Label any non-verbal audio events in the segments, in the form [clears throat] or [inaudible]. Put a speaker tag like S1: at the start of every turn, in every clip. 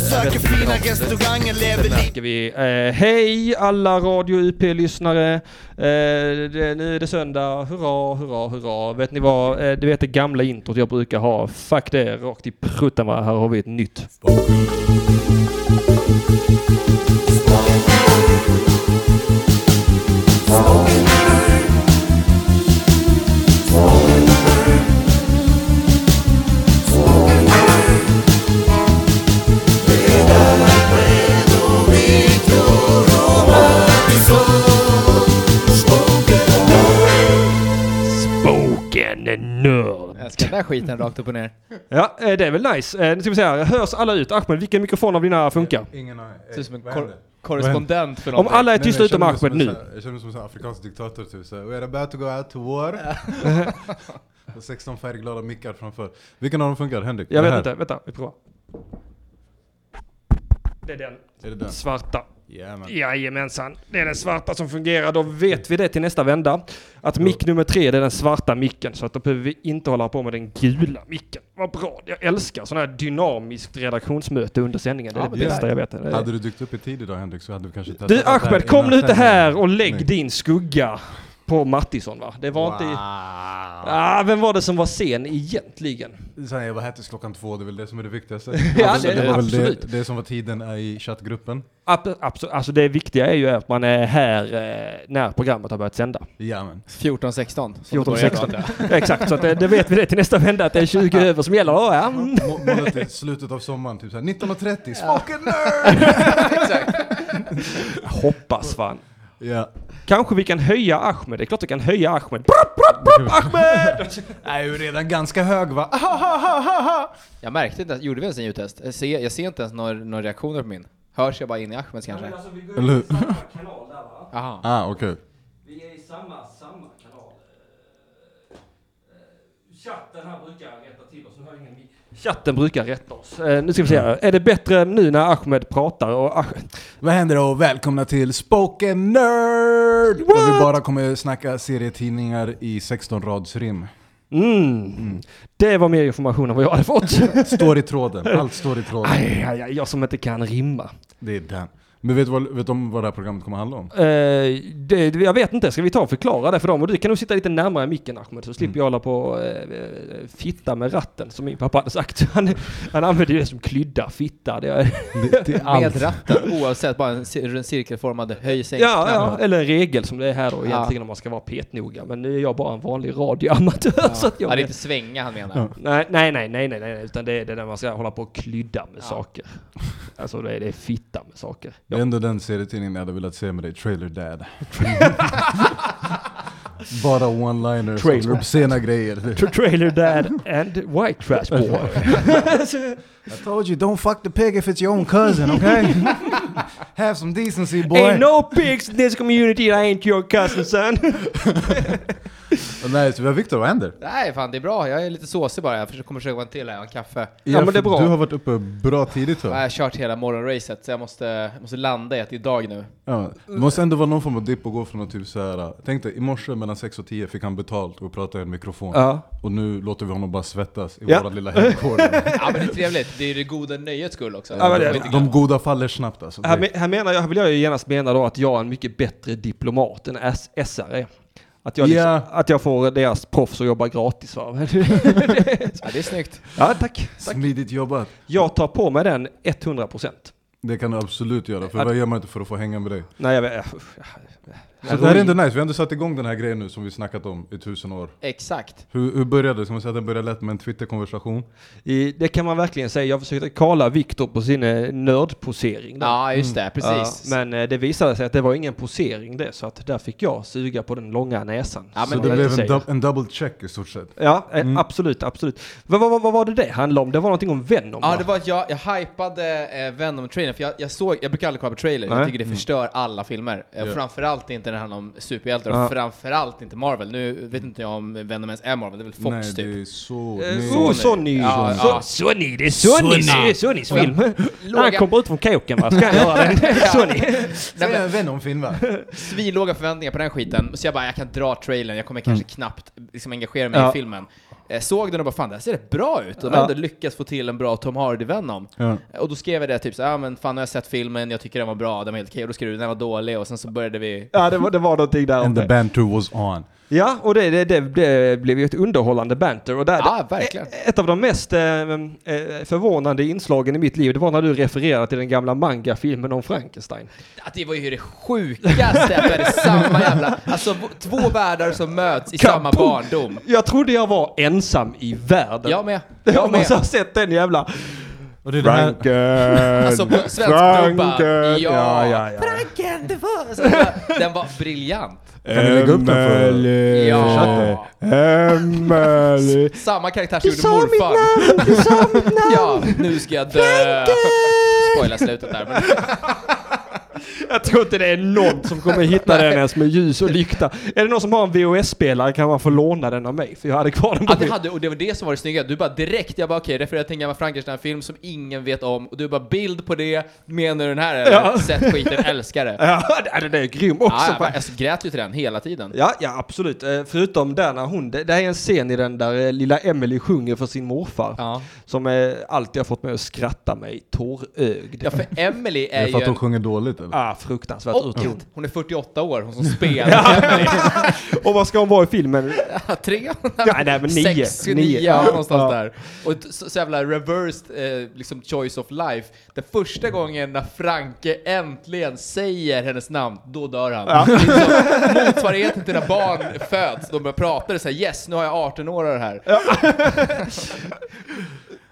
S1: Söker fina restauranger, lever liv
S2: Ska vi, eh, hej alla Radio UP-lyssnare. Eh, det, nu är det söndag. Hurra, hurra, hurra. Vet ni vad? Eh, du vet det gamla introt jag brukar ha. Fuck det, rakt i pruttan va. Här har vi ett nytt. Spoken Nerd.
S3: Jag ska den där skiten rakt upp och ner.
S2: Ja, eh, det är väl nice. Eh, nu ska vi se här. Hörs alla ut? Ahmed, vilken mikrofon av dina funkar?
S4: Ingen aning.
S3: Ser ut som en
S4: Vad
S3: kor
S4: händer?
S3: korrespondent för
S2: Om
S3: någonting.
S2: alla är
S4: Nej, men
S2: tysta
S4: jag
S2: utom
S4: känner mig som
S2: Ahmed
S4: en
S2: nu.
S4: sån här- Jag känner mig som en sån här afrikansk diktator typ såhär, We are about to go out to war. [laughs] och 16 färgglada mickar framför. Vilken av dem funkar? Henrik?
S2: Jag
S4: Den
S2: vet
S4: här?
S2: inte. Vänta, vi provar. Det är den.
S4: Är det den?
S2: Svarta.
S4: Yeah,
S2: Eh.
S4: man.
S2: Jajamensan. Det är den svarta som fungerar. Då vet vi det till nästa vända. Att mick nummer tre, det är den svarta micken. Så att då behöver vi inte hålla på med den gula micken. Vad bra. Jag älskar sådana här dynamiskt redaktionsmöte under sändningen. Det är det
S4: men
S2: bästa
S4: det-
S2: jag vet. Det är-
S4: Hade du dykt upp i tid idag Henrik så hade vi kanske testat
S2: Du
S4: det här
S2: Ahmed,
S4: innan
S2: kom nu inte
S4: sändningen.
S2: här och lägg
S4: Nej.
S2: din skugga på Mattisson va? Det var inte... i- Ah, vem var det som var sen egentligen?
S4: Sen jag var här tills klockan två, det är väl det som är det viktigaste.
S2: [laughs] Ja, det är det,
S4: var väl
S2: absolut.
S4: det, det som var tiden i chattgruppen.
S2: Ab- Absolut. Alltså det viktiga är ju att man är här eh, när programmet har börjat sända. [laughs]
S4: Jajamän.
S3: 14-16.
S2: 14-16. Exakt, så att, eh, det vet vi det till nästa vända att det är 20 över som gäller. Ja, ja. Mm.
S4: Må- Målet är slutet av sommaren, typ såhär 19.30,
S2: [laughs]
S4: smoking nerd!
S2: Hoppas fan.
S4: Ja.
S2: Kanske vi kan höja Ahmed. Det är klart vi kan höja Ahmed. Mm. Brup, brup, brup, Ahmed!
S4: Jag är ju redan ganska hög va?
S3: Jag märkte inte, gjorde vi ens en ljudtest? Jag ser, jag ser inte ens några, några reaktioner på min. Hörs jag bara in i Ahmeds kanske?
S2: Alltså,
S4: Eller hur?
S2: kanal där va?
S3: Aha.
S4: Ah, okej.
S2: Vi är i samma, samma kanal. Eh, Chatten här brukar rätta till oss. Nu har jag ingen Chatten brukar rätta oss. Eh, nu ska vi se här. Är det bättre nu när Ahmed pratar? Och Ahmed...
S4: Vad händer då? Välkomna till Spoken Nerd! Där vi bara kommer snacka serietidningar i 16-radsrim.
S2: Mm. Det var mer information än vad jag hade fått.
S4: Står i tråden, allt står i tråden.
S2: aj, aj, aj, jag som inte kan rimma.
S4: Det är den. Men vet du vad, vet de vad det här programmet kommer handla [laughs] om?
S2: Eh, det, jag vet inte, ska vi ta och förklara det för dem? Och du kan nog sitta lite närmare micken Ahmed,
S3: Mm.
S2: så slipper jag hålla på och eh, eh, fitta med ratten som min pappa hade sagt. Han, han använde ju det som klydda, fitta. Det är,
S4: Det, det är
S3: Med
S4: allt.
S3: ratten oavsett, bara en cir- en cirkelformad höj
S2: [laughs]
S3: sänk
S2: ja, ja,
S3: knapp.
S2: eller en regel som det är här då
S3: Ja.
S2: egentligen om man ska vara petnoga. Men nu är jag bara en vanlig radioamatör [laughs] så att jag...
S3: Ja, det är inte svänga han menar.
S4: Ja.
S2: Nej, nej, nej, nej, nej, nej, utan det är det där man ska hålla på och klydda med
S3: Ja.
S2: saker. Alltså det är, det är fitta med saker.
S4: Det är ändå den serietidningen jag hade velat se med dig, Trailer [laughs] Dad. bara one-liners,
S2: Trailer.
S4: obscena grejer.
S2: Tra- Trailer Dad and White Trash Boy.
S4: I told you don't fuck the pig if it's your own cousin, [laughs] okay? Have some decency boy.
S2: Ain't no pigs in this community, I ain't your cousin son.
S4: Nej, så vi har Viktor, vad händer?
S3: Nej fan det är bra, jag är lite såsig bara. Jag försöker- kommer försöka vara en till här, en kaffe.
S2: Ja, men det är bra.
S4: Du har varit uppe bra tidigt
S3: Jag
S4: hör
S3: har kört hela morgonracet så jag måste, jag måste landa i att det är dag nu.
S4: ja. Det måste ändå vara någon form av dipp att gå från att typ såhär, tänk dig i morse mellan 6 och 10 fick han betalt och prata i en mikrofon.
S2: Ja.
S4: Och nu låter vi honom bara svettas i
S2: Ja.
S4: våran lilla hemgård.
S3: Ja men det är trevligt, det är ju det goda nöjets skull också.
S2: Ja, men det är
S3: Inte-
S4: De goda faller snabbt alltså.
S2: Här, me- här, menar jag, här vill jag ju genast mena då att jag är en mycket bättre diplomat än S- SR. Att jag, liksom,
S4: Ja.
S2: att jag får deras proffs att jobba gratis. Va?
S3: Ja, det är snyggt.
S2: [laughs] ja, tack.
S4: Smidigt jobbat.
S2: Jag tar på mig den 100 procent.
S4: Det kan du absolut göra, för
S2: Att-
S4: vad gör man inte för att få hänga med dig?
S2: Nej, jag vet. usch,
S4: Så det här är inte nice, vi har ändå satt igång den här grejen nu som vi snackat om i tusen år.
S3: Exakt.
S4: Hur, hur började det? Ska man säga att den började lätt med en Twitter-konversation?
S2: I- Det kan man verkligen säga. Jag försökte kalla Viktor på sin eh, nördposering. där.
S3: Ja just det, precis.
S2: Ja, men eh, det visade sig att det var ingen posering det, så att där fick jag suga på den långa näsan.
S3: Ja, men
S2: som
S4: så det
S2: jag
S4: blev
S2: inte
S4: en,
S2: säger.
S4: dub- en double check i stort sett.
S2: Ja, eh, absolut, absolut. Vad, vad, vad, vad var det det handlade om? Det var någonting om Venom
S3: Ja,
S2: va?
S3: det var att jag, jag hypade eh, Venom-trailern, för jag, jag såg, jag brukar aldrig kolla på trailers,
S2: Nej.
S3: jag tycker det förstör alla filmer. Eh,
S4: Mm. Ja.
S3: Framförallt inte när det handlar om superhjältar,
S2: Ja.
S3: och framförallt inte Marvel. Nu vet inte jag om Venom ens är Marvel, det är väl Fox
S4: Nej,
S3: typ.
S4: det är så...
S2: Eh,
S4: nej.
S2: oh, Sony.
S3: Ja,
S2: So-
S3: ja.
S2: Sony, det är Sony,
S3: Sony.
S2: det är Sonys
S3: Och jag-
S2: film. Han
S3: Låga-
S2: kommer ut från kåken va, ska han göra
S3: [laughs]
S2: det? Sony.
S4: Säg en Venom-film va? Mm.
S3: Svinlåga förväntningar på den skiten, så jag bara jag kan dra trailern, jag kommer kanske knappt liksom, engagera mig
S2: Ja.
S3: i filmen. eh, såg den och bara fan det här ser rätt bra ut. De har ändå lyckats få till en bra Tom Hardy-Venom.
S4: Ja.
S3: Och då skrev jag det typ så ja ah, men fan nu har jag sett filmen, jag tycker den var bra, den var helt okej. Och då skrev du den var dålig och sen så började vi...
S2: Ja, det var, det var någonting där om
S4: And the
S2: det.
S4: banter was on.
S2: Ja, och det, det, det, det blev ju ett underhållande banter. Och där,
S3: Ja, verkligen.
S2: e- Ett av de mest eh, eh, förvånande inslagen i mitt liv, det var när du refererade till den gamla manga-filmen om Frankenstein.
S3: Att det var ju det sjukaste, att det är samma jävla... Alltså v- två världar som möts i samma
S2: Kaboom!
S3: barndom.
S2: Jag trodde jag var ensam i världen.
S3: Jag med.
S2: [laughs] Jag
S3: Jag med.
S2: måste ha sett den jävla...
S4: Och det är det
S3: [laughs]
S4: här-
S3: Alltså på svensk
S4: Franken.
S3: dubbad. Ja.
S4: Ja, ja, ja.
S3: Franken, det var... Alltså, den var- den var briljant.
S4: Kan du lägga upp den för...
S3: Ja.
S4: Emelie.
S3: Samma karaktär som gjorde morfar. [laughs] Ja, Eh. nu ska jag dö. Spoila slutet där. Men
S2: [laughs] Jag tror inte det är någon som kommer hitta den ens med ljus och lykta. Är det någon som har en VHS-spelare kan man få låna den av mig, för jag hade kvar den på
S3: Ja, det
S2: min.
S3: hade, och det var det som var det snygga. Du bara direkt, jag bara okej, refererar till en gammal Frankenstein-film som ingen vet om. Och du bara bild på det, menar du den här eller?
S2: Ja.
S3: Sett skiten, älskar det.
S2: [laughs] Ja, den är grym också.
S3: Ja,
S2: fan.
S3: jag alltså, grät ju till den hela tiden.
S2: Ja, ja absolut. Eh, Förutom där när hon, det, det här är en scen i den där eh, lilla Emily sjunger för sin morfar.
S3: Ja.
S2: Som eh, alltid har fått mig att skratta mig tårögd.
S3: ja, för Emily [laughs]
S4: Är
S3: är
S4: det för
S3: ju
S4: att de
S3: en...
S4: sjunger dåligt eller?
S2: Ah, fruktansvärt
S3: Och
S2: urtråkigt.
S3: hon är 48
S2: [laughs]
S3: år, hon som spelar [laughs] Emily.
S2: Och vad ska hon vara i filmen?
S3: Tre?
S2: Ja, nej, men nio.
S3: Sex, nio,
S2: Nio.
S3: ja, någonstans
S2: Ja.
S3: där. Och t- så, så jävla reversed eh, liksom choice of life. Den första gången när Franke äntligen säger hennes namn, då dör han. Liksom, motsvarigheten till när barn föds, de börjar prata det är så här, yes, nu har jag 18 år av det här.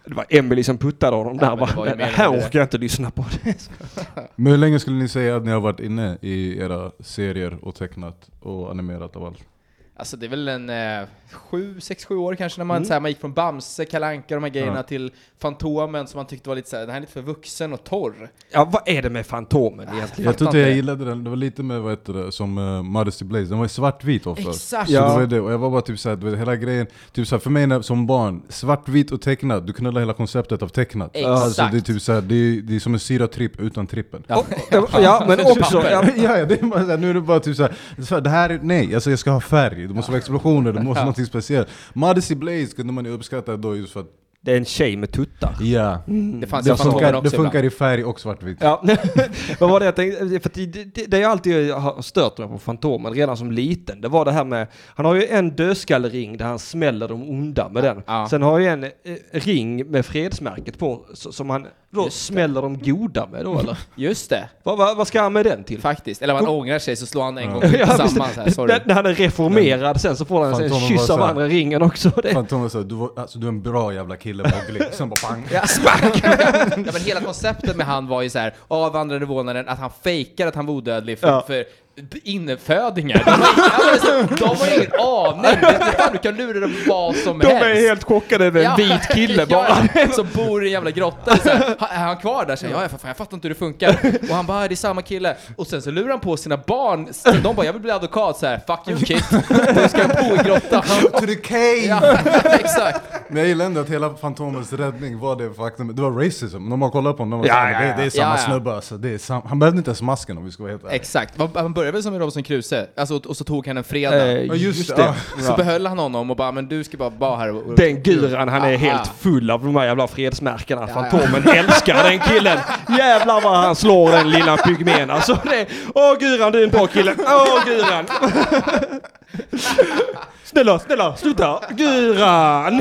S2: Det var Emily som puttade honom
S3: Ja,
S2: där.
S3: men det
S2: va?
S3: var ju
S2: Det,
S3: mer
S2: här
S3: än det.
S2: orkar jag inte lyssna på.
S4: Men hur länge skulle ni säga att ni har varit inne i era serier och tecknat och animerat av allt?
S3: Alltså det är väl en eh, sju, sex, sju år kanske när
S2: Mm.
S3: man, så här, man gick från Bamse, Kalle Anka och de här grejerna
S4: Ja.
S3: till Fantomen som man tyckte var lite så här, den här är lite för vuxen och torr.
S2: Ja, vad är det med Fantomen egentligen?
S4: Jag tror
S3: inte
S4: inte jag
S3: det.
S4: gillade den, det var lite med vad heter det, som uh, Modesty Blaze, den var ju svartvit ofta.
S3: Exakt!
S4: Så
S2: Ja.
S4: det var ju det, och jag var bara typ såhär, du vet, hela grejen, typ såhär, för mig när, som barn, svartvit och tecknat, du knullar hela konceptet av tecknat.
S3: Exakt.
S4: Alltså det är typ såhär, det är, det är som en syratripp utan trippen.
S3: Ja.
S2: Ja, men också...
S3: Papper.
S2: Ja, men-
S4: Typ Ja, ja, det är bara såhär, nu är det bara typ såhär, så här, det här är, nej, alltså jag ska ha färg, det måste vara explosioner, det måste vara något speciellt. Modesty Blaze kunde man ju uppskatta då just för att,
S2: Det är en tjej med tuttar.
S4: ja.
S3: Det fanns ju Fantomen
S4: Det funkar,
S3: också
S4: det
S3: ibland.
S4: funkar i färg och svartvitt.
S2: Ja, [laughs] vad var det jag tänkte? För att det, det, det jag alltid har stört mig på Fantomen redan som liten, det var det här med, han har ju en dödskallering där han smäller de onda med den.
S3: Ja.
S2: Sen har han ju en eh, ring med fredsmärket på så- som han då smäller de goda med då eller?
S3: Just det.
S2: vad, vad, vad ska han med den till?
S3: Faktiskt. Eller man ångrar sig så slår han en
S2: [laughs]
S3: gång
S2: Ja,
S3: till
S2: visst.
S3: tillsammans här, sorry.
S2: När- När han är reformerad sen så får han en
S4: Fantomen
S2: kyss
S4: var
S2: av
S4: så här-
S2: andra ringen också. Det,
S4: Fan Thomas sa, du, var, alltså, du är en bra jävla kille på
S3: [laughs]
S4: glimt, sen bara pang.
S2: [laughs]
S3: Ja, spark! ja, men hela konceptet med han var ju så här av andra våningen att han fejkar att han var odödlig för,
S2: Ja.
S3: för innefödingar. De har, ingen, ja, men alltså, de har ingen aning. Det- det- Fan, du kan lura dem vad som
S2: de
S3: helst.
S2: är helt chockade över en
S3: Ja,
S2: vit kille bara.
S3: [laughs] ja, ja, som bor i en jävla grotta. Så här, "Ha- är han kvar där? Så här, ja, ja, för fan, jag fattar inte hur det funkar. Och han bara, det är samma kille. Och sen så lurar han på sina barn. Så de bara, jag vill bli advokat. Så här, fuck you
S2: [laughs]
S3: kid. Du ska bo i grottan.
S4: To the [laughs] cave!
S3: Ja, exakt.
S4: Men jag gillar ändå att hela Fantomens räddning var det faktum, det var racism, när man kollar på honom, de
S2: Ja,
S4: var
S2: ja,
S4: ja,
S2: ja.
S4: det, det är samma
S3: Ja, ja.
S4: snubbe alltså, det är sam- han behövde inte ens masken om vi ska vara helt ärliga.
S3: Exakt. Man- Han började väl som en Robinson Crusoe, alltså, och och så tog han en fredag.
S2: Eh,
S4: Ja, just det.
S3: så behöll han honom och bara, men du ska bara vara här och... och
S2: Den guran, han är
S3: Aha.
S2: helt full av de här jävla fredsmärkena.
S3: Ja,
S2: Fantomen älskar den killen. Jävlar vad han slår den lilla pygmén. Alltså det, åh guran du är en bra kille. Åh
S3: [laughs]
S2: guran. Snälla, snälla, sluta. Guran.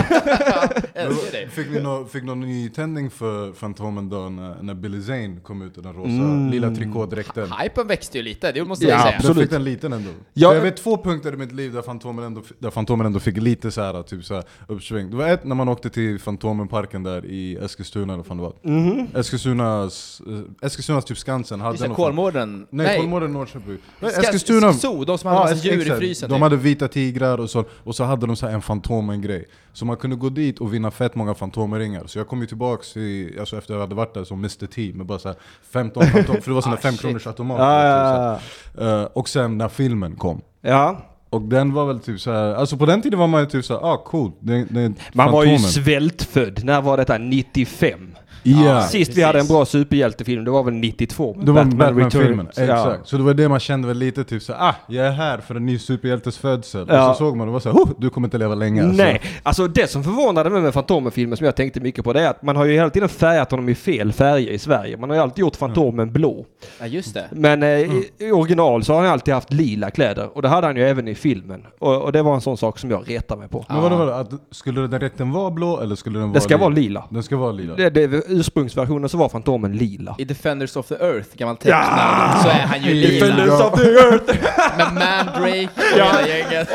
S3: Älskar dig.
S4: Fick ni nå- fick någon ny tändning för Fantomen då när, när Billy Zane kom ut i den rosa, lila trikådräkten?
S3: Hypen växte ju lite, det måste
S2: Mm. Ja,
S3: jag säga.
S2: absolut.
S4: Absolut. fick den liten ändå.
S2: Ja,
S4: För jag
S2: eh,
S4: vet två punkter i mitt liv där Fantomen ändå, där Fantomen ändå fick lite så här, typ så här, uppsving. Det var ett när man åkte till Fantomenparken där i Eskilstuna eller vad fan det var.
S2: Mhm.
S4: Eskilstunas, eh, Eskilstunas typ Skansen hade
S3: Just det,
S4: någon-
S3: Kolmården.
S4: Nej, Kolmården och Norrköpi. Nej,
S3: Ska-
S4: Eskilstuna.
S3: Zoo, de som hade massa
S4: es-
S3: djur i
S4: exakt.
S3: frysen,
S4: De
S3: typ.
S4: hade vita tigrar och så, och så hade de så här en Fantomen-grej. Så man kunde gå dit och vinna fett många Fantomen-ringar. Så jag kom ju tillbaks i, alltså efter jag hade varit där som Mr T med bara så här
S3: [laughs]
S4: 15 Fantomen, för det var sådana
S3: Ah,
S4: 5
S3: shit.
S4: kronors automater.
S2: Ja,
S4: typ så
S2: ja,
S4: här.
S2: ja.
S4: Eh, och sen när filmen kom.
S2: ja.
S4: Och den var väl typ så här. alltså på den tiden var man ju typ såhär, ah cool, det, det är
S2: Man var ju
S4: Fantomen.
S2: svältfödd. När var detta? 95?
S4: Ja.
S2: Sist vi hade en bra superhjältefilm, det var väl 92? med
S4: Det var Batman-filmen,
S2: Returns. Ja.
S4: exakt. Så det var det man kände väl lite typ så ah, jag är här för en ny superhjältes födsel.
S2: Ja.
S4: Och så såg man och var såhär, oh, du kommer inte leva länge. alltså.
S2: Nej, alltså det som förvånade mig med Fantomen-filmen som jag tänkte mycket på det är att man har ju hela tiden färgat honom i fel färger i Sverige. Man har ju alltid gjort Fantomen blå.
S3: Ja, just det.
S2: Men eh, i- i original så har han alltid haft lila kläder och det hade han ju även i filmen. Och, och det var en sån sak som jag retade mig på.
S4: Men vadå, vadå, att, skulle den rätten vara blå eller skulle den vara
S2: Det ska
S4: lila?
S2: vara lila.
S4: Den ska vara lila.
S2: Det, det, ursprungsversionen så var Fantomen lila.
S3: I Defenders of the Earth, gammal tecknad, så är han ju lila.
S4: Defenders-
S2: of the earth!
S3: Med Mandrake och hela gänget.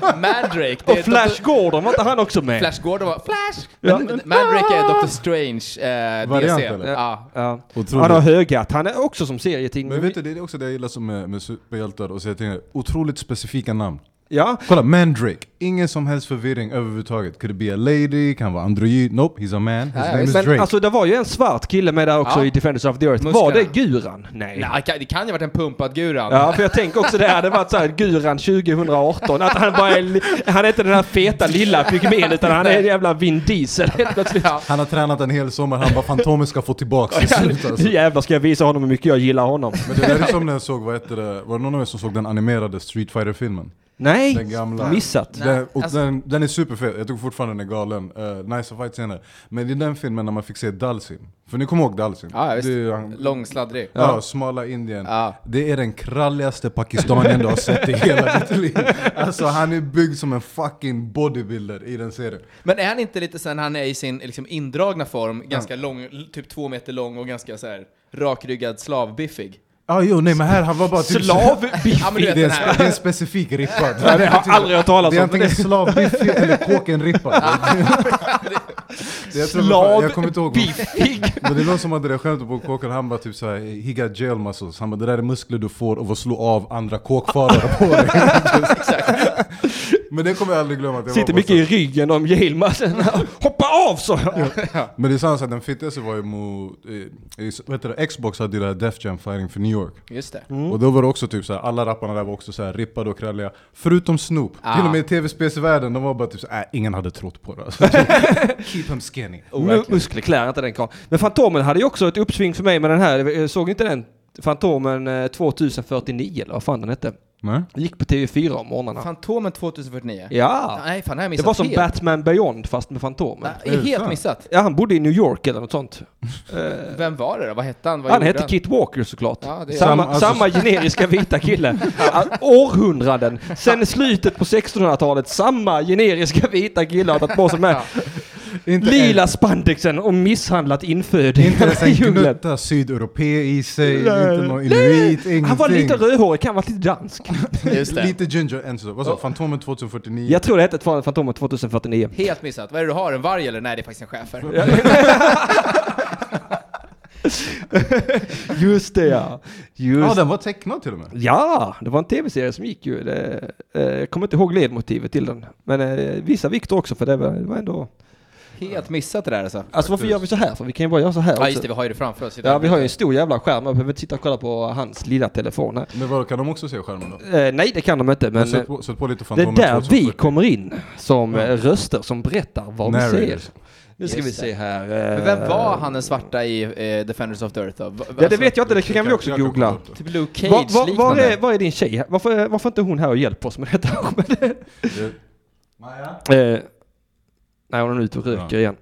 S3: Mandrake, det
S2: Och
S3: är
S2: Flash Gordon var inte han också
S3: Dr.
S2: med?
S3: Flash Gordon var... Flash!
S2: Ja.
S3: Men Mandrake är Dr. Strange, eh,
S4: Variant,
S3: DC.
S4: eller?
S3: Ja.
S2: Ja.
S4: Otroligt.
S2: Han har höghatt. Han är också som serieting.
S4: Men vet du, det är också det jag gillar som med, med superhjältar och så jag tänker, otroligt specifika namn.
S2: Ja,
S4: Kolla, Mandrake. Ingen som helst förvirring överhuvudtaget. Could it be a lady? Kan vara androgyn? Nope, he's a man. His
S3: Ja,
S4: name is
S3: visst.
S2: men
S4: Drake.
S2: alltså det var ju en svart kille med där också
S3: Ja.
S2: i Defenders of the Earth. Var
S3: Musklerna.
S2: det Guran? Nej.
S3: Nej, det kan- det kan ju ha varit en pumpad Guran.
S2: Ja, för jag tänker också det hade varit såhär Guran 2018, att han bara är, li- han är inte den här feta lilla pygmén utan han är en jävla Vin Diesel helt plötsligt.
S3: Ja.
S4: Han har tränat en hel sommar, han bara Fantomen ska få tillbaks till slut alltså.
S2: Nu jävlar ska jag visa honom hur mycket jag gillar honom.
S4: Men det där [laughs] är som när jag såg, vad heter det, var det någon av er som såg den animerade Street fighter filmen
S2: Nej,
S4: Den gamla.
S2: missat.
S3: Nej,
S4: Den, och
S3: alltså-
S4: den, den är superfet, jag tycker fortfarande den är galen. Uh, nice fight scener. Men i den filmen när man fick se Dalsim, för ni kommer ihåg Dalsim?
S3: Ja, visst.
S4: Det är ju han-
S3: Lång, sladdrig.
S4: Ja, smala Indien.
S3: Ja.
S4: Det är den kralligaste pakistanien du har sett
S3: [laughs]
S4: i hela ditt liv. Alltså han är byggd som en fucking bodybuilder i den serien.
S3: Men är han inte lite sen han är i sin liksom, indragna form, ganska lång, l- typ två meter lång och ganska så här rakryggad slavbiffig?
S4: Ja, ah, jo, nej men här, han var bara typ
S2: Slavbiffig.
S3: Ja, men du
S4: Det
S3: vet
S4: är, en,
S3: den
S4: spe-
S3: här.
S4: det är en specifik rippa.
S2: Jag har aldrig hört talas
S4: Det är
S2: om
S4: antingen
S2: det.
S4: slavbiffig
S2: [laughs]
S4: eller kåkenrippad. Det- jag tror- Jag kommer inte ihåg.
S2: Slavbiffig.
S4: Men det är någon som hade det skämtet på kåken, han bara typ såhär He got jail muscles, han bara det där är muskler du får av att slå av andra kåkfarare
S2: [laughs]
S4: på dig. Men det kommer jag aldrig glömma. att jag var
S2: Sitter
S4: på
S2: mycket
S4: så-
S2: i ryggen om Yale-matchen. [laughs] Hoppa av så
S4: Men det är sant att den fittaste var ju mot, i, i, vad heter det, Xbox hade ju det här Def Jam Fighting för New York.
S3: Just det.
S4: Och då var det också typ såhär, alla rapparna där var också såhär rippade och kralliga. Förutom Snoop. Till och med i tv-spelsvärlden, de var bara typ såhär, äh, ingen hade trott på det. Alltså, keep him skinny.
S2: Mu- Muskler klär inte den karln. Men Fantomen hade ju också ett uppsving för mig med den här. Jag Såg inte den? Fantomen eh, 2049 eller vad fan den hette.
S4: Nej?
S2: Gick på TV4 om morgnarna.
S3: Fantomen 2049?
S2: Ja.
S3: Nej, fan, det har
S2: Det
S3: jag missat
S2: var som
S3: helt.
S2: Batman Beyond fast med Fantomen.
S3: Nej, jag har helt
S4: Fan.
S3: missat.
S2: Ja, han bodde i New York eller något sånt.
S3: Vem var det då? Vad hette han? Vad
S2: Eh. Han
S3: gjorde
S2: hette Kit Walker såklart.
S3: Ja, det är-
S2: samma,
S4: Sam- alltså-
S2: samma generiska vita kille.
S3: [laughs]
S2: Ja, Århundraden. Sen slutet på 1600-talet, samma generiska vita kille har tagit på sig med
S4: Inte
S2: lila spandexen och misshandlat
S4: en, inte
S2: infödingar
S4: ens
S2: i
S4: en
S2: djungeln.
S4: gnutta sydeuropé i sig,
S2: Nej.
S4: inte någon inuit, ingenting.
S2: Han var lite rödhårig, han var lite dansk.
S3: Just det.
S4: Lite ginger enzo. Vad sa Fantomen 2049?
S2: Jag tror det hette ett Fantomen 2049.
S3: Helt missat. Vad är det du har? En varg eller? Nej, det är faktiskt en schäfer.
S2: [laughs] Just det ja.
S4: Ja,
S2: Just
S4: den var tecknad till och med.
S2: Ja, det var en tv-serie som gick ju. Det, eh, jag kommer inte ihåg ledmotivet till den. Men eh, vissa Viktor också för det var, det var ändå...
S3: Helt missat det där alltså.
S2: Alltså varför gör vi så här? För vi kan ju bara göra så här
S3: Ja,
S2: också.
S3: just det. Vi har ju det framför oss idag.
S2: Ja, vi har ju en stor jävla skärm. Jag behöver inte sitta och kolla på hans lilla telefon här.
S4: Men vadå, kan de också se skärmen då?
S2: Eh, nej, det kan de inte, men...
S4: Sätt på, sätt på lite
S2: Det är
S4: Fantomen
S2: där vi
S4: 2049.
S2: kommer in som eh, röster som berättar vad vi ser.
S4: Narrators.
S2: Nu ska
S3: Just
S2: vi se
S3: det.
S2: här.
S3: Men vem var han den svarta i eh, Defenders of the Earth då? Va-
S2: Ja, det
S3: alltså,
S2: vet jag inte. Det kan vi också
S4: Jag kan
S2: googla.
S4: kolla upp det.
S3: Typ Luke Cage
S2: Var, var, var,
S3: liknande.
S2: är, var är din tjej? här? Varför, varför är inte hon här och hjälper oss med detta? [laughs]
S4: Det- Maja?
S2: Eh, nej, hon är ute och röker
S4: Ja.
S2: igen.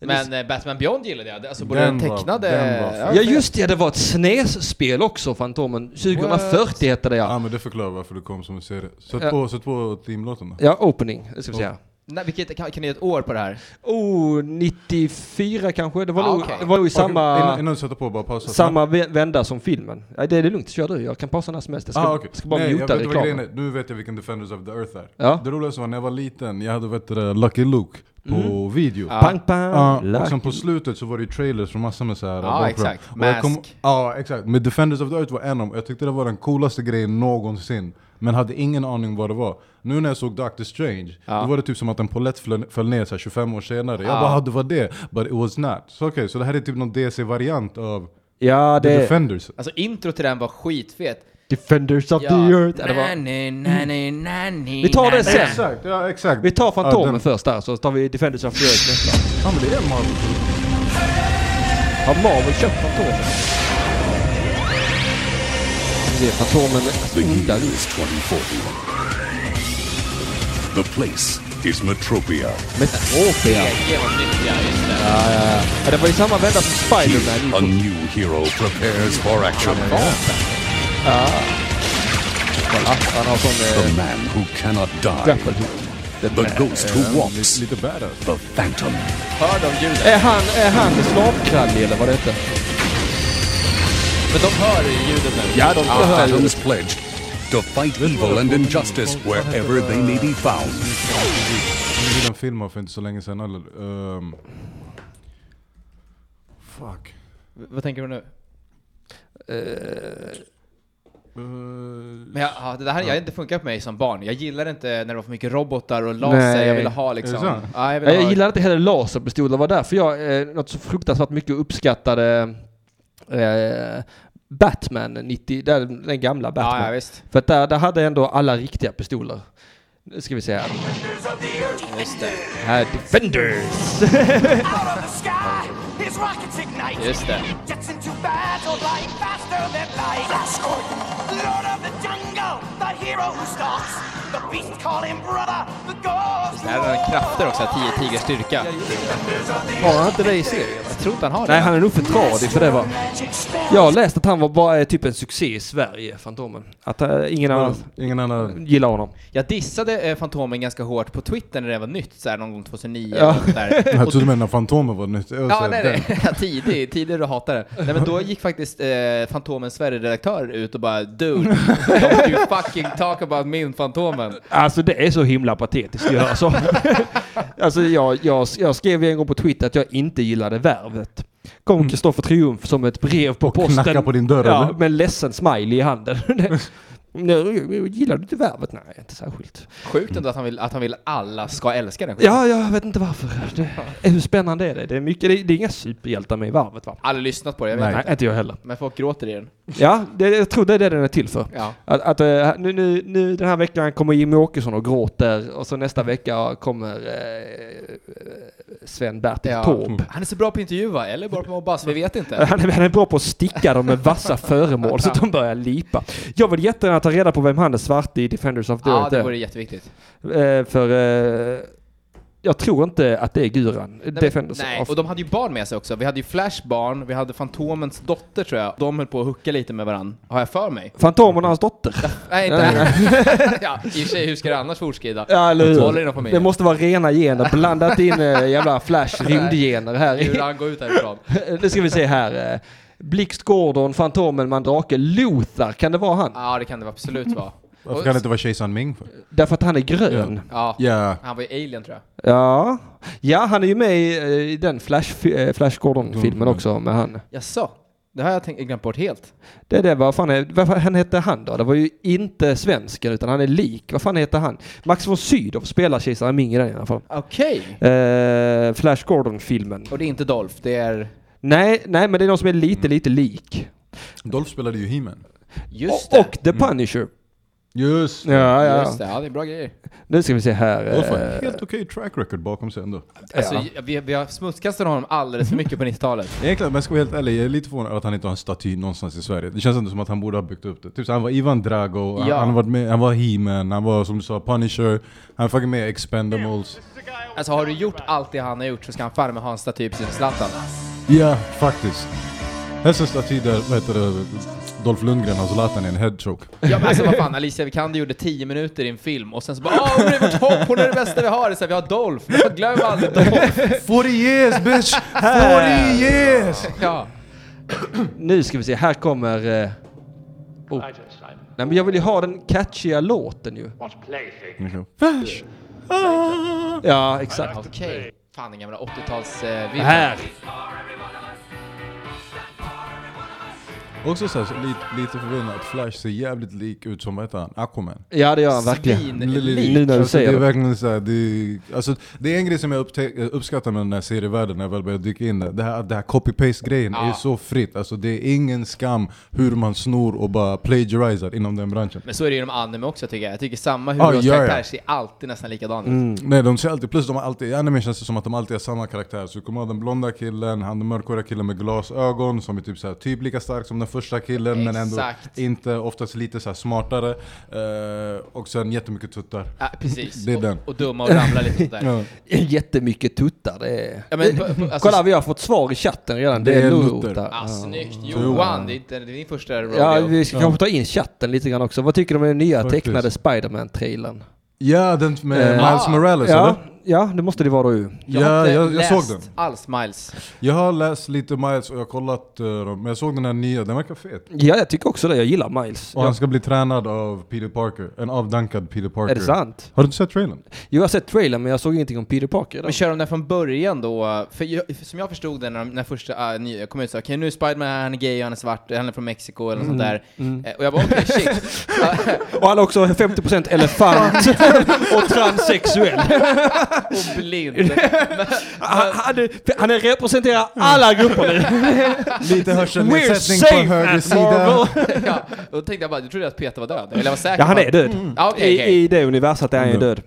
S3: Men eh, Batman Beyond gillade jag. Alltså både den
S4: Den var-
S3: tecknade...
S4: den var
S2: Ja just det, det var ett SNES-spel också, Fantomen. 2040 hette det
S4: Ja
S2: ja.
S4: men det förklarar varför du kom som en serie. Sätt,
S2: Ja.
S4: på, sätt på teamlåten då.
S2: Ja, opening, det ska vi säga.
S3: Nej, vilket, kan, kan ni ge ett år på det här?
S2: Oh, 94 kanske? Det var,
S3: Ah,
S2: nog,
S3: okej.
S2: det var nog i samma,
S4: Innan, innan du sätter på, bara pausa.
S2: samma vä- vända som filmen. Nej, det är det lugnt, kör du. Jag kan pausa när som helst. Jag ska,
S4: Ah, okej.
S2: ska bara
S4: Nej, jag
S2: muta
S4: vet vad grejen
S2: reklamen.
S4: är. Nu vet jag vilken Defenders of the Earth är.
S2: Ja.
S4: Det roligaste var när jag var liten, jag hade vet du, det, Lucky Luke på video.
S3: Ja.
S2: Mm. Ah. Pang, pang, Ah,
S4: Ja,
S2: lack.
S4: och sen på slutet så var det ju trailers från massor med så här
S3: Ja,
S4: bakgrund.
S3: exakt.
S4: Och jag kom-
S3: Mask.
S4: Ja, exakt. Men Defenders of the Earth var en av dem. Jag tyckte det var den coolaste grejen någonsin. Men hade ingen aning vad det var. Nu när jag såg Doctor Strange,
S3: Ja.
S4: då var det typ som att en polett föll, föll ner så här 25 år senare. Jag bara, ah, det var det. But it was not. Så okej, så det här är typ någon DC-variant av
S2: Ja,
S4: The
S2: det är...
S4: Defenders.
S3: Alltså intro till den var skitfet.
S2: Defenders of
S3: Ja.
S2: the Earth. Ja, det var...
S3: Nani, nani, nani,
S2: Vi tar det
S3: nani.
S2: sen.
S4: Exakt, ja exakt.
S2: Vi tar
S4: Ja,
S2: Fantomen
S4: den-
S2: först där, så tar vi Defenders of the Earth nästa.
S4: Ja men det är Marvel.
S2: Har Marvel köpt Fantomen?
S5: Det är Fantomen gillar du.
S6: 2041. The place is Metropia.
S5: Metropia.
S3: Genomnyttja, just det.
S5: Ja, det var i samma vända som Spider-Man.
S6: A new hero prepares for action.
S5: Kolla, han har sån...
S6: The
S5: Eh,
S6: man who cannot die.
S5: grapple hook.
S6: The ghost who walks.
S4: Lite badass.
S6: The phantom.
S3: Hör de ljuden?
S5: Är han, är han slavkrallig eller vad det heter?
S3: Men de hör ju ljudet nu.
S5: Ja, de
S6: Our
S5: hör ju.
S6: phantoms pledge to fight evil and injustice wherever they may be found.
S4: Vi gjorde en film av för inte så länge sedan eller? Ehm, fuck.
S3: Vad tänker du nu?
S4: Eh,
S3: Men jag, ja, det där hade inte funkat på mig som barn. Jag gillade inte när det var för mycket robotar och laser.
S2: Nej.
S3: Jag ville ha
S4: Är
S3: liksom...
S4: det så?
S3: Ja, jag ville
S2: Jag,
S3: ha...
S2: jag gillar inte heller laserpistoler. Det var därför jag, eh, något så fruktansvärt mycket uppskattade eh, Batman 90, den, den gamla Batman.
S3: Ja, ja, visst.
S2: För att där, där hade ändå alla riktiga pistoler. Nu ska vi se här.
S3: Just det.
S2: Här, Defenders!
S7: Out of the sky, his rockets ignite.
S3: Just det.
S7: Jets into battle, flying faster than light. Flash Gordon, Lord of the Jungle, the hero who stalks. The beast call him brother, the ghost.
S3: Det här är den krafter också, 10 tigers styrka.
S2: Har han inte det i serien?
S3: Jag tror inte han har det.
S2: Nej, han är nog för tradig för det va.
S7: Magic spell.
S2: Jag har läst att han var bara eh, typ en succé i Sverige, Fantomen. Att eh, ingen annan
S4: Ingen annan...
S2: gillar honom.
S3: Jag dissade eh, Fantomen ganska hårt på Twitter när det var nytt, så här någon gång 2009
S2: Ja.
S3: eller
S2: [laughs]
S3: något där.
S4: Jag
S3: Och då,
S4: trodde du menade Fantomen var nytt. Jag
S3: ja,
S4: säger,
S3: nej,
S4: Alltså, den-
S3: nej. [laughs] tidig, tidig du hatar det. Nej men då gick faktiskt eh, Fantomen Sverige-redaktör ut och bara Dude, don't you fucking talk about min Fantomen.
S2: Alltså det är så himla patetiskt att göra så. [laughs] alltså jag, jag, jag skrev ju en gång på Twitter att jag inte gillade värvet. Kom Kristoffer Triumf som ett brev på
S4: Och
S2: posten.
S4: knacka på din dörr,
S2: Ja,
S4: eller?
S2: med en ledsen smiley i handen. [laughs] Det- Nej, Gillar du inte värvet? Nej, inte särskilt.
S3: Sjukt ändå att han vill att han vill alla ska älska den skiten.
S2: Ja, jag vet inte varför. Det, hur spännande är det? Det är, mycket, det, det är inga superhjältar med i varvet va?
S3: Aldrig lyssnat på det, jag vet
S2: Nej,
S3: inte.
S2: inte jag heller.
S3: Men folk gråter i den.
S2: Ja, det, jag tror det är det den är till för.
S3: Ja.
S2: Att, att eh, nu, nu, nu den här veckan kommer Jimmy Åkesson och gråter och så nästa vecka kommer eh, Sven-Bertil
S3: Ja.
S2: Taube.
S3: Han är så bra på att intervjua, eller bara på att mobba, så vi vet inte.
S2: Han är, han är bra på att sticka dem med
S3: [laughs]
S2: vassa föremål så att de börjar lipa. Jag vill jättegärna ta reda på vem han är svart i Defenders of the
S3: Ja,
S2: Earth
S3: det
S2: är.
S3: vore jätteviktigt.
S2: Eh, För eh, jag tror inte att det är Guran.
S3: Nej, men-
S2: Defenders
S3: nej,
S2: of...
S3: och de hade ju barn med sig också. Vi hade ju Flash barn, vi hade Fantomens dotter tror jag. De höll på att hucka lite med varandra, har jag för mig.
S2: Fantomen och hans dotter.
S3: Nej, inte [laughs] ja, I och för sig, hur ska det annars fortskrida?
S2: Ja, eller
S3: Jag håller i
S2: hur?
S3: den
S2: Det
S3: familjen.
S2: måste vara rena gener, blandat in eh, jävla flash rymdgener här. [laughs]
S3: Hur
S2: i-
S3: han går ut härifrån.
S2: [laughs] nu ska vi se här. eh, Blixt Gordon, Fantomen, Mandrake, Lothar, kan det vara han?
S3: Ja, det kan det absolut vara.
S4: Varför
S3: Och-
S4: kan det inte vara kejsaren Ming för?
S2: Därför att han är grön.
S3: Ja,
S4: Ja.
S3: han var ju alien tror jag.
S2: Ja, ja han är ju med i, eh, i den Flash, eh, Flash Gordon-filmen
S3: Mm.
S2: också med han.
S3: Jaså? Det har jag tänkt, glömt bort helt.
S2: Det är det, vad fan, är, vad fan han hette han då? Det var ju inte svensken utan han är lik. Vad fan heter han? Max von Sydow spelar kejsaren Ming i den i alla fall.
S3: Okej.
S2: Eh, Flash Gordon-filmen.
S3: Och det är inte Dolph, det är...
S2: Nej, nej, men det är någon som är lite, lite lik.
S4: Dolph spelade ju He-Man.
S3: Just
S2: och,
S3: det.
S2: och The Punisher.
S4: Just det.
S2: Ja, ja.
S3: Just det, ja det är bra grejer.
S2: Nu ska vi se här.
S4: Dolph har
S2: eh,
S4: en helt okej track record bakom sig ändå.
S3: Alltså,
S2: Ja.
S3: j- vi, vi har smutskastat honom alldeles för mycket på 90-talet.
S4: Egentligen, men ska vara helt ärlig, jag är lite förvånad att han inte har en staty någonstans i Sverige. Det känns ändå som att han borde ha byggt upp det. Typ så han var Ivan Drago,
S3: Ja.
S4: han, han, var med, han var He-Man, han var som du sa Punisher, han var fucking med i Expendables.
S3: Alltså har du gjort allt det han har gjort så ska han fan med ha en staty precis som Zlatan.
S4: Ja, faktiskt. Helst en staty där, vad heter det, Dolph Lundgren har Zlatan i en headchoke.
S3: Ja men alltså vad fan, Alicia Vikander gjorde 10 minuter i en film och sen så bara Åh, hon är vårt hopp, hon är det bästa vi har! Så här, vi har Dolph, Men glöm aldrig
S2: [laughs]
S3: Dolph!
S4: 40 years bitch! 40 years!
S3: Ja.
S2: Nu ska vi se, här kommer... Eh... Oh. Nej men jag vill ju ha den catchiga låten ju.
S3: Ah!
S2: Ja, exakt.
S3: Okej. Fan den gamla 80-tals... Eh, vibben.
S2: Här!
S4: Också så här, lite, lite förvånad att Flash ser jävligt lik ut som, vad heter han, Aquaman.
S2: Ja, det gör han verkligen.
S4: Svinlik.
S2: Nu när du
S4: Alltså,
S2: säger
S4: det. är
S2: det.
S4: verkligen så här, det, är- alltså, det är en grej som jag upptä- uppskattar med den här serievärlden när jag väl började dyka in där. Det här, det här copy-paste-grejen är så fritt. Alltså, det är ingen skam hur man snor och bara plagiarisar inom den branschen.
S3: Men så är det ju inom anime också tycker jag. Jag tycker samma
S4: ja, Mm.
S3: huvudrollskaraktär
S4: ja.
S3: ser alltid nästan likadan ut.
S4: Nej, de ser alltid, plus de har alltid, i anime känns det som att de alltid har samma karaktär. Så du kommer ha den blonda killen, han den mörkhåriga killen med glasögon som är typ, så här, typ lika stark som den första killen men ändå
S3: Exakt.
S4: inte, oftast lite så här, smartare. Eh, och sen jättemycket tuttar.
S3: Ja, precis.
S4: Det är
S3: och,
S4: den.
S3: och dumma och ramla lite sånt där.
S4: [laughs] Ja.
S2: Jättemycket tuttar. Det är...
S3: Ja, men på- på- alltså-
S2: Kolla, vi har fått svar i chatten redan. Det,
S4: Det
S2: är
S4: är
S2: Lorota.
S4: nutter.
S3: Ah, snyggt!
S4: Johan.
S3: Johan, det är inte det är din första rodeo.
S2: Ja, vi ska kanske ta in chatten lite grann också. Vad tycker du om den nya
S4: Faktiskt.
S2: tecknade Spiderman-trailern?
S4: Ja, den med
S2: Eh,
S4: Miles
S3: ah,
S4: Morales
S2: Ja,
S4: eller?
S2: ja, det måste det vara då ju.
S3: Jag har
S4: Ja,
S3: inte
S4: jag, jag
S3: läst
S4: såg den.
S3: alls Miles.
S4: Jag har läst lite Miles och jag har kollat eh, dem, men jag såg den här nya, den verkar fet.
S2: Ja, jag tycker också det. Jag gillar Miles.
S4: Och
S2: Ja.
S4: han ska bli tränad av Peter Parker, en avdankad Peter Parker.
S2: Är det sant?
S4: Har du inte sett trailern?
S2: Jo, jag har sett trailern men jag såg ingenting om Peter Parker. i den.
S3: Men kör de den från början då? För jag, som jag förstod det när, de- när första uh, nya kom ut så okej nu är Spiderman här, han är gay, han är svart, han är från Mexiko eller något
S4: Mm.
S3: sånt där. Eh, och jag bara okej
S4: [laughs]
S3: shit. [laughs]
S2: Och han är också 50% elefant [laughs] och transsexuell.
S3: och
S4: [laughs]
S3: blind.
S2: Han, han, är- han är- representerar alla grupper nu.
S4: Lite
S2: We're
S4: hörselnedsättning
S2: safe
S4: på höger
S2: at
S4: sida.
S2: Marvel.
S3: ja, då tänkte jag bara, du trodde att Peter var död? Eller jag var säker
S2: Ja, han
S3: på
S2: är
S3: att-
S2: död.
S3: Mm. Ja, okej,
S2: I,
S3: okej.
S2: I det universet är han ju död.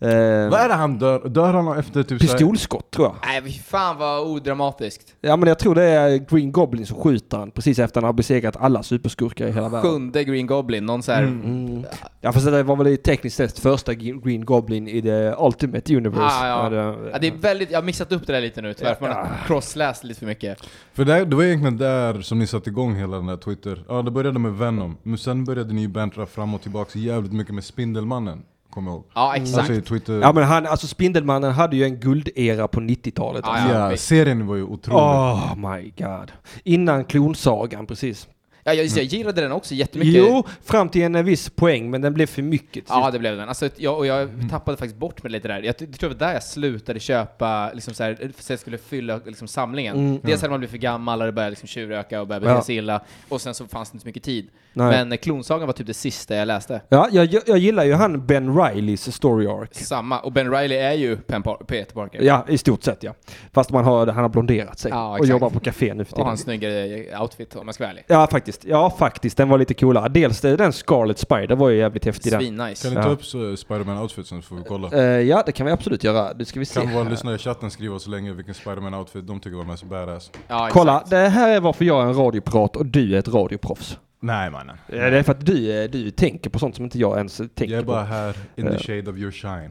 S2: Eh,
S4: Mm. Vad är det han dör? Dör han efter typ såhär-
S2: pistolskott tror jag.
S3: Nej, fy fan vad odramatiskt.
S2: Ja men jag tror det är Green Goblin som skjuter han precis efter han har besegrat alla superskurkar i hela världen.
S3: Sjunde Green Goblin, någon så här.
S2: Mm, Ja fast det var väl i tekniskt sett första Ge- Green Goblin i The Ultimate Universe.
S3: Ah, ja.
S2: det,
S3: Ja, det är väldigt, jag har mixat upp det där lite nu tyvärr, för man har crossläst lite för mycket.
S4: För det, det var egentligen där som ni satte igång hela den där Twitter. Ja, det började med Venom, men sen började ni ju bantra fram och tillbaka jävligt mycket med Spindelmannen, kommer jag ihåg.
S3: Ja,
S2: Mm.
S3: exakt.
S4: Alltså i Twitter...
S2: ja men han, alltså Spindelmannen hade ju en guldera på 90-talet.
S3: Ja,
S2: alltså.
S4: Ja, serien var ju otrolig.
S2: Oh my god. Innan klonsagan precis.
S3: Ja, jag, jag gillade den också jättemycket.
S2: Mm. Jo, fram till en viss poäng men den blev för mycket till
S3: Ja,
S2: sist.
S3: det blev den. Alltså, jag, och
S2: Mm.
S3: jag tappade faktiskt bort mig lite där. Jag t- tror att det var där jag slutade köpa, liksom så här, för att jag skulle fylla liksom, samlingen. Dels hade man blivit för gammal och det började liksom, tjuröka och började bete
S2: Mm. Ja.
S3: sig illa. Och sen så fanns det inte så mycket tid.
S2: Nej.
S3: Men eh, Klonsagan var typ det sista jag läste.
S2: Ja, jag, jag- jag gillar ju han Ben Rileys story arc.
S3: Samma. Och Ben Riley är ju Pen Par- Peter Parker.
S2: Ja, i stort sett ja. Fast man har, han har blonderat sig
S3: Ja,
S2: och
S3: exakt.
S2: jobbar på café nu för
S3: Och
S2: tiden.
S3: har en snyggare outfit om jag ska vara ärlig.
S2: Ja, faktiskt. Ja, faktiskt. Den var lite coolare. Dels eh, den Scarlet Spider var ju jävligt häftig. Den.
S4: Kan
S3: Svinnice.
S4: ni ta
S2: Ja.
S4: upp så- Spiderman-outfitsen så får vi kolla?
S2: Eh, ja, det kan vi absolut göra. Nu ska vi se.
S4: Kan
S2: här.
S4: våra lyssnare i chatten skriva så länge vilken Spiderman-outfit de tycker var mest badass?
S3: Ja, exakt.
S2: Kolla, det här är varför jag är en radioprat och du är ett radioproffs.
S4: Nej mannen.
S2: Eh, Det är för att du, eh, du tänker på sånt som inte jag ens tänker
S4: Jag är bara
S2: [laughs]
S4: här in
S2: Ja.
S4: the shade of your shine.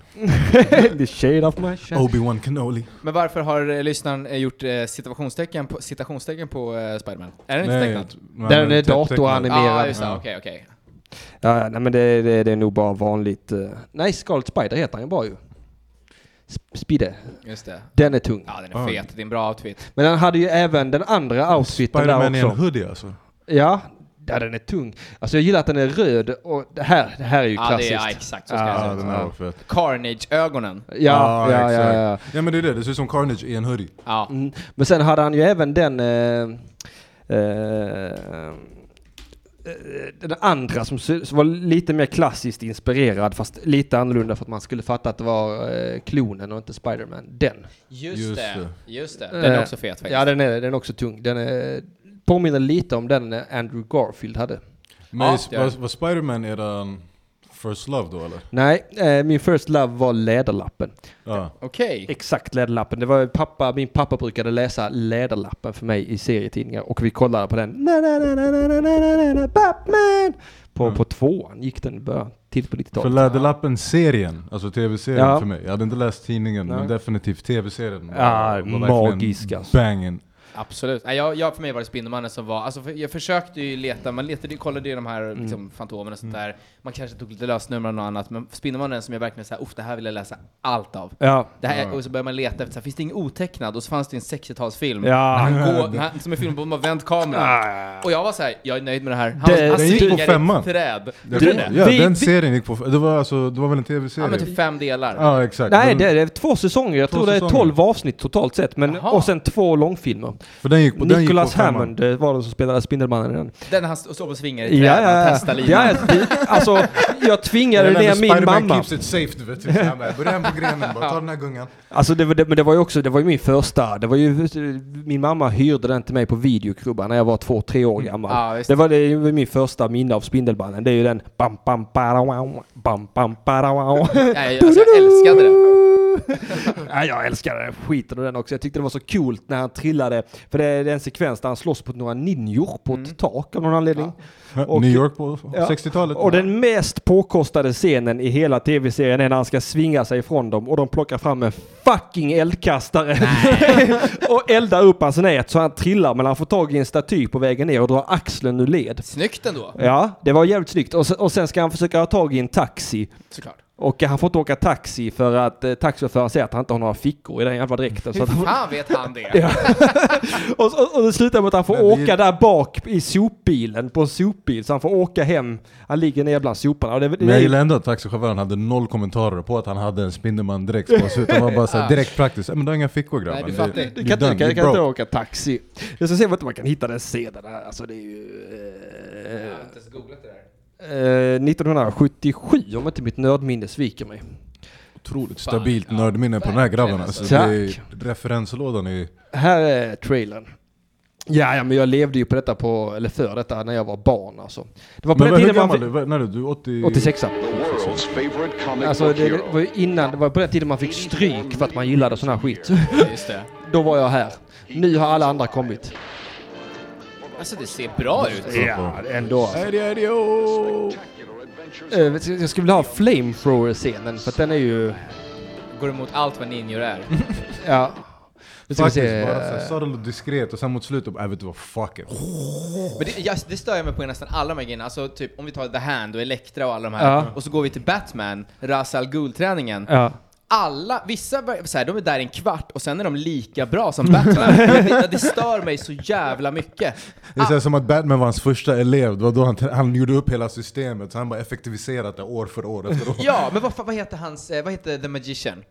S2: på. The shade of my shade.
S4: Obi-Wan Kenobi.
S3: Men varför har eh, lyssnaren eh, gjort eh, citationstecken på, citationstecken på eh, Spiderman? Är den inte tecknad?
S2: Den är
S3: Ja,
S2: datoranimerad.
S3: ah, just det.
S4: Ja.
S3: Okej, okej.
S2: Ja, nej, men det, det, det är nog bara vanligt. eh, Nej, Scarlet Spider heter han ju bara ju. Sp- Spide.
S3: Just det.
S2: Den är tung.
S3: Ja, den är fet. Det är en bra outfit.
S2: Men han hade ju även den andra outfiten där
S4: Spiderman är en
S2: också.
S4: hoodie alltså.
S2: Ja, ja, den är tung. Alltså jag gillar att den är röd och det här, det här är ju
S3: Ja, det är
S2: klassiskt.
S3: ja, exakt så ska
S4: Ja,
S3: jag
S4: den
S3: säga.
S4: här var fet.
S3: Carnage-ögonen.
S2: Ja, ja, ja,
S4: exakt.
S2: ja.
S4: ja men det är det, det ser ut som Carnage i en hoodie.
S3: Ja.
S2: Mm. Men sen hade han ju även den... Eh, eh, den andra som, sy- som var lite mer klassiskt inspirerad fast lite annorlunda för att man skulle fatta att det var eh, klonen och inte Spiderman. Den.
S3: Just,
S4: Just
S3: det.
S4: det.
S3: Just det. Den är
S2: Eh,
S3: också fet faktiskt.
S2: Ja, den är, den är också tung. Den är, påminner lite om den eh, Andrew Garfield hade.
S4: Men
S3: Ja,
S4: is-
S3: det är det.
S4: var, var Spiderman eran first love då eller?
S2: Nej, eh, min first love var Läderlappen.
S4: Ja.
S3: Okej.
S2: Exakt Läderlappen. Det var ju pappa, min pappa brukade läsa Läderlappen för mig i serietidningar och vi kollade på den. Na, na, na, na, na, na, na, na, na, na, Batman! På, på tvåan gick den i början, tidigt på
S4: Mm. För
S2: 90-talet.
S4: Läderlappen-serien, alltså tv-serien
S2: Ja.
S4: för mig. Jag hade inte läst tidningen, men definitivt tv-serien.
S2: Ja,
S4: var verkligen
S2: magisk, alltså.
S4: Banging.
S3: Absolut. Nej, jag, jag, för mig var det Spindelmannen som var... Alltså, för, jag försökte ju leta, man letade, ju- kollade ju de här
S2: Mm.
S3: liksom, Fantomen och sånt där. Man kanske tog lite lösnummer och något annat, men Spindelmannen som jag verkligen såhär, uff, det här vill jag läsa allt av.
S2: Ja.
S3: Det här, och så började man leta efter, så här, finns det ingen otecknad? Och så fanns det en 60-talsfilm.
S2: Ja. Ah,
S3: När Han
S2: [laughs]
S3: går, när han, som är filmad på, de har vänt kameran. Och jag var så här, jag är nöjd med det här. Han,
S2: Det-
S3: han
S2: Den gick på
S3: slingar i ett
S4: femman.
S3: träd.
S2: Du-
S4: Jag kommer ihåg. ja,
S2: vi-
S4: den
S2: vi-
S4: serien gick på... Det var, alltså, det var väl en tv-serie?
S3: Ja men typ fem delar.
S4: Ja, exakt.
S2: Nej,
S4: Den-
S2: det är två säsonger. Jag
S4: Två
S2: tror det är
S4: säsonger.
S2: 12 avsnitt totalt sett. Men,
S3: Jaha.
S2: och sen två långfilmer.
S4: För den gick på, den gick på
S2: Nicholas
S4: femman.
S2: Hammond eh, var den som spelade Spindelmannen i den.
S3: Den han st- står på svingar i
S2: Ja,
S3: träden,
S2: ja,
S3: han
S2: ja.
S3: testar linan.
S2: ja, ja. Alltså, jag tvingade
S4: Jag menar,
S2: ner min
S4: Spider-Man
S2: mamma.
S4: keeps it safe du vet. Typ, så här med. Börja på grenen bara, ta den här gungan.
S2: Alltså det, var- det, men det var ju också, det var ju min första, det var ju, min mamma hyrde den till mig på videokrubban när jag var två, tre år gammal.
S3: Mm. Ja, visst.
S2: det var det, var min första minne av Spindelmannen, det är ju den bam bam parawau, bam bam parawau.
S3: Nej, alltså, jag älskade den.
S2: [laughs] ja, jag älskade den skiten och den också, jag tyckte det var så coolt när han trillade, för det är det är en sekvens där han slåss mot några ninjor på ett
S3: Mm.
S2: tak av någon anledning. Och-
S4: [laughs] New York på
S2: Ja.
S4: 60-talet.
S2: Och den mest påkostade scenen i hela tv-serien är när han ska svinga sig ifrån dem och de plockar fram en fucking eldkastare [laughs] och eldar upp hans nät så han trillar men han får tag i en staty på vägen ner och drar axeln ur led.
S3: Snyggt ändå,
S2: Ja, det var jävligt snyggt. Och, se- och sen ska han försöka ha tag i en taxi.
S3: såklart.
S2: Och han får inte åka taxi för att eh, taxichauffören säger att han inte har några fickor i den jävla dräkten. Så
S3: Hur
S2: att han,
S3: fan vet
S2: [laughs]
S3: han det?
S2: och, och, och det slutar med att han får
S4: Men det är-
S2: åka där bak i sopbilen, på en sopbil. Så han får åka hem. Han ligger ner bland soporna. Och det, det,
S4: Men jag gillar ändå att taxichauffören hade noll kommentarer på att han hade en Spindelman-dräkt på sig, utan var
S3: [laughs]
S4: bara såhär direkt praktiskt. "Ja, Men du har inga fickor grabben.
S3: Nej, du fattar.
S4: You-
S2: Du
S4: you
S2: kan,
S4: done,
S2: inte, kan,
S4: you
S2: kan inte
S4: broke."
S2: åka taxi. Jag ska se vart man kan hitta den sedeln här. Alltså det är ju... Eh,
S3: Jag har inte ens googlat det där.
S2: eh, 1977 om inte mitt nördminne sviker mig.
S4: Otroligt stabilt nördminne på den här grabben alltså. Det
S2: Tack.
S4: är, referenslådan är
S2: Här är trailern. Ja, ja, men jag levde ju på detta på, eller för detta när jag var barn alltså. Det var på
S4: Men
S2: den
S4: hur
S2: tiden man...
S4: gammal
S2: Fick,
S4: du var när du? Du är 80...
S2: 86
S8: world's favorite comic
S2: Alltså
S8: book
S2: det, det
S8: hero.
S2: var ju innan, det var på den tiden man fick stryk för att man gillade sån här skit. [laughs]
S3: Just det.
S2: Då var jag här. Nu har alla andra kommit.
S3: Alltså det ser bra ut.
S2: Ja, ändå alltså.
S4: Eddie, Eddie, oh!
S2: Eh, Jag skulle vilja ha flamethrower-scenen för att den är ju...
S3: Går emot allt vad ninjor är.
S2: Ja. Nu ska vi
S4: Faktiskt,
S2: se.
S4: bara såhär subtle och diskret och sen mot slutet, bara, "Äh, vet du vad, fuck it.
S2: Ah.
S3: Men det, jag, det stör jag mig på i nästan alla de här grejerna. Alltså typ om vi tar The Hand och Elektra och alla de här.
S2: Ja.
S3: Och så går vi till Batman, Ra's al Ghul-träningen.
S2: Ja.
S3: Alla, vissa var- så här, de är där en kvart och sen är de lika bra som Batman. [laughs] det, det stör mig så jävla mycket.
S4: Det är såhär som att Batman var hans första elev, det var då han, han gjorde upp hela systemet, så han bara effektiviserat det år för år efter år.
S3: Ja, men vad, fa- vad heter hans, eh, vad heter The Magician?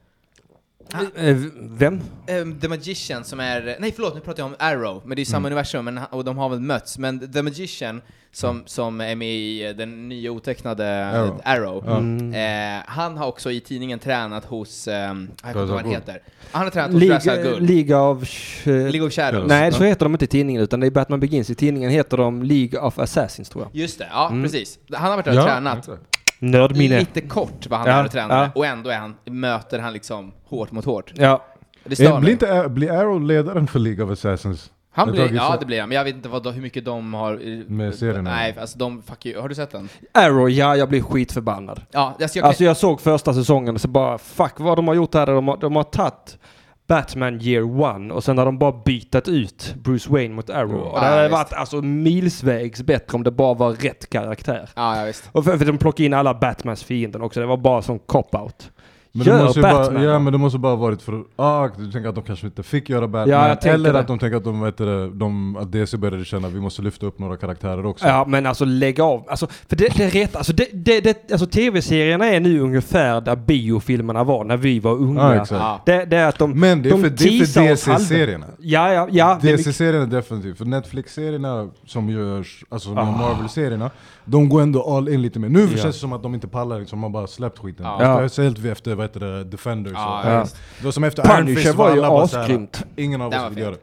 S2: Eh, Vem?
S3: Ehm, The Magician som är, nej förlåt nu pratar jag om Arrow, men det är ju samma universum men, han- och de har väl mötts. Men The Magician som, som är med i eh, den nya otecknade Arrow,
S4: Arrow.
S3: eh, han har också i tidningen tränat hos, ehm, jag kommer inte ihåg vad han
S4: Razal Ghul.
S3: heter. Han har tränat hos Ra's al
S2: Liga,
S3: Ghul.
S2: League of... Sh-
S3: League of Shadows.
S2: Nej, så heter de inte i tidningen utan det är Batman Begins. I tidningen heter de League of Assassins tror jag.
S3: Just det, ja precis. Han har varit där och
S4: Ja,
S3: tränat.
S4: exakt.
S2: Nördminne.
S3: Lite kort vad han
S2: Ja,
S3: är och tränar
S2: ja.
S3: och ändå är han, möter han liksom hårt mot hårt.
S2: Ja.
S3: Det stör
S4: Eh, Blir
S3: mig.
S4: inte Ar- blir Arrow ledaren för League of Assassins?
S3: Han
S4: Jag
S3: blir,
S4: tagit
S3: ja
S4: så-
S3: det blir han, men jag vet inte vad, hur mycket de har...
S4: Med serien,
S3: Nej,
S4: eller?
S3: alltså de, fuck you. Har du sett den?
S2: Arrow, ja jag blir skitförbannad.
S3: Ja, alltså jag kan,
S2: Alltså jag såg första säsongen och så bara fuck vad de har gjort här. De har, de har tagit Batman year one och sen har de bara bytt ut Bruce Wayne mot Arrow. Och det
S3: Ja,
S2: hade
S3: visst.
S2: varit alltså milsvägs bättre om det bara var rätt karaktär.
S3: ja, ja visst.
S2: Och för, för de plockade in alla Batmans fienden också, det var bara som cop-out.
S4: Men det
S2: Gör
S4: måste ju bara,
S2: Batman!
S4: ja men det måste bara varit för ah, du tänker att de kanske inte fick göra Batman,
S2: Ja, jag tänkte
S4: eller
S2: det.
S4: att de tänker att de, vet det, de att DC började känna att vi måste lyfta upp några karaktärer också.
S2: Ja, men alltså lägg av. Alltså, för det, det är rätt. Alltså, det, det, det, alltså tv-serierna är nu ungefär där biofilmerna var när vi var
S4: Ja,
S2: unga.
S4: exakt.
S3: Ja.
S2: det, det är att de
S4: Men det är
S2: de
S4: för, det är för
S2: teasar oss halva-
S4: DC-serierna.
S2: Ja, ja, ja. det är mycket-
S4: DC-serierna definitivt, för Netflix-serierna som görs, alltså
S2: Ah.
S4: de här Marvel-serierna, de går ändå all in lite mer. Nu känns det som att de inte pallar, liksom, man bara släppt skiten.
S2: Ah.
S4: Alltså,
S3: Ja.
S4: Det var Speciellt vi efter vad heter det, Defenders.
S3: Ja,
S4: och,
S3: ja,
S2: visst.
S4: Det var som efter
S2: Punisher
S4: Iron Fist
S2: var ju
S4: alla bara såhär,
S2: asgrymt.
S4: Ingen av
S3: Den
S4: oss
S3: var
S4: vill
S3: fet.
S4: göra det.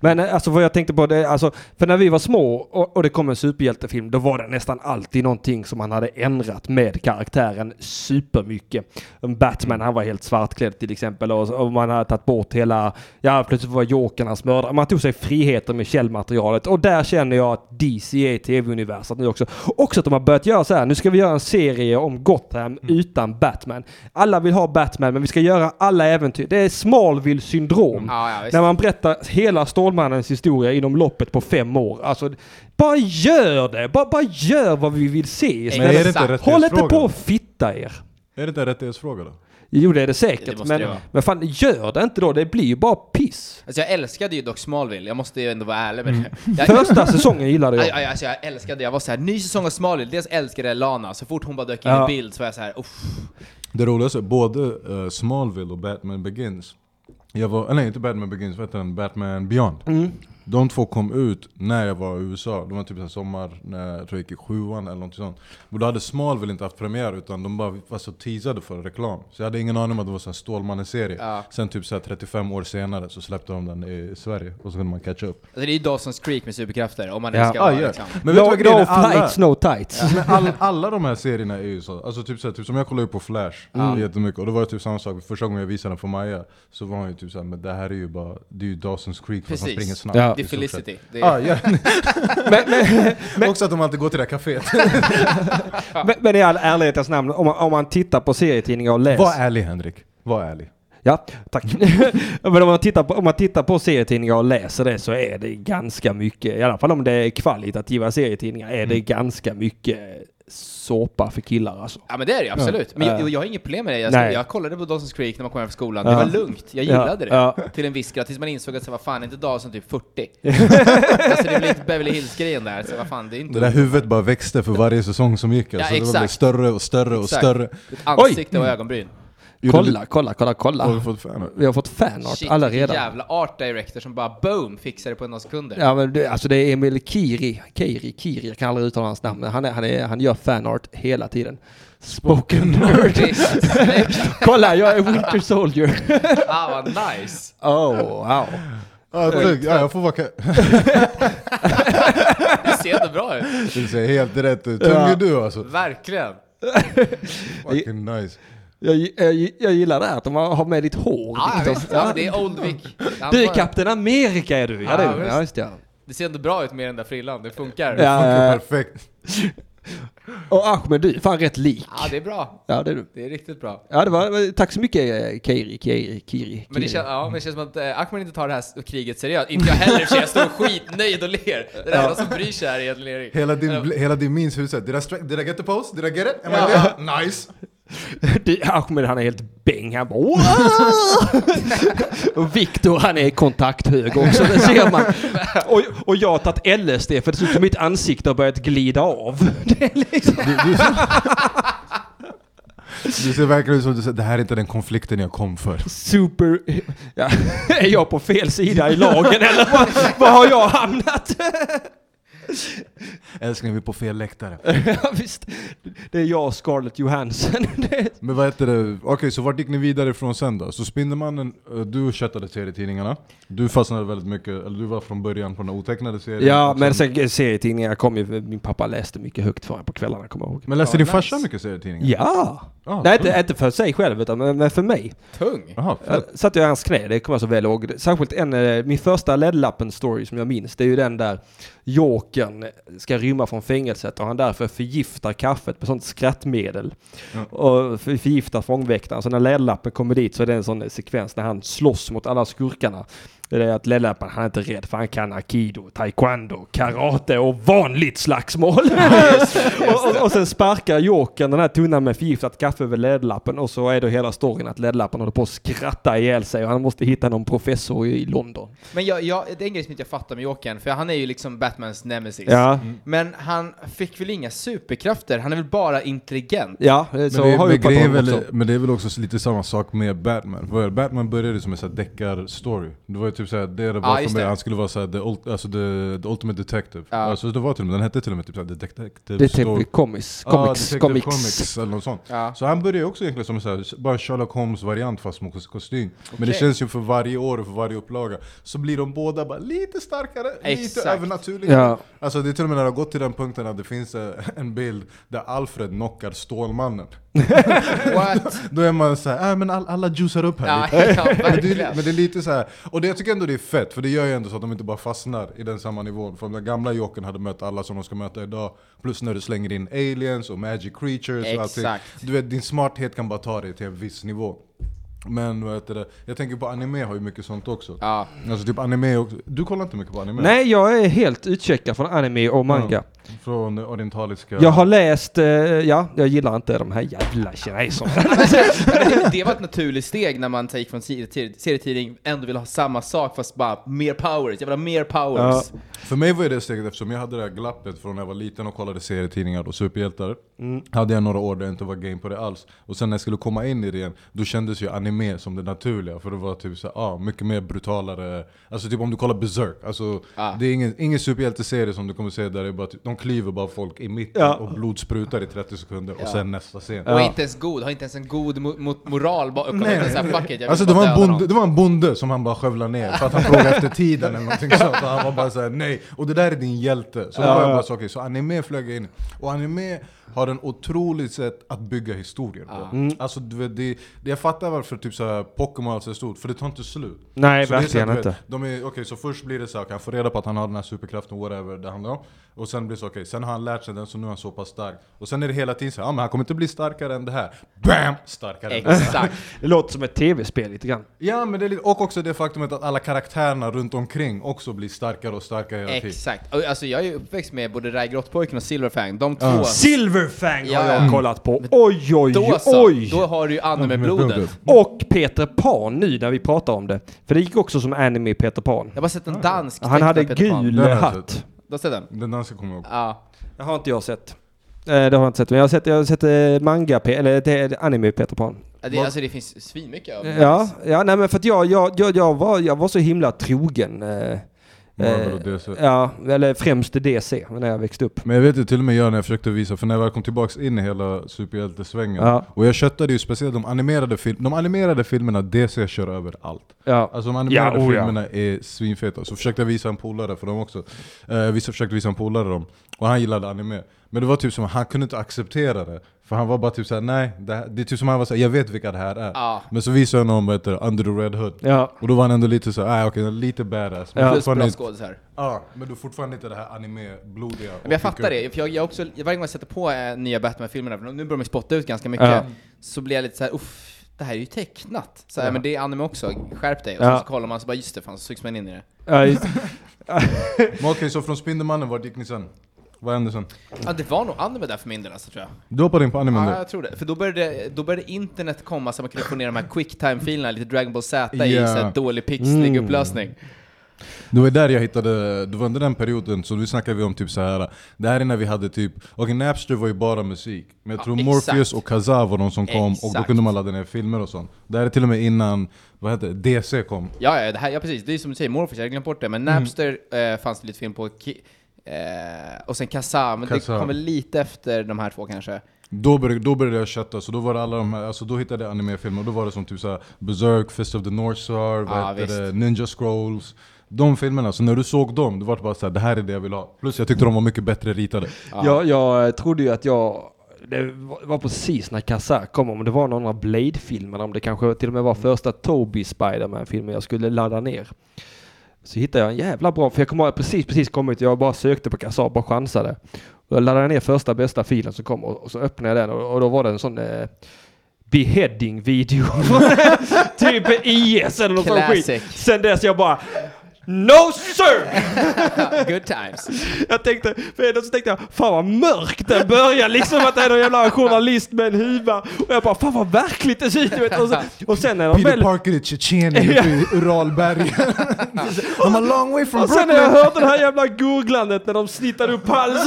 S2: Men eh, alltså vad jag tänkte på, det, är, alltså, för när vi var små och, och det kom en superhjältefilm, då var det nästan alltid någonting som man hade ändrat med karaktären supermycket. En Batman, han var helt svartklädd till exempel och, och man hade tagit bort hela, ja plötsligt var Jokern hans mördare. Man tog sig friheter med källmaterialet och där känner jag att DC är tv-universat nu också. Också att de har börjat göra så här, nu ska vi göra en serie om
S3: Mm.
S2: Gotham utan Batman. Alla vill ha Batman, men vi ska göra alla äventyr. Det är Smallville syndrom.
S3: Mm. Ja, ja, visst.
S2: När man berättar hela Stålmannens historia inom loppet på fem år. Alltså, bara gör det! Bara, bara gör vad vi vill se
S4: Men är
S2: istället.
S4: det
S3: Exakt.
S4: inte
S2: Håll inte
S4: rättighetsfråga?
S2: på och fitta er.
S4: Är det inte en rättighetsfråga då?
S2: Jo, det är det säkert.
S3: Det måste
S2: men,
S3: det vara.
S2: men fan, gör det inte då. Det blir ju bara piss.
S3: Alltså jag älskade ju dock Smallville, jag måste ju ändå vara ärlig med det. Jag,
S4: [laughs]
S2: Första säsongen gillade
S3: aj,
S2: jag.
S3: aj, alltså jag älskade, jag var så här, ny säsong av Smallville, dels älskade jag Lana, så fort hon bara dök in
S2: Ja.
S3: i bild så var jag så här, uff.
S4: Det roligaste, både eh, Smallville och Batman Begins Jag var, eller nej, inte Batman Begins, vad heter den? Batman Beyond. De två kom ut när jag var i USA. De var typ en sommar när jag tror jag gick i sjuan eller något sånt. Och då hade Smallville inte haft premiär utan de bara var så teasade för reklam. Så jag hade ingen aning om att det var så här Stålmannen-serie.
S3: Ja.
S4: Sen typ så här 35 år senare så släppte de den i Sverige och så kunde man catcha upp.
S3: Alltså det är ju Dawson's Creek med superkrafter, om man
S2: Ja.
S3: nu ska
S4: Ah,
S3: vara
S4: yeah.
S3: liksom.
S4: Men vet du
S2: No,
S4: vad grejen
S2: no
S4: är? Alla,
S2: flights, no tights.
S4: men all, alla de här serierna är ju så, alltså typ, så här, typ som jag kollade ju på Flash
S3: Mm.
S4: jättemycket, och då var det typ samma sak, första gången jag visade den för Maja så var hon ju typ såhär, men det här är ju bara, det är ju Dawson's Creek fast han
S3: Precis.
S4: springer snabbt.
S2: Ja.
S4: i
S3: Det är
S4: stort sett.
S3: Felicity. Det är,
S4: Ah,
S3: [laughs]
S4: ja. Också att de alltid går till det här
S3: [laughs]
S4: kaféet.
S2: Men, men i all ärlighetens namn, om man, om man tittar på serietidningar och läser...
S4: Var ärlig Henrik, var ärlig.
S2: Ja, tack. [laughs] Men om man, tittar på, om man tittar på serietidningar och läser det så är det ganska mycket, i alla fall om det är kvalitativa serietidningar, är
S4: Mm.
S2: det ganska mycket såpa för killar alltså.
S3: Ja men det är det ju, absolut. Men jag, jag har inget problem med det. Jag,
S2: Nej.
S3: jag kollade på Dawson's Creek när man kom hem från skolan. Det
S2: Ja.
S3: var lugnt. Jag gillade
S2: Ja.
S3: det. Till en viss grad. Tills man insåg att så, vad fan, är inte Dawson
S2: [laughs]
S3: typ 40? alltså det blir lite Beverly Hills-grejen där. Så vad fan, det är
S4: Det
S3: inte...
S4: där huvudet bara växte för varje säsong som gick. Alltså. det blev
S3: Mm. exakt.
S4: större och större och
S3: Exakt.
S4: större.
S3: Ett ansikte och ögonbryn.
S4: Gjorde
S2: Kolla, kolla, kolla,
S4: Har
S2: kolla.
S4: du fått fan?
S2: Vi har fått fanart
S3: Shit,
S2: alla
S3: vilken
S2: redan.
S3: jävla art director som bara boom fixar det på några sekunder.
S2: Ja, men det, alltså det är Emil Kiri, Kiri, Kiri, jag kan aldrig uttala hans namn, men han, är, han, är, han gör fanart hela tiden. Spoken
S3: Det är
S2: nerd.
S3: så snyggt.
S2: [laughs] Kolla, jag är Winter Soldier. [laughs]
S3: ah vad nice!
S2: Oh, wow.
S4: Ah, tack. ja, jag får vara [laughs] ka-
S3: Det ser ändå bra ut.
S4: Det ser helt rätt ut. Tung är du alltså.
S3: Verkligen.
S4: Fucking nice.
S2: Jag, jag, jag gillar det här att de har har med ditt hår. liksom.
S3: Ah,
S2: Victor.
S3: visst, ja, men det är Old Vic. Han
S2: Du är
S3: bara-
S2: Kapten Amerika är du! Ja,
S3: Ja,
S2: det är du.
S3: visst.
S2: Ja, just det, ja.
S3: Det ser ändå bra ut med den där frillan, det funkar. Ja,
S2: ja.
S4: Fucking
S2: eh,
S4: perfekt.
S2: Och Ahmed, du är fan rätt lik.
S3: Ah, det är bra.
S2: Ja, det är du.
S3: Det är riktigt bra.
S2: Ja, det var, tack så mycket eh, Keiri, Keiri, Kiri.
S3: Men det,
S2: [laughs]
S3: kän,
S2: Kiri.
S3: ja, men
S4: Mm.
S3: det känns som att eh, Ahmed inte tar det här s- kriget seriöst. Inte jag heller, för
S4: [laughs]
S3: jag står skitnöjd och ler. Det enda som bryr sig här är egentligen Erik. Eh,
S4: Hela din, bl- hela din minns huvud såhär, did, I strike- did I get the pose? Did I get it? Am I there? Nice!
S2: Du, Ahmed han är helt bäng. Han bara "Wow!" [laughs] Och Viktor han är kontakthög också, det ser
S3: [laughs]
S2: man. Och, och jag har tagit LSD för det ser ut som mitt ansikte har börjat glida av. Det är liksom...
S4: [laughs] Du ser verkligen ut som du säger, det här är inte den konflikten jag kom för.
S2: super... [laughs] Ja, är jag på fel sida i lagen eller vad, vad har jag hamnat?
S4: Älskling, vi är på fel läktare.
S2: [laughs] Ja, Visst, det är jag och Scarlett Johansson. [laughs] Det är-
S4: Men vad heter det, okej så vart gick ni vidare ifrån sen då? Så Spindelmannen, eh, du köttade serietidningarna, du fastnade väldigt mycket, eller du var från början på den här otecknade serien
S2: ja,
S4: Och
S2: men sen serietidningar kom ju, min pappa läste mycket högt för mig på kvällarna kommer jag ihåg.
S4: Men läste din
S3: Ja,
S4: farsa
S3: nice.
S4: mycket serietidningar?
S2: Ja!
S4: Ah,
S2: Nej,
S4: kul.
S2: inte, inte för sig själv utan men men för mig.
S3: Tung.
S4: Jaha,
S2: Jag
S4: fett.
S2: Eh, satt jag i hans knä, det kommer jag så väl ihåg. Särskilt en, eh, min första ledlappen story som jag minns, det är ju den där Jokern ska rymma från fängelset och han därför förgiftar kaffet med sånt skrattmedel. Och för- förgiftar fångväktaren. Så när ledlappen kommer dit så är det en sån eh, sekvens när han slåss mot alla skurkarna. Det är att ledlappen, han är inte rädd för han kan aikido, taekwondo, karate och vanligt slagsmål. [laughs] och, och, och sen sparkar Jokern den här tunnan med förgiftat kaffe över ledlappen och så är då hela storyn att ledlappen håller på att skratta ihjäl sig och han måste hitta någon professor i London.
S3: Men jag, jag, det är en grej som inte jag fattar med Jokern, för han är ju liksom Batmans nemesis. Mm.
S2: Ja.
S3: Men han fick väl inga superkrafter, han är väl bara intelligent?
S2: Ja, eh, så
S4: Men det,
S2: har
S4: men,
S2: vi pratat
S4: grejen
S2: om
S4: är väl,
S2: också.
S4: men det är väl också lite samma sak med Batman. För Batman började som en sån här deckarstory. Det var ju typ såhär, det det var
S3: Ja,
S4: från
S3: just
S4: början.
S3: det.
S4: Han skulle vara såhär, the, ult- alltså the, the ultimate detective.
S3: Ja.
S4: Alltså det var till och med, den hette till och med typ såhär, the detective
S2: Det är
S4: story.
S2: typ comics,
S4: Ja,
S2: comics,
S4: Detective
S2: comics.
S4: Comics eller något sånt.
S3: Ja.
S4: Så han började ju också egentligen som en så här, bara Sherlock Holmes-variant fast med kos- kostym. Men det
S3: Okej.
S4: känns ju för varje år och för varje upplaga så blir de båda bara lite starkare,
S3: Exakt.
S4: lite övernaturliga.
S2: Ja.
S4: Alltså det är till och med när det har gått till den punkten att det finns eh, en bild där Alfred knockar Stålmannen. [laughs]
S3: What?
S4: Då är man så här, äh, men all, alla juicar upp här
S3: ja, [laughs]
S4: lite.
S3: ja,
S4: Men det,
S3: verkligen.
S4: är, men det är lite så här, och det, jag tycker ändå det är fett, för det gör ju ändå så att de inte bara fastnar i den samma nivån. För om den gamla Jokern hade mött alla som de ska möta idag, plus när du slänger in aliens och magic creatures och allting.
S3: Exakt.
S4: Du vet, din smarthet kan bara ta dig till en viss nivå. Men vad heter det? jag tänker på anime har ju mycket sånt också.
S3: Ja.
S4: Alltså typ anime också. Du kollar inte mycket på anime?
S2: Nej, jag är helt utcheckad från anime och manga.
S4: Från orientaliska...
S2: Jag har läst, eh, ja, jag gillar inte de här jävla kineserna.
S3: Men det var ett naturligt steg när man så gick från serie- serietidning, ändå vill ha samma sak fast bara mer powers. Jag vill ha mer powers.
S4: För mig var ju det steget eftersom jag hade det här glappet från när jag var liten och kollade serietidningar och superhjältar. Hade jag några år där jag inte var game på det alls. Och sen när jag skulle komma in i det igen, då kändes ju anime som det naturliga. För det var typ så här, ah, mycket mer brutalare. Alltså typ om du kollar Berserk. Alltså, Det är ingen, ingen superhjälteserie som du kommer se där det är bara typ, de klyver bara folk i mitten och blod sprutar i 30 sekunder och sen nästa scen.
S3: Och inte ens god, har inte ens en god mo- mo- moral bakom. Nej, nej, nej. Fuck it, jag vill
S4: Alltså det
S3: bara
S4: var,
S3: döda
S4: en bonde, [laughs]
S3: någon.
S4: det var en bonde som han bara skövlade ner för att
S2: [laughs]
S4: han frågade efter tiden eller någonting sånt. Och han var bara såhär nej, och det där är din hjälte. Så då var jag bara så okej, så anime flög jag in. Och anime har en otroligt sätt att bygga historier
S3: Ah.
S4: på.
S2: Mm.
S4: Alltså du vet, det, det, jag fattar varför typ såhär Pokémon alltså är stort, för det tar inte slut.
S2: Nej,
S4: så det är så
S2: verkligen
S4: att, du
S2: inte.
S4: Vet, de är, okay, så först blir det så här, okej, han får reda på att han har den här superkraften, whatever det handlar om. Och sen blir det så, okej, sen har han lärt sig den så nu är han så pass stark. Och sen är det hela tiden så här, ja men han kommer inte bli starkare än det här. BAM! Starkare än det här.
S3: Exakt.
S2: Det låter som ett tv-spel lite grann.
S4: Ja, men det är lite, och också det faktumet att alla karaktärerna runt omkring också blir starkare och starkare hela tiden.
S3: Exakt. Och, Alltså jag är ju uppväxt med både Rai Grottpojken och Silverfang. De två.
S2: Silverfang
S3: Ja,
S2: har
S3: ja.
S2: jag kollat på. Oj, oj,
S3: Då så,
S2: oj!
S3: då har du ju anime-blodet.
S2: Och Peter Pan nu när vi pratar om det. För det gick också som anime Peter Pan.
S3: Jag har bara sett en dansk
S2: Han hade
S3: tecknad Peter Pan.
S2: gul
S4: Den har jag
S2: hatt.
S4: sett.
S3: Du har sett den?
S4: Den danska kommer jag ihåg.
S3: Ja.
S2: Det har inte jag sett. Eh, Det har jag inte sett. Men jag har sett, jag har sett eh, manga, Pe- eller te- anime Peter Pan.
S3: Ja, Det, alltså det finns svinmycket av
S2: Ja, ja nej men för att jag, jag, jag, jag, var, jag var så himla trogen. eh,
S4: Marvel
S2: eh,
S4: och DC.
S2: Ja, eller främst DC när jag växte upp.
S4: Men jag vet ju till och med jag när jag försökte visa, för när jag väl kom tillbaks in i hela superhjältesvängen,
S2: Ja.
S4: och jag köttade ju speciellt de animerade, film, de animerade filmerna, DC kör över allt.
S2: Ja.
S4: Alltså de animerade
S9: Ja, oh ja.
S4: filmerna är svinfeta. Så försökte jag visa en polare för dem också. Eh, vi försökte visa en polare dem, och han gillade anime. Men det var typ som att han kunde inte acceptera det. För han var bara typ såhär, nej, det, här, det är typ som han var såhär, jag vet vilka det här är.
S3: Ja.
S4: Men så visade jag honom, vad heter det, Under the Red Hood.
S2: Ja.
S4: Och då var han ändå lite såhär, ah, okej, lite badass. Men,
S3: plus
S4: fortfarande
S3: bra
S4: inte,
S3: skådisar.
S4: ja, men du är fortfarande inte det här anime-blodiga.
S3: Men jag fattar det, för jag, jag också, varje gång jag sätter på eh, nya Batman-filmerna, för nu börjar de ju spotta ut ganska mycket,
S2: Ja.
S3: så blir jag lite så här, uff, det här är ju tecknat. Så här, Men det är anime också, skärp dig. Och
S2: Ja.
S3: sen så kollar man så bara, just det, fan, så sugs man in i det.
S2: Ja, just-
S4: Men okej, så från Spindelmannen, vart gick ni sen? Vad hände sen?
S3: Ja, det var nog anime där för min del alltså, tror jag.
S4: Du hoppade in på animen
S3: Ja,
S4: där.
S3: jag tror det. För då började, då började internet komma så man kunde få ner de här quicktime-filerna, lite Dragon Ball Z i
S4: Ja.
S3: så här, dålig pixlig
S2: Mm.
S3: upplösning.
S4: Det var där jag hittade, det var under den perioden, så nu snackar vi om typ så här. Det här är när vi hade typ, okej Napster var ju bara musik. Men jag tror
S3: exakt.
S4: Morpheus och Kazaa var de som kom och då
S3: Exakt.
S4: kunde man ladda ner filmer och sånt. Det här är till och med innan, vad heter det, DC kom.
S3: Ja, ja, det här, ja precis. Det är som du säger, Morpheus, jag har glömt bort det. Men
S2: Mm.
S3: Napster eh, fanns det lite film på. Ki- eh, och sen Kazaa, men det
S4: Kazaa.
S3: kommer lite efter de här två kanske.
S4: Då började, då började jag chatta, så då var det alla de här, alltså då hittade jag animefilmer, och då var det som typ såhär Berserk, Fist of the North Star, vad
S3: Ah,
S4: heter
S3: visst.
S4: det, Ninja Scrolls De filmerna, så när du såg dem, det var det bara såhär, det här är det jag vill ha Plus jag tyckte de var mycket bättre ritade
S2: jag, jag trodde ju att jag... Det var var precis när Kazaa kom, om det var någon av Blade-filmerna, om det kanske till och med var första Toby Spiderman-filmen jag skulle ladda ner. Så hittade jag en jävla bra, för jag kommer ihåg, precis, precis kommit, jag bara sökte på Kazaa, bara chansade. Och jag laddade ner första bästa filen som kom och, och så öppnade jag den och, och då var det en sån eh, beheading-video. typ IS eller något sånt skit.
S3: Classic.
S2: Sen dess jag bara No sir!
S3: Good times.
S2: Jag tänkte, för ändå så tänkte jag, fan vad mörkt det börjar liksom att det är någon jävla journalist med en huva. Och jag bara, fan vad verkligt det ser ut. du vet. Och, så, och sen är de
S4: Peter
S2: väl...
S4: Parker i
S3: [laughs]
S4: Tjetjenien uppe i Uralbergen I'm a long way from
S2: Och sen
S4: Brooklyn
S2: när jag hörde det här jävla gurglandet när de snittade upp
S4: [laughs]
S2: halsen.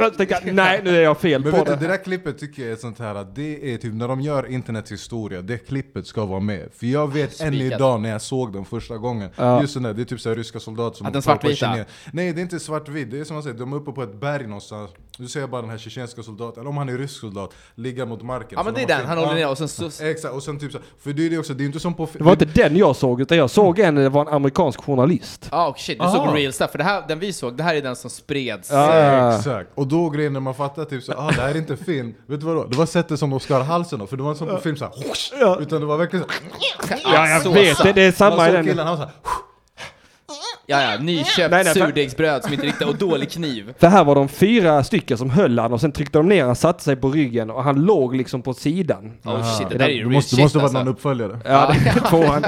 S2: Jag tänkte, jag, nej nu är jag fel
S4: Men
S2: på
S4: vet du,
S2: det.
S4: det där klippet tycker jag är sånt här att det är typ när de gör internets historia, det klippet ska vara med. För jag vet än
S3: Spikat.
S4: idag när jag såg den första gången, just den där, det är typ så här ryska soldater som
S3: Att den
S4: hoppar på
S3: svartvita?
S4: kine- Nej det är inte svartvit, det är som man säger, de är uppe på ett berg någonstans. Du ser bara den här tjetjenska soldaten, eller om han är rysk soldat, ligga mot marken.
S3: Ja
S4: Så
S3: men det
S4: de
S3: är
S4: har
S3: den, han
S4: filmat-
S3: håller ner och sen så...
S4: Ja, Exakt, och sen typ så här, för det är det också, det är inte som på...
S2: Det var inte den jag såg, utan jag såg en, det var en amerikansk journalist.
S3: Ja, och shit, du såg real stuff. För det här, den vi såg, det här är den som spreds.
S2: Ja.
S4: Exakt, och då grejen när man fattar typ så ah det här är inte film, vet du vad då? Det var sättet som de skar halsen av, för det var inte som på film såhär, utan det var verkligen så
S3: Ja,
S2: Jag vet, det, det är
S4: Man
S2: samma i
S4: såg
S2: den.
S4: killen, han var såhär,
S3: Ja, ja, nyköpt
S2: Nej, nej, för-
S3: surdegsbröd som inte riktigt... Och dålig kniv.
S2: För här var de fyra stycken som höll han och sen tryckte de ner han satte sig på ryggen och han låg liksom på sidan.
S3: Oh shit, det där är ju
S4: Det
S3: real
S4: måste,
S3: shit
S4: måste varit
S3: alltså.
S4: någon uppföljare.
S2: [laughs] Ja, det är tvåan.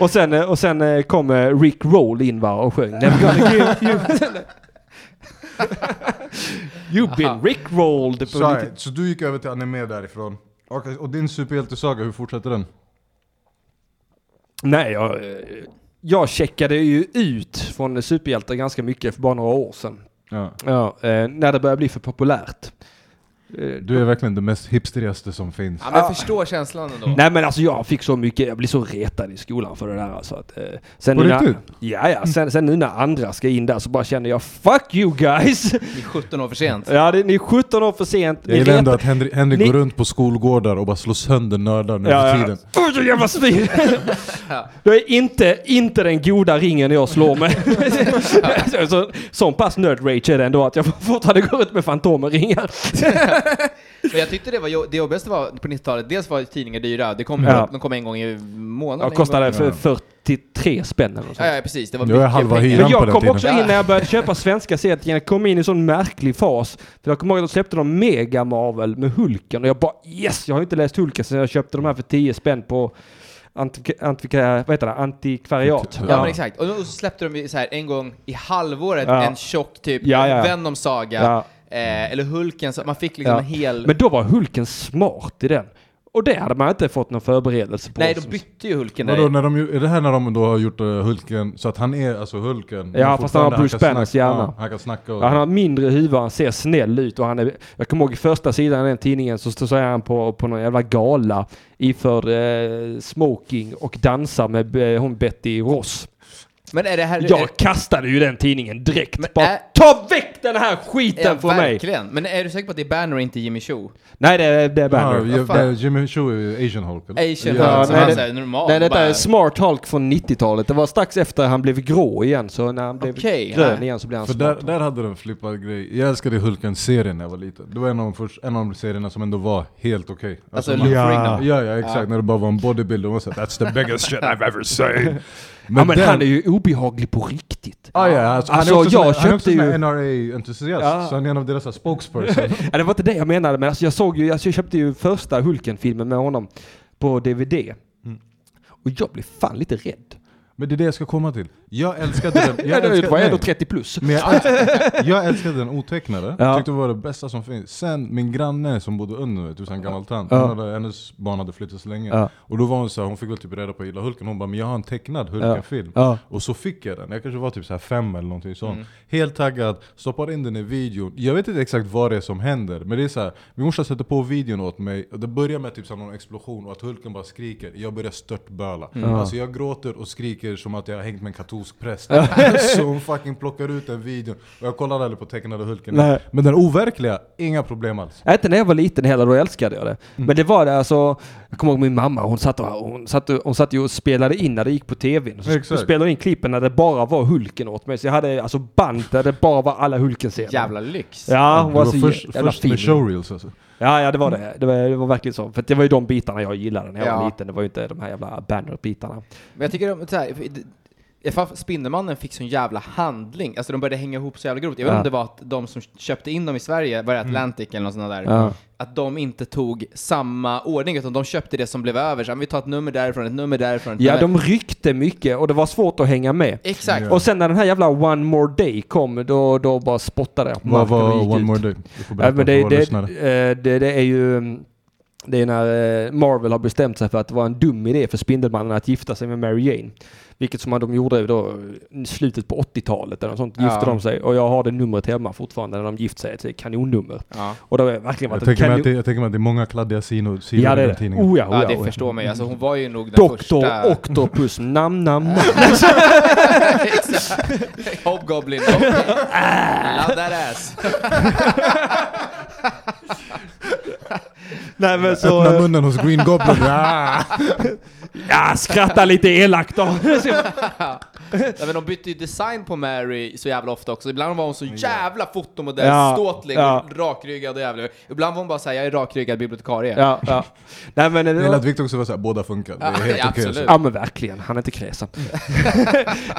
S2: och, sen, eh, och sen eh, kom eh, Rick Roll in va, och sjöng Never gonna give you... [laughs] You've been rickrolled. På
S4: Sorry,
S2: lite-
S4: så du gick över till anime därifrån. Och, och din superhjältesaga, hur fortsätter den?
S2: Nej, jag, eh, jag checkade ju ut från superhjältar ganska mycket för bara några år sedan.
S4: Ja.
S2: Ja, eh, när det började bli för populärt. Eh,
S4: Du är verkligen det mest hipsterigaste som finns.
S3: Ja, men jag förstår känslan ändå.
S2: Nej men alltså jag fick så mycket, jag blev så retad i skolan för det där alltså. Att, eh, sen
S4: På
S2: nu när,
S4: riktigt?
S2: ja, ja, sen, sen nu när andra ska in där så bara känner jag fuck you guys! [laughs]
S3: Ni är 17 år för sent.
S2: Ja, det, ni är 17 år för sent.
S4: Jag
S2: ni
S4: gillar ändå
S2: retar-
S4: att Henrik, Henrik
S2: Ni-
S4: går runt på skolgårdar och bara slår sönder nördar nu för tiden.
S2: Oj, så jävla
S4: [laughs]
S2: svin! Det är inte, inte den goda ringen jag slår med. så, [laughs] så, sån pass nerd-rage är det ändå att jag fortfarande går ut med Fantomen-ringar.
S3: Men jag tyckte det var jo- det jobbigaste var på 90-talet, dels var tidningar dyra, det kom,
S2: Ja.
S3: de kom en gång i månaden.
S2: Jag
S3: en
S2: kostade
S3: gång.
S2: för 43 spänn eller något sånt.
S3: Ja, ja, precis. Det var
S4: Det var
S3: mycket
S4: halva
S3: pengar.
S4: hyran. på
S2: Jag
S4: den
S2: kom
S4: tiden.
S2: också in när jag började köpa svenska serietidningar, jag kom in i en sån märklig fas. För jag kommer ihåg att de släppte de Mega Marvel med Hulken och jag bara yes, jag har ju inte läst Hulken sen jag köpte de här för 10 spänn på antik- antik- vad heter det? antikvariat.
S3: Ja, men exakt. Och då- och så släppte de ju så här en gång i halvåret
S2: Ja.
S3: en tjock typ
S2: Ja, ja, ja.
S3: Venom-saga.
S2: Ja.
S3: Eh, eller Hulken, så man fick liksom
S2: Ja.
S3: en hel...
S2: Men då var Hulken smart i den. Och det hade man inte fått någon förberedelse på.
S3: Nej, de
S2: Som-
S3: bytte ju Hulken där.
S4: Vadå, när de, ju- är det här när de då har gjort eh, Hulken, så att han är alltså Hulken? men
S2: Ja, fast han har
S4: fortfarande,
S2: Bruce
S4: kan
S2: Banners
S4: snacka-
S2: hjärna.
S4: Ja, han kan snacka och...
S2: Ja, han har mindre huvud, han ser snäll ut och han är, jag kommer ihåg i första sidan i den tidningen så står så är han på, på någon jävla gala iförd eh, smoking och dansar med eh, hon Betty Ross.
S3: Men är det här... är,
S2: Jag kastade ju den tidningen direkt.
S3: Men
S2: Bara
S3: är-
S2: ta väck den här
S3: är,
S2: skiten från mig!
S3: verkligen. Men är du säker på att det är Banner och inte Jimmy Choo?
S2: Nej det är, det är
S4: Ja,
S2: Banner.
S4: ju-
S3: Vad fan?
S4: eh, Jimmy Choo är ju Asian Hulk. eller?
S3: Asian
S4: Ja,
S3: Hulk, som
S2: nej,
S3: han
S2: det-
S3: säger normal.
S10: Nej, detta
S3: bara-
S10: är Smart Hulk från 90-talet. Det var strax efter han blev grå igen, så när han blev
S3: Okej,
S10: grön
S3: nej.
S10: igen så blev han
S4: För
S10: smart.
S4: där, där hade de en flippad grej. Jag älskade Hulken-serien när jag var liten. Det var en av de, först, en av de serierna som ändå var helt okej.
S3: Alltså,
S4: man-
S3: Lou Ferrigno.
S4: ja, ja, exakt. När det bara var en bodybuilder och man sa 'That's the biggest shit I've ever seen' Men,
S2: Ja men
S4: den-
S2: han är ju obehaglig på riktigt.
S4: Ah, ja, alltså,
S2: Alltså,
S4: han är också
S2: jag
S4: sån- han är också
S2: köpte
S4: sån
S2: ju-
S4: här NRA-entusiast,
S2: Ja.
S4: så han är en av deras så här spokesperson.
S2: Ja, det var inte det jag menade, men alltså jag såg ju, alltså jag köpte ju första Hulken-filmen med honom på DVD. Mm. Och jag blev fan lite rädd.
S4: Men det är det jag ska komma till. Jag älskade den. Jag
S2: Jag
S4: älskade,
S2: var
S4: nej.
S2: ändå 30 plus. [laughs]
S4: Men jag, älskade, jag älskade den otecknade,
S2: Ja.
S4: tyckte det var det bästa som finns. Sen min granne som bodde under mig, typ en gammal tant,
S2: Ja.
S4: hon hade, hennes barn hade flyttat så länge.
S2: Ja.
S4: Och då var hon så här, hon fick väl typ reda på att jag gillar Hulken, hon bara 'Men jag har en tecknad Hulken-film'
S2: Ja.
S4: Och så fick jag den, jag kanske var typ så här fem eller någonting sånt.
S2: Mm.
S4: Helt taggad, stoppar in den i videon. Jag vet inte exakt vad det är som händer, men det är så här, min morsa sätter på videon åt mig, och det börjar med typ så här någon explosion och att Hulken bara skriker. Jag börjar störtböla.
S2: Mm.
S4: Alltså jag gråter och skriker som att jag har hängt med en katolsk präst. [laughs] så hon fucking plockar ut den videon. Och jag kollar aldrig på tecknade Hulken.
S2: Nej.
S4: Men den overkliga, inga problem alls.
S2: Inte när jag var liten heller, då älskade jag det. Men det var det alltså, jag kommer ihåg min mamma, hon satt, och, hon, satt, och- hon satt ju och spelade in när det gick på tvn. Så
S4: Exakt.
S2: spelade hon in klippen när det bara var Hulken åt mig. Så jag hade alltså band där det bara var alla Hulken-scener.
S3: Jävla lyx.
S2: Ja, hon
S4: Det
S2: var,
S4: var
S2: så
S4: först,
S2: Ah, alltså, jävla
S4: först med
S2: fin.
S4: showreels alltså.
S2: Ja, ja det var
S4: Mm.
S2: det. Det var, det var verkligen så. För att det var ju de bitarna jag gillade när jag var
S3: Ja.
S2: liten. Det var ju inte de här jävla banner-bitarna.
S4: Mm.
S3: Men jag tycker de, så här, i alla fall Spindelmannen fick sån jävla handling, alltså de började hänga ihop så jävla grovt. Jag vet
S2: Ja. Mm.
S3: inte om det var att de som köpte in dem i Sverige, var det Atlantic eller något sånt där?
S2: Ja.
S3: Att de inte tog samma ordning, utan de köpte det som blev över. Så här, vi tar ett nummer därifrån, ett nummer därifrån, ett
S2: Ja,
S3: nummer.
S2: de ryckte mycket och det var svårt att hänga med.
S3: Exakt.
S2: Och sen när den här jävla One More Day kom, då, då bara spottade jag på
S4: Vad
S2: marken
S4: var
S2: och gick
S4: One
S2: ut.
S4: More Day? Du
S2: Ja,
S4: får berätta
S2: men
S4: för
S2: det,
S4: våra
S2: det,
S4: lyssnare.
S2: eh, det, det är ju... mm, Det är när eh, Marvel har bestämt sig för att det var en dum idé för Spindelmannen att gifta sig med Mary Jane. Vilket som de gjorde då i slutet på 80-talet eller något sånt. Gifte
S3: Ja.
S2: de sig och jag har det numret hemma fortfarande när de gift sig. Det är ett kanonnummer.
S3: Ja.
S2: Och det har verkligen
S4: Jag
S2: varit ett
S4: tänker, mig att det,
S2: kanon...
S4: jag tänker mig att det är många kladdiga sidor, sidor
S2: Ja det
S4: i
S2: är
S4: den
S2: det.
S4: tidningen.
S2: Oh ja, oh
S3: Ja,
S2: ja,
S3: det
S2: oh ja.
S3: förstår man ju. Alltså hon var ju nog den
S2: Doktor
S3: första...
S2: Octopus, namn,
S3: [laughs]
S2: namn, namn.
S3: Exakt. Hobgoblin.
S2: [laughs]
S3: Love that ass.
S2: Nej men så...
S4: Öppna
S2: eh,
S4: munnen hos
S2: [laughs]
S4: Green Goblin. Ah!
S2: Ja, skratta lite elakt
S3: [laughs]
S2: då.
S3: Nej, men de bytte ju design på Mary så jävla ofta också. Ibland var hon så jävla fotomodell,
S2: Ja,
S3: ståtlig,
S2: ja.
S3: rakryggad och jävlig. Ibland var hon bara såhär, jag är rakryggad bibliotekarie.
S2: ja, ja. Nej men...
S4: Jag gillar att Victor också var såhär, båda funkar. Det är
S3: Ja,
S4: helt
S3: ja,
S4: okej.
S3: absolut.
S4: alltså.
S2: Ja men verkligen, han är inte
S3: [laughs]
S2: kräsen.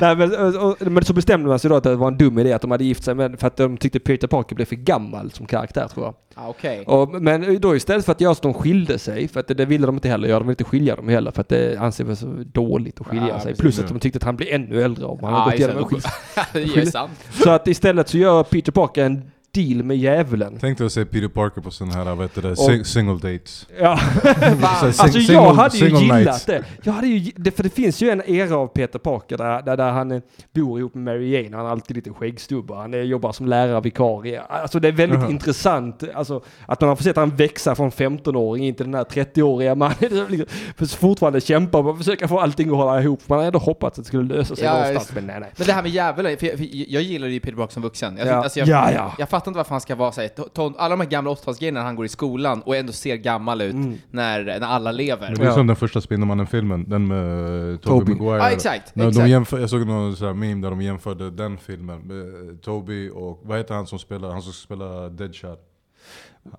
S2: Nej, men, och, och, men så bestämde man sig då att det var en dum idé att de hade gift sig med, för att de tyckte Peter Parker blev för gammal som karaktär tror jag.
S3: Ah, Okej.
S2: Och, men då istället för att göra så att de skilde sig, för att det, det ville de inte heller göra, de ville inte skilja dem heller för att det anses väl så dåligt att skilja
S3: Ja,
S2: sig.
S3: precis.
S2: Plus att de tyckte att han blev ännu skvallra om. Han har gått igenom en skit.
S3: Ah, [laughs] det är sant.
S2: Så att istället så gör Peter Parker en deal med djävulen.
S4: Tänkte jag säga Peter Parker på sån här, vad heter det, sing- single dates.
S2: Ja.
S4: [laughs] Så här, sing-
S2: Alltså jag
S4: single-
S2: hade ju
S4: single
S2: gillat
S4: nights.
S2: det. Jag hade ju, det. För det finns ju en era av Peter Parker där, där, där han eh, bor ihop med Mary Jane. och Han är alltid lite skäggstubbe. Han eh, jobbar som lärarvikarie. Alltså det är väldigt intressant. Alltså att man har fått se att han växa från 15-åring in till den här 30-åriga mannen. [laughs] Det är liksom- För fortfarande kämpa och försöka få allting att hålla ihop. Man hade ändå hoppats att det skulle lösa sig
S3: Ja,
S2: någonstans.
S3: visst.
S2: Men nej, nej.
S3: Men det här med djävulen, för jag, för jag gillar ju Peter Brock som vuxen. Jag,
S2: Ja.
S3: alltså jag,
S2: Ja, ja.
S3: jag fattar inte varför han ska vara såhär, ton, alla de här gamla 80-talsgrejerna när han går i skolan och ändå ser gammal ut
S2: Mm.
S3: när, när alla lever.
S4: Men det är som den första Spindelmannen-filmen, den med eh, Tobey
S2: Tobey.
S4: Maguire.
S3: Ja, exakt,
S4: När De
S3: exakt.
S4: jämför, jag såg någon sån här meme där de jämförde den filmen med Toby och, vad heter han som spelar, han som spelar Deadshot?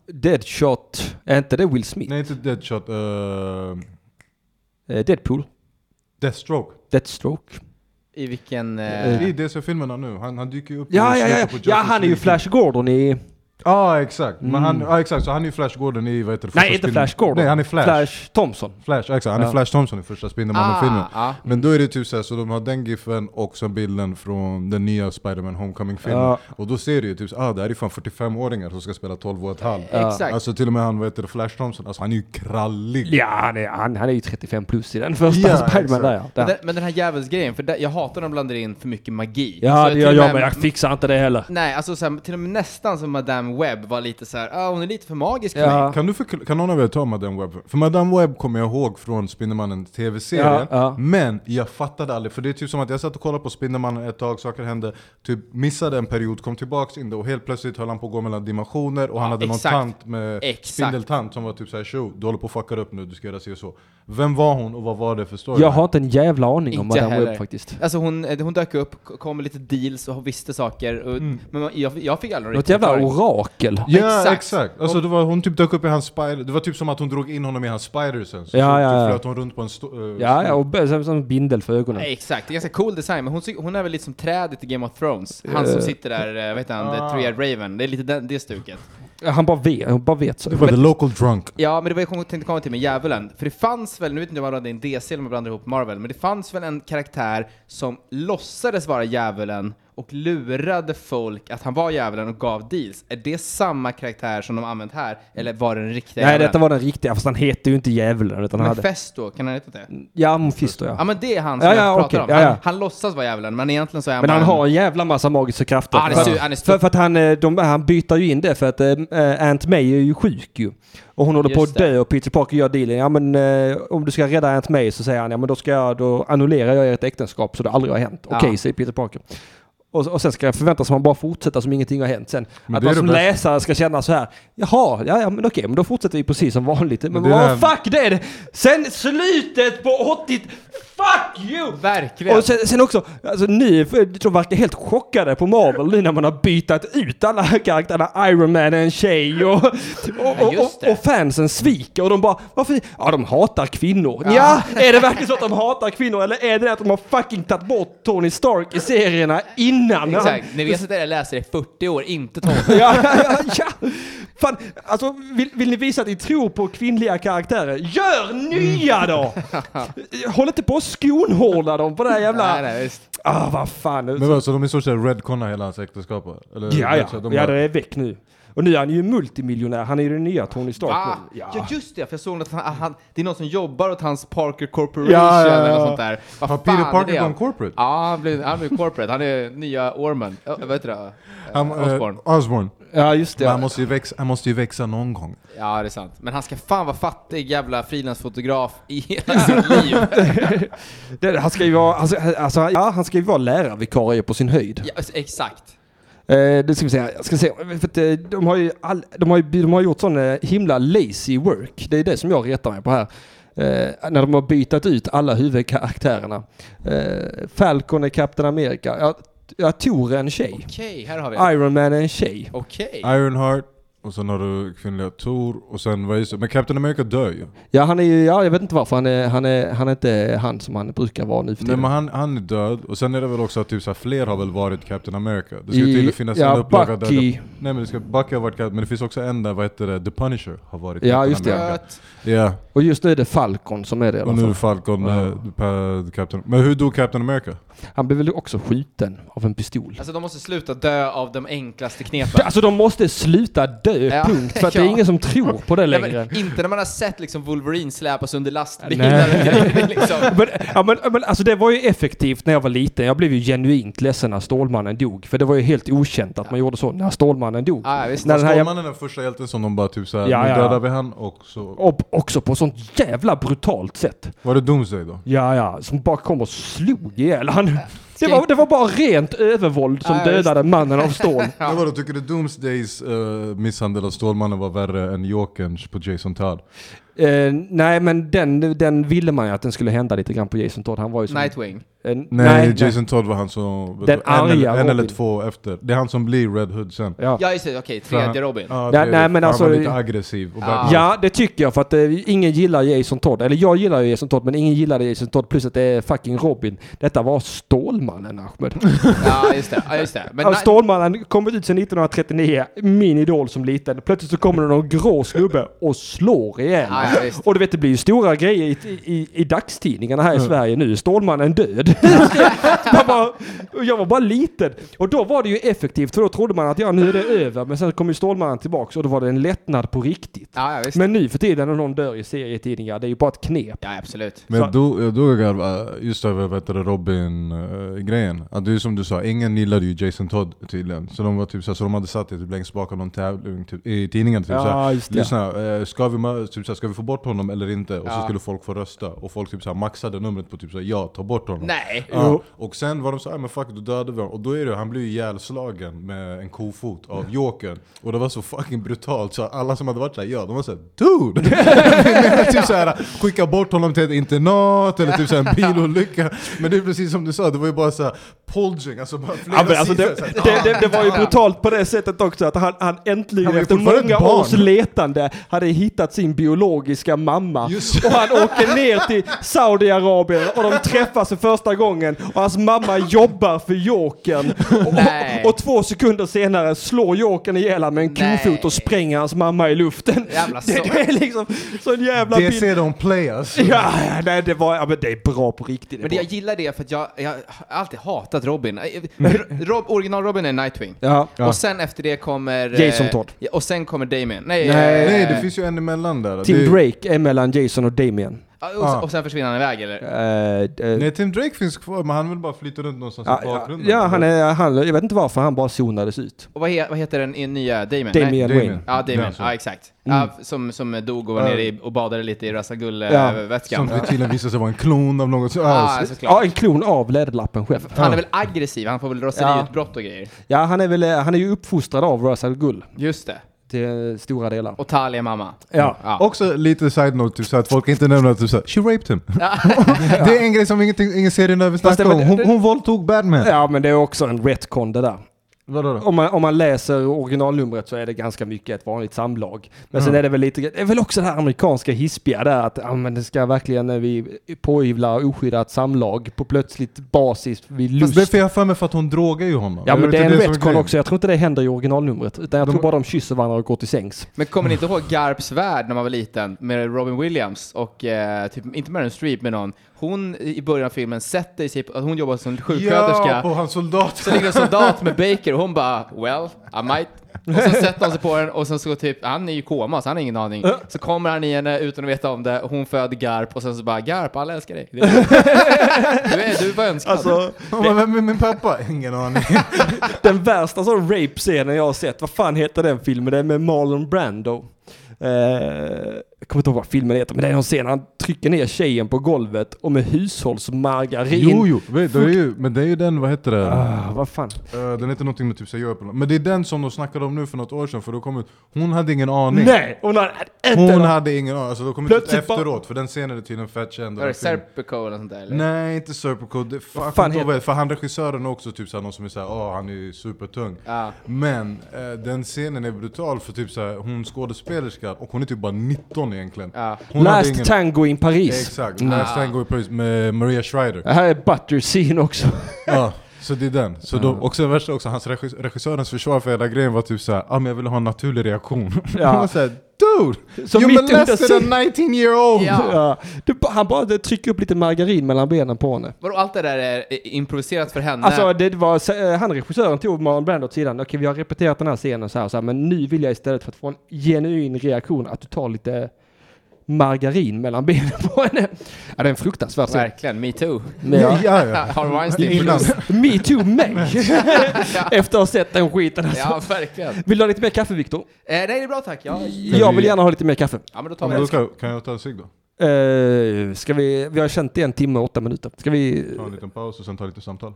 S2: Deadshot. Är inte det Will Smith?
S4: Nej inte Deadshot, uh,
S2: Eh, Deadpool.
S4: Deathstroke.
S2: Deathstroke.
S3: I vilken...
S4: Det
S3: Eh,
S4: är DC-filmerna nu, han, han dyker ju upp
S2: Ja,
S4: i
S2: ja,
S4: slutet
S2: ja.
S4: på Justice
S2: Ja, han är ju
S4: League.
S2: Flash Gordon i...
S4: Ja exakt, men han, ja, exakt, så han är ju Flash Gordon i vad heter det, första
S2: Nej, inte
S4: Spindel-
S2: Flash Gordon.
S4: Nej han är Flash. Flash,
S2: Flash Thompson.
S4: ja, exakt, han är Flash Thompson i första Spindelmannen-filmen.
S3: ah, ah.
S4: Men då är det typ såhär, så de har den giffen och sen bilden från den nya Spider-Man Homecoming-filmen.
S2: Ja.
S4: Och då ser du ju typ såhär, ah, det här är fan 45-åringar som ska spela 12 och ett halvt.
S3: Exakt.
S4: Alltså till och med han, vad heter det, Flash Thompson, alltså han är ju krallig.
S2: Ja, han är, han, han är ju 35 plus i den första
S4: Ja,
S2: Spiderman
S4: exakt.
S2: där ja. Där.
S3: men, den, men den här djävulsgrejen, för där, jag hatar när de blandar in för mycket magi.
S2: Ja,
S3: Alltså,
S2: det
S3: till
S2: gör
S3: och
S2: jag men jag fixar inte det heller.
S3: Nej, alltså såhär, till och med nästan som Madame Webb var lite såhär, ah, hon är lite för magisk för mig.
S2: Ja.
S4: Kan, du förkla- kan någon av er ta Madame Webb? För Madame Webb kommer jag ihåg från Spindelmannen TV-serien,
S2: Ja, ja.
S4: men jag fattade aldrig, för det är typ som att jag satt och kollade på Spindelmannen ett tag, saker hände, typ missade en period, kom tillbaks in det och helt plötsligt höll han på att gå mellan dimensioner och han hade
S3: exakt.
S4: någon tant med
S3: Exakt.
S4: spindeltant som var typ såhär tjo, du håller på att fucka upp nu, du ska göra si och så. Vem var hon och vad var det för story?
S2: Jag har inte en jävla aning om
S3: Inte
S2: Madame
S3: heller.
S2: Webb faktiskt.
S3: Alltså hon, eh, hon dök upp, k- kom med lite deals och hon visste saker. Och, Men man- jag, jag fick aldrig
S2: Något
S3: riktigt
S2: jävla
S3: förklaring.
S2: orakel.
S4: Ja
S3: Exakt.
S4: exakt! Alltså, det var, hon typ dök upp i hans spider, det var typ som att hon drog in honom i hans spider sen, så,
S2: Ja,
S4: så
S2: ja,
S4: typ
S2: ja.
S4: flöt hon runt på en sto- eh,
S2: Ja, ja, och b- som, som bindel för ögonen.
S3: Nej, Exakt, det är ganska cool design, men hon, ser- hon är väl lite som trädet i Game of Thrones. Han som sitter där, eh, vad heter han, The Three-Eyed Raven. Det är lite den, det stuket.
S2: Han bara vet, han bara vet så.
S4: Det var the local drunk.
S3: Ja, men det var jag kom- tänkte komma till med djävulen. För det fanns väl, nu vet inte om man blandade in DC eller om man blandade ihop Marvel, men det fanns väl en karaktär som låtsades vara djävulen och lurade folk att han var djävulen och gav deals. Är det samma karaktär som de använt här, eller var det den riktiga
S2: Nej,
S3: djävulen?
S2: detta var den riktiga, fast han heter ju inte djävulen utan han hade...
S3: Mephisto, kan han heta det?
S2: Ja, Mephisto
S3: Ja
S2: ja.
S3: men det är han som
S2: Ja,
S3: jag
S2: ja,
S3: pratar
S2: okej.
S3: om.
S2: Ja,
S3: Han,
S2: ja.
S3: han låtsas vara djävulen, men egentligen så är
S2: Men han
S3: bara en-
S2: har en jävla massa magiska krafter.
S3: Ja, han är
S2: För-
S3: su- han är stor.
S2: för, för att han, eh, de, han byter ju in det för att eh, eh, Aunt May är ju sjuk ju. Och hon håller på
S3: Just
S2: att dö och Peter Parker gör dealen. Ja men eh, om du ska rädda Aunt May så säger han ja men då, ska jag, då annullerar jag ert äktenskap så det aldrig har hänt.
S3: Ja.
S2: Okej säger Peter Parker. Och, och sen ska jag förvänta sig att man bara fortsätter som ingenting har hänt sen. att
S4: det är
S2: man
S4: det
S2: som
S4: bästa.
S2: läsare ska känna så här. Jaha, ja, ja men okej, men då fortsätter vi precis som vanligt. Men,
S4: det är
S2: vad
S4: det här-
S2: fuck det är det! Sen slutet på 80... Fuck you!
S3: Verkligen!
S2: Och sen, sen också, alltså ni för- de verkar helt chockade på Marvel nu när man har bytat ut alla karaktärerna. Iron Man är en tjej och, och, och,
S3: just
S2: och,
S3: det.
S2: och fansen sviker och de bara varför? Ja, de hatar kvinnor.
S3: Ja.
S2: Ja. är det verkligen så att de hatar kvinnor eller är det det att de har fucking tagit bort Tony Stark i serierna innan?
S3: Exakt, ni vet att jag läser i 40 år, inte 12.
S2: [laughs] Ja, ja, ja. Fan, alltså, vill, vill ni visa att ni tror på kvinnliga karaktärer? Gör nya
S3: [laughs]
S2: då! Håll inte på och skonhåla dem på det här jävla...
S3: nej, nej, visst.
S2: Ah, vad fan.
S4: Men vad, så de i stort sett redconna hela hans äktenskap? Eller,
S2: Ja, ja.
S4: Så de
S2: ja,
S4: bara-
S2: det är väck nu. Och nu är han ju multimiljonär. Han är ju den nya Tony Stark
S3: Va?
S2: nu.
S3: Ah, Ja.
S2: Ja.
S3: just det, för jag såg att han, han, det är någon som jobbar åt hans Parker Corporation
S4: Ja, ja, ja.
S3: eller något sånt där. Vad
S4: Har
S3: fan
S4: Peter
S3: är
S4: Parker
S3: det?
S4: gone corporate?
S3: Ja, han blev, han blev corporate. Han är nya Orman. Oh, vad heter det?
S4: Han, eh,
S3: Osborn.
S4: Osborn.
S2: ja, just
S4: Men han måste, ju växa, han måste ju växa någon gång.
S3: Ja, det är sant. Men han ska fan vara fattig jävla frilansfotograf i hela
S4: [laughs]
S3: sitt liv.
S2: Det, han ska ju vara, han ska, alltså, ja, han ska ju vara lärarvikarie på sin höjd.
S3: Ja, exakt.
S2: Eh, det ska vi säga. Jag ska se. För att, eh, de, har ju all, de, har ju, de har gjort sån eh, himla lazy work. Det är det som jag retar mig på här. Eh, när de har bytt ut alla huvudkaraktärerna. Eh, Falcon är Captain America. Ja, ja, Thor är en tjej.
S3: Okej, här har vi det.
S2: Iron Man är en tjej.
S3: Okej.
S4: Ironheart, och sen har du kvinnliga Thor, och sen vad är det? Men Captain America dör ju.
S2: Ja, han är ju, ja, jag vet inte varför. Han är, han, är, han är inte han som han brukar vara nu för
S4: Nej
S2: tiden.
S4: men han, han är död, och sen är det väl också att typ så här, fler har väl varit Captain America? Det ska
S2: I-
S4: tydligen finnas
S2: ja,
S4: en upplaga där...
S2: Bucky.
S4: det- Nej men det ska Bucky har varit katt, men det finns också en där, vad heter det, The Punisher har varit
S2: Ja,
S4: Captain
S2: just det.
S4: America. Ja,
S2: Och just nu är det Falcon som är det i alla
S4: och nu är det
S2: fall.
S4: Falcon, eh, pa- Captain... Men hur dog Captain America?
S2: Han blev väl också skjuten av en pistol. [laughs]
S3: Alltså de måste sluta dö av de enklaste knepen.
S2: Alltså de måste sluta dö,
S3: Ja.
S2: punkt.
S3: [laughs]
S2: För att det
S3: Ja.
S2: är ingen som tror på det
S3: Nej,
S2: längre.
S3: men, inte när man har sett liksom Wolverine släpas under lastbilar.
S2: Nej.
S3: Det är [laughs] liksom,
S2: Men, ja, men, men, alltså det var ju effektivt när jag var liten. Jag blev ju genuint ledsen när Stålmannen dog. För det var ju helt okänt att man gjorde så när Stålmannen dog.
S3: ah, visst.
S2: när den här,
S4: Stålmannen är den första hjälten som de bara typ såhär,
S2: Ja,
S4: nu
S2: ja.
S4: dödar vi han och så...
S2: och också på sånt jävla brutalt sätt.
S4: Var det Doomsday då?
S2: Ja, ja, som bara kom och slog ihjäl han. Det var, det var bara rent övervåld som
S3: Ja, visst.
S2: dödade mannen
S3: [laughs]
S2: av stål.
S4: Ja. vadå, tycker du Doomsdays eh, misshandel av Stålmannen var värre än Jokerns på Jason Todd?
S2: Eh, nej, men den, den ville man ju att den skulle hända lite grann på Jason Todd. Han var ju som...
S3: Nightwing.
S2: Eh,
S4: Nej, Jason Todd var han som...
S2: Den
S4: en,
S2: arga
S4: eller, en eller
S2: Robin.
S4: två efter. Det är han som blir Red Hood sen.
S2: Ja.
S3: Ja just det, okej, tredje Robin.
S4: Ja,
S2: Nej,
S4: det-
S2: nej, men
S4: han
S2: alltså-
S4: var lite aggressiv. Och
S3: Ja.
S2: Ja, det tycker jag för att eh, ingen gillar Jason Todd. Eller jag gillar ju Jason Todd, men ingen gillade Jason Todd. Plus att det är fucking Robin. Detta var Stålmannen, Ahmed.
S3: Ja just det, ja, just det. Men
S2: Ja,
S3: Night-
S2: Stålmannen kom ut sedan 1939, min idol som liten. Plötsligt så kommer det någon grå snubbe och slår ihjäl
S3: Ja, ja, visst.
S2: Och du vet, det blir ju stora grejer i, i, i dagstidningarna här i Sverige nu. Stålmannen
S3: [laughs]
S2: död. jag, bara, jag var bara liten. Och då var det ju effektivt, för då trodde man att ja, nu är det över. Men sen kom ju Stålmannen tillbaks och då var det en lättnad på riktigt.
S3: ja, ja visst.
S2: Men nu för tiden när någon dör i serietidningar, det är ju bara ett knep.
S3: Ja absolut.
S4: Men då, jag dog av eh, just över vet du, Robin-grejen. att det är som du sa, ingen gillade ju Jason Todd tydligen. Så de var typ såhär, så de hade satt det typ längst bak av någon tävling typ, i tidningen. Typ,
S2: Ja,
S4: såhär,
S2: just det.
S4: Lyssna, eh, ska vi, ma- typ, såhär, ska vi få bort honom eller inte? Och så
S3: Ja.
S4: skulle folk få rösta. Och folk typ, såhär, maxade numret på typ såhär, ja, ta bort honom.
S3: Nej.
S4: Ja. Och sen var de såhär, men fuck då dödade vi honom. Och då är det, han blir ju ihjälslagen med en kofot av Jokern. Och det var så fucking brutalt så alla som hade varit såhär, ja, de var såhär, dude!
S2: [laughs]
S4: [laughs] typ såhär, skicka bort honom till ett internat eller typ såhär, en bilolycka. Men det är precis som du sa, det var ju bara såhär, polging, alltså bara flera
S2: Ja, men alltså
S4: sidor.
S2: det,
S4: såhär,
S2: det, det, det var ju brutalt på det sättet också att han, han äntligen
S4: Han var ju
S2: efter
S4: fortfarande
S2: många
S4: ett barn.
S2: års letande hade hittat sin biologiska mamma.
S4: Just
S2: Och han åker ner till Saudiarabien och de träffas för första gången och hans mamma jobbar för Jokern.
S3: Nej.
S2: Och, och två sekunder senare slår Jokern ihjäl honom med en
S3: Nej.
S2: kofot och spränger hans mamma i luften.
S3: Jävla
S2: det,
S3: sorg.
S2: det är liksom sån jävla
S4: det
S2: bild.
S4: ser de play alltså.
S2: Ja, nej det var, ja, men det är bra på riktigt. det
S3: Men det,
S2: är
S3: jag
S2: bra.
S3: gillar det för att jag, jag har alltid hatat Robin. Eh, Ro- Rob, original Robin är Nightwing.
S2: Ja.
S4: Ja.
S3: Och sen efter det kommer... eh,
S2: Jason Todd.
S3: ja, Och sen kommer Damien. Nej,
S2: Nej.
S3: eh,
S4: Nej, det finns ju en emellan där.
S2: Tim
S4: det,
S2: Drake är mellan Jason och Damien.
S3: ja, eh, Och, sen- och sen försvinner han iväg eller?
S2: Eh, eh,
S4: Nej, Tim Drake finns kvar, men han vill bara flyta runt någonstans
S2: Ja,
S4: i
S2: ja,
S4: bakgrunden.
S2: ja han är, han, jag vet inte varför han bara zonades ut.
S3: Och vad, he, vad heter den i nya Damien? Nej.
S2: Damien
S4: Damien.
S2: Wayne.
S3: Ja, Damien.
S4: Ja, så.
S3: Ja, exakt. Ja, som, som dog och var nere i, och badade lite i
S2: Ja.
S3: Rasagull-vätskan.
S4: Som tydligen visar sig vara en klon av något.
S3: Ja, alltså,
S4: Ah,
S3: såklart.
S2: Ja, en klon av Läderlappen själv.
S3: Han är väl aggressiv, han får väl raseriutbrott och grejer.
S2: Ja, han är, väl, eh, han är ju uppfostrad av Russell Gull
S3: Just det.
S2: till eh, stora delar.
S3: Och Talia mamma.
S2: Ja.
S3: Ja.
S4: Också lite side-note, typ såhär, att folk inte nämner att typ såhär, she raped him. [laughs] det är en grej som ingenting, ingen serienövel
S2: Fast det-
S4: snackar om. Hon,
S2: det-
S4: hon våldtog Batman.
S2: Ja, men det är också en retcon det där.
S4: Vadå då?
S2: Om man, om man läser originalnumret så är det ganska mycket ett vanligt samlag. Men sen är det väl lite, det är väl också det här amerikanska hispiga där att ja, men det ska verkligen när vi påivlar oskyddat samlag på plötsligt basis vid
S4: Fast
S2: lust.
S4: det får jag för mig för att hon drogar ju honom.
S2: Ja men
S4: vet
S2: det är en
S4: inte som
S2: retcon
S4: grejen.
S2: också, jag tror inte det händer i originalnumret. Utan jag tror bara de kysser varandra och går till sängs.
S3: Men kommer ni inte ihåg Garps värld när man var liten med Robin Williams och eh, typ, inte Meryl Streep men någon. Hon i början av filmen sätter sig, på- hon jobbar som
S4: Ja,
S3: sjuksköterska.
S4: på hans soldat.
S3: Så ligger en soldat med Baker och hon bara well, I might. Och så sätter hon sig på den och sen så går typ, han är ju i koma så han har ingen aning.
S4: Äh!
S3: Så kommer han i henne utan att veta om det och hon föder Garp och sen så bara Garp, alla älskar dig. Det är- Du, är, du var önskad.
S4: Hon [laughs] bara, Vem är min pappa?
S2: [laughs]
S4: Ingen aning.
S2: Den värsta sån rape-scenen jag har sett, vad fan heter den filmen? Det är med Marlon Brando. Eh, jag kommer inte ihåg vad filmen heter, men det är någon scen när han trycker ner tjejen på golvet och med hushållsmargarin.
S4: jo, jo. Vet, det är ju, men det är ju den, vad heter det?
S2: Ah, vad fan.
S4: Eh, den heter någonting med typ såhär, Europe. eller något. Men det är den som de snackade om nu för något år sedan, för då kom ut, hon hade ingen aning.
S2: Nej! Hon hade inte
S4: Hon
S2: någon-
S4: hade ingen aning, alltså de kom ut
S2: Plötsligt bara-
S4: efteråt, för den scenen är tydligen fett känd. och
S3: Var det
S4: den filmen-
S3: Serpico eller sånt där eller?
S4: Nej, inte Serpico. Det, fan,
S2: fan
S4: fan
S2: heter-
S4: för han regissören är också typ såhär, någon som är såhär, åh han är ju supertung.
S3: Ja.
S4: Men eh, den scenen är brutal för typ såhär, hon skådespelerskan, och hon är typ bara 19 egentligen.
S3: Ja.
S4: Hon
S2: Last
S4: hade ingen-
S2: Tango in Paris.
S4: Exakt, Last Tango i Paris med Maria Schreider.
S2: Det här är butter scene också.
S4: Ja. Så det är den. Så då, och sen värsta också, hans regis- regissörens försvar för hela grejen var typ såhär, ah, men jag ville ha en naturlig reaktion. [laughs]
S2: Ja.
S4: Han var såhär, dude!
S2: Som
S4: you
S2: mitt under
S4: molested a
S2: scen-
S4: 19 year old!
S3: Ja.
S2: [laughs] Ja. Du, ba- han bara trycker upp lite margarin mellan benen på henne.
S3: Vadå, allt det där är eh, improviserat för henne?
S2: Alltså det var, så- eh, han regissören tog Marlon Brando åt sidan. Okej, vi har repeterat den här scenen så här, och så här, men nu vill jag istället för att få en genuin reaktion att du tar lite margarin mellan benen på henne. Ja, det är en fruktansvärd scen.
S3: Verkligen, metoo.
S2: Men ja.
S4: ja, ja.
S3: Harvey Weinstein.
S4: Innan.
S2: [laughs] Me too mig! Efter att ha sett den skiten alltså.
S3: Ja, verkligen. Eh,
S2: Vill du ha lite mer kaffe Viktor?
S3: nej, det är bra tack. Ja,
S2: Jag vill gärna ha lite mer kaffe.
S3: ja men då tar
S4: Ja,
S3: vi
S4: men då
S3: det.
S4: ska, kan jag ta en cigg då?
S2: Uh, ska vi, vi har känt i en timme och åtta minuter. Ska vi...
S4: Ta en liten paus och sen ta lite samtal.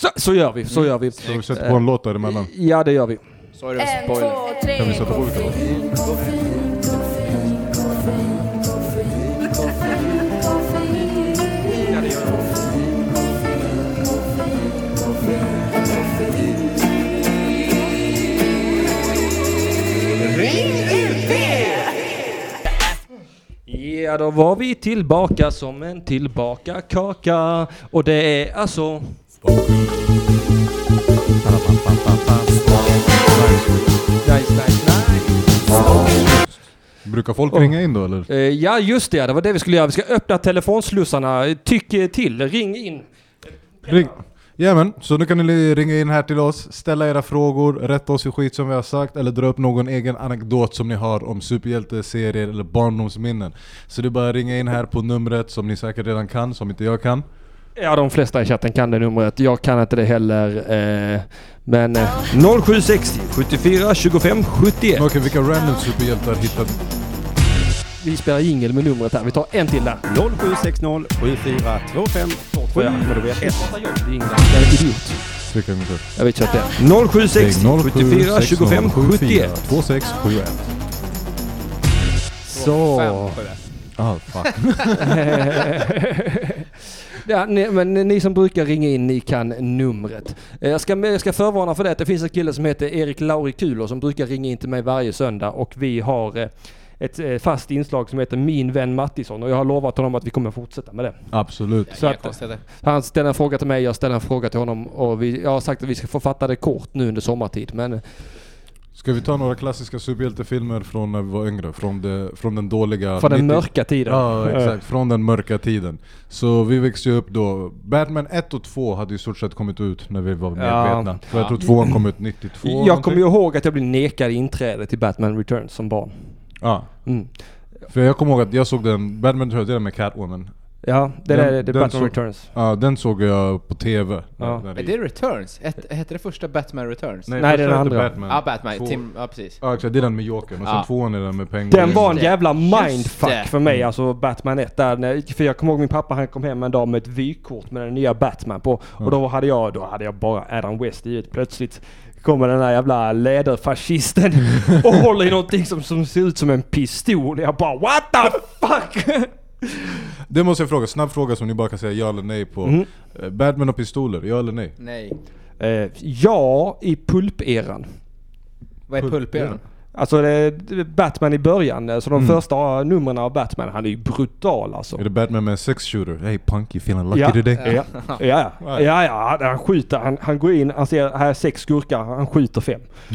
S2: Så, så gör vi, så gör vi.
S4: Så vi sätter på en låt däremellan.
S2: Ja det gör vi.
S3: Sorry, det var en spoiler.
S4: Kan vi sätta på olika låtar?
S2: Ja då var vi tillbaka som en tillbaka kaka och det är alltså... Nice, nice, nice.
S4: Brukar folk ringa in då eller?
S2: Eh, ja just det, det var det vi skulle göra. Vi ska öppna telefonslussarna. Tyck eh, till, ring in.
S4: Ring. Jajamän, så nu kan ni li- ringa in här till oss, ställa era frågor, rätta oss i skit som vi har sagt, eller dra upp någon egen anekdot som ni har om superhjälteserier eller barndomsminnen. Så det är bara att ringa in här på numret som ni säkert redan kan, som inte jag kan.
S2: Ja, de flesta i chatten kan det numret. Jag kan inte det heller. Eh, men eh, 0760 74 25 71.
S4: Men Okej, vilka random superhjältar hittade
S2: Vi spelar jingel med numret här. Vi tar en till där.
S11: 0760 7425
S2: Får jag?
S11: och då blir jag ett.
S2: Jag är idiot.
S4: Tryck en gång till.
S2: Jag vet inte att det är. 0760 74 25 71.
S4: 2671.
S2: Så.
S4: Ah, fuck.
S2: Ja, ni, men ni som brukar ringa in, ni kan numret. Eh, Jag ska, jag ska förvarna för det att det finns en kille som heter Erik Laurikulo som brukar ringa in till mig varje söndag och vi har eh, ett eh, fast inslag som heter Min vän Mattisson och jag har lovat honom att vi kommer fortsätta med det.
S4: Absolut.
S2: Så
S3: Inga
S2: att,
S3: konstigheter.
S2: Han ställer en fråga till mig, jag ställer en fråga till honom och vi, jag har sagt att vi ska få fatta det kort nu under sommartid. Men
S4: Ska vi ta några klassiska superhjältefilmer från när vi var yngre? Från, det, från den dåliga...
S2: för den
S4: 90
S2: mörka tiden.
S4: Ja, exakt. Från den mörka tiden. Så vi växte ju upp då. Batman 1 och 2 hade i stort sett kommit ut när vi var medvetna. För jag tror 2 kom ut 92
S2: Jag kommer ju
S4: någonting.
S2: ihåg att jag blev nekad inträde till Batman Returns som barn.
S4: Ja.
S2: Mm.
S4: För jag kommer ihåg att jag såg den, Batman tror jag det är den med Catwoman.
S2: Ja, det
S4: Den-
S2: där är det
S4: den
S2: Batman
S4: så-
S2: Returns.
S4: Ja, den såg jag på TV.
S2: Ja.
S4: När- när
S3: Men det är Returns. Het- Hette det första Batman Returns?
S2: Nej,
S4: först
S2: det är den
S4: hette
S2: andra.
S4: Batman.
S3: Ja, Batman.
S4: Två-
S3: Tim, ja precis.
S4: Ja exakt, det är den med Jokern och sen
S3: Ja.
S4: tvåan är den med Penguin.
S2: Den var en
S3: det.
S2: jävla mindfuck
S3: det.
S2: för mig, alltså Batman 1. Där, när- för jag kommer ihåg min pappa, han kom hem en dag med ett vykort med den nya Batman på. Och då hade jag, då hade jag bara Adam West i det. Plötsligt kommer den där jävla
S3: [laughs]
S2: läderfascisten och håller i någonting som, som ser ut som en pistol. Jag bara what the
S3: [laughs]
S2: fuck!
S4: Det måste jag fråga, snabb fråga som ni bara kan säga ja eller nej på.
S2: Mhm.
S4: Eh, Batman och pistoler, ja eller nej?
S3: Nej.
S2: Eh, ja, i pulp-eran.
S3: Vad är pulpen?
S2: Alltså det, det är Batman i början, alltså
S3: Mm.
S2: de första numren av Batman, han är ju brutal alltså.
S4: Är det Batman med en sex shooter? Hey punk, you feeling lucky
S2: Ja.
S4: today?
S2: Ja, ja, ja, ja, ja han- han skjuter, han, han går in, han ser här är sex skurkar, han skjuter fem. [laughs]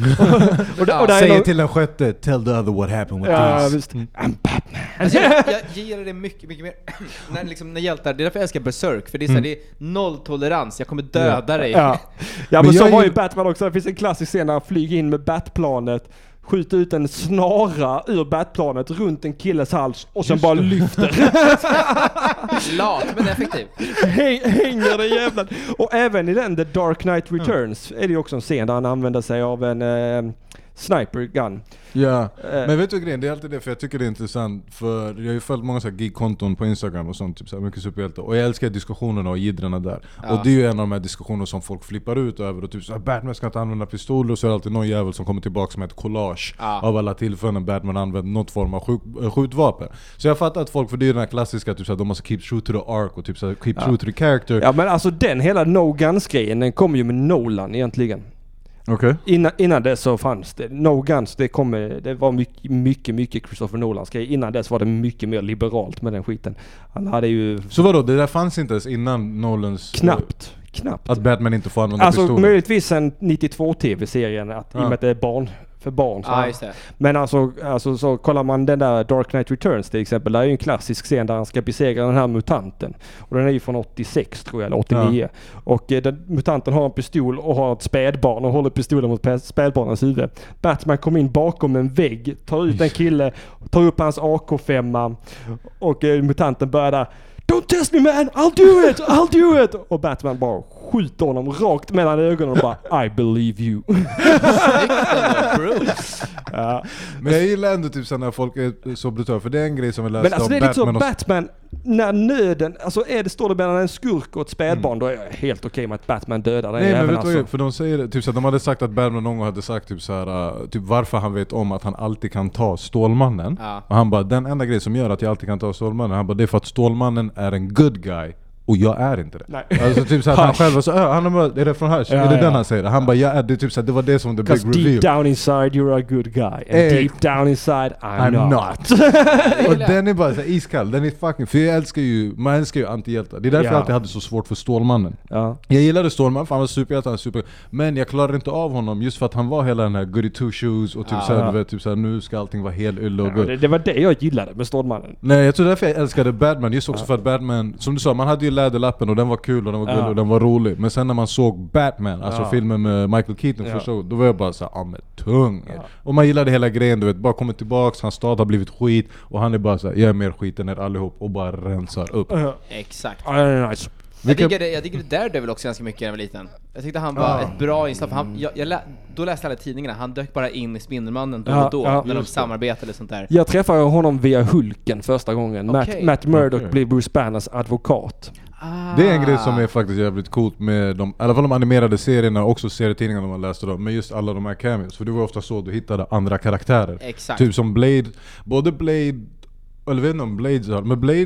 S2: och, där- och där är någon-
S4: den sjätte, tell the other what happened with
S2: Ja,
S4: these.
S2: visst. I'm Batman. [laughs]
S3: Alltså, jag, jag gillar det mycket, mycket mer [clears throat] när, liksom, när hjältar, det är därför jag älskar Berserk, för det är, så här, det är nolltolerans, jag kommer döda dig.
S2: Mm. Ja, ja men,
S4: Men
S2: så
S4: jag
S2: var
S4: är ju-
S2: ju Batman också. Det finns en klassisk scen när han flyger in med Batplanet, skjuter ut en snara ur Batplanet runt en killes hals och sen bara lyfter. [laughs]
S3: Lat, men effektiv.
S2: Häng, hänger den jävla... Och även i den The Dark Knight
S4: Mm.
S2: Returns är det ju också en scen där han använder sig av en eh, sniper gun.
S4: Ja, men vet du grejen? Det är alltid det, för jag tycker det är intressant. För jag har ju följt många så här gig-konton på Instagram och sånt, typ så här, mycket superhjältar. Och jag älskar diskussionerna och jiddrarna där. Och det är ju en av de här diskussionerna som folk flippar ut över. Och typ så här, Batman ska inte använda pistoler, och så är det alltid någon jävel som kommer tillbaka med ett collage av alla tillfällen när Batman använder något form av sjuk, äh, skjutvapen. Så jag fattar att folk, för det är ju den här klassiska, typ så här, de måste keep true to the arc och typ så här, keep true to the character.
S2: Ja men alltså den hela No Guns-grejen, den kom ju med Nolan egentligen.
S4: Okej.
S2: Innan, innan dess så fanns det No Guns, det, kom, med- det var mycket, mycket, mycket Christopher Nolans grej. Innan dess var det mycket mer liberalt med den skiten. Han hade ju
S4: Så vadå, det där fanns inte ens innan Nolans...
S2: knappt, Knappt.
S4: Att Batman inte får använda
S2: Alltså
S4: pistolen.
S2: möjligtvis en 92-tv-serien, att, i och med att det är barn, för barn. Så
S3: Ja, just det.
S2: Men alltså, alltså så kollar man den där Dark Knight Returns till exempel. Där är ju en klassisk scen där han ska besegra den här mutanten. Och den är ju från 86 tror jag, eller 89. Och eh, den, mutanten har en pistol och har ett spädbarn och håller pistolen mot pe- spädbarnens huvud. Batman kommer in bakom en vägg, tar ut en kille, tar upp hans AK5 och eh, mutanten börjar där Don't test me man, I'll do it, I'll do it! Och Batman bara skjuter honom rakt mellan ögonen och bara I believe you. ja.
S4: Men jag gillar ändå typ så när folk är så brutala, för det är en grej som vi läste
S2: Men alltså
S4: om
S2: det är lite så,
S4: Batman och-
S2: Batman, när nöden, alltså är det, står det mellan en skurk och ett spädbarn, då är jag helt okej med att Batman dödar den
S4: Nej men
S2: jäveln
S4: vet du
S2: alltså.
S4: vad, för de säger det, typ så att de hade sagt att Batman någon gång hade sagt typ så här, äh, typ varför han vet om att han alltid kan ta Stålmannen.
S3: Ja.
S4: Och han bara, den enda grejen som gör att jag alltid kan ta Stålmannen, han bara det är för att Stålmannen är en good guy. Och jag är inte det.
S2: Nej.
S4: Alltså typ såhär, han
S2: Hush.
S4: själv var så, "Äh, han har mött- är det från Hush?
S2: Ja,
S4: är det
S2: ja.
S4: den han säger? det?" Han bara, jag är det. Typ såhär, det var det som the big
S2: Because
S4: reveal.
S2: deep down inside you're a good guy. And
S4: Eh,
S2: deep down inside I'm,
S4: I'm
S2: not.
S4: not. och den är bara så här iskall, den är fucking... För jag älskar ju, man älskar ju antihjältar. Det är därför
S2: Ja.
S4: jag alltid hade så svårt för Stålmannen.
S2: Ja.
S4: Jag gillade Stålman, för han var superhjälte, han var super... Men jag klarade inte av honom just för att han var hela den här goody two shoes och typ
S3: Ja.
S4: såhär, du vet, typ såhär, nu ska allting vara hel ylle
S2: [laughs]
S4: och
S2: Ja,
S4: guld.
S2: det, det var det jag gillade med Stålmannen.
S4: Nej jag tror därför jag älskade Batman, just också för att Batman, som du sa, man hade ju läderlappen och den var kul och den var gullig och den var rolig. Men sen när man såg Batman, alltså filmen med Michael Keaton första gången, då var jag bara såhär, ah men tung. Och man gillade hela grejen du vet, bara kommer tillbaks, hans stad har blivit skit och han är bara såhär, jag är mer skit än er allihop och bara rensar upp.
S3: Exakt.
S2: Ja, den är nice.
S3: Jag
S4: Vilka-
S3: diggade, jag diggade Daredevil också ganska mycket när jag var liten. Jag tyckte han var ett bra inslag, för han, jag, jag lä, då läste jag alla tidningarna, han dök bara in i Spindelmannen då
S2: Ja,
S3: och då,
S2: ja,
S3: när de
S2: just det.
S3: samarbetade eller sånt där.
S2: Jag träffade honom via Hulken första gången. Matt,
S3: Okej.
S2: Matt Murdock
S4: Okej.
S2: blev Bruce Banners advokat.
S3: Ah.
S4: Det är en grej som är faktiskt jävligt coolt med de, i alla fall de animerade serierna och också serietidningarna man läste då, men just alla de här cameos. För det var ofta så du hittade andra karaktärer.
S3: Exakt.
S4: Typ som Blade, både Blade, eller vet inte om Blade så här, men Blade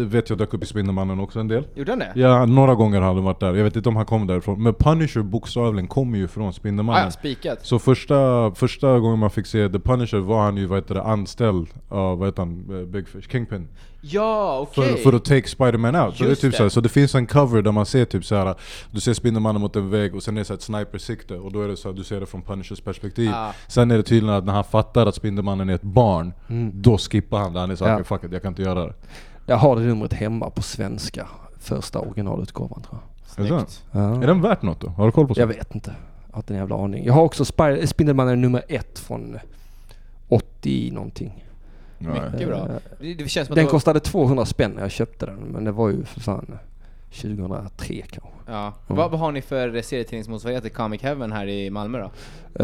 S4: eh, vet jag dök upp i Spindelmannen också en del.
S3: Gjorde han det?
S4: Ja, några gånger har han varit där, jag vet inte om han kom därifrån. Men Punisher bokstavligen kommer ju från
S3: Ah,
S4: Spindelmannen.
S3: ja, spikat.
S4: Så första, första gången man fick se The Punisher var han ju vad heter det, anställd av vad heter han, eh, Big Fish, Kingpin.
S3: Ja, okej.
S4: För, för att take Spider-Man out. Så det, är
S3: Just
S4: typ
S3: det.
S4: Så, så det finns en cover där man ser typ så här. du ser Spindelmannen mot en vägg och sen är det så här ett snipersikte och då är det så här, du ser det från Punishers perspektiv.
S3: Ah.
S4: Sen är det tydligen att när han fattar att Spindelmannen är ett barn, då skippar han det. Han är såhär
S2: Mm. Ja.
S4: okay, 'fuck it, jag kan inte göra det'
S2: Jag har det numret hemma på svenska. Första originalutgåvan tror jag.
S4: Är det,
S3: Snyggt.
S4: sant? är den värt något då? Har du koll på
S2: Jag
S4: sånt?
S2: vet inte. Jag har inte en jävla aning. Jag har också Spy- eh, Spindelmannen nummer ett från 80 någonting.
S4: Nej.
S3: Mycket bra. Det, det känns som att
S2: Den
S3: det var,
S2: kostade 200 spänn när jag köpte den. Men det var ju för fan 2003 kanske.
S3: ja. vad, vad har ni för serietidningsmotsvarighet till Comic Heaven här i Malmö då?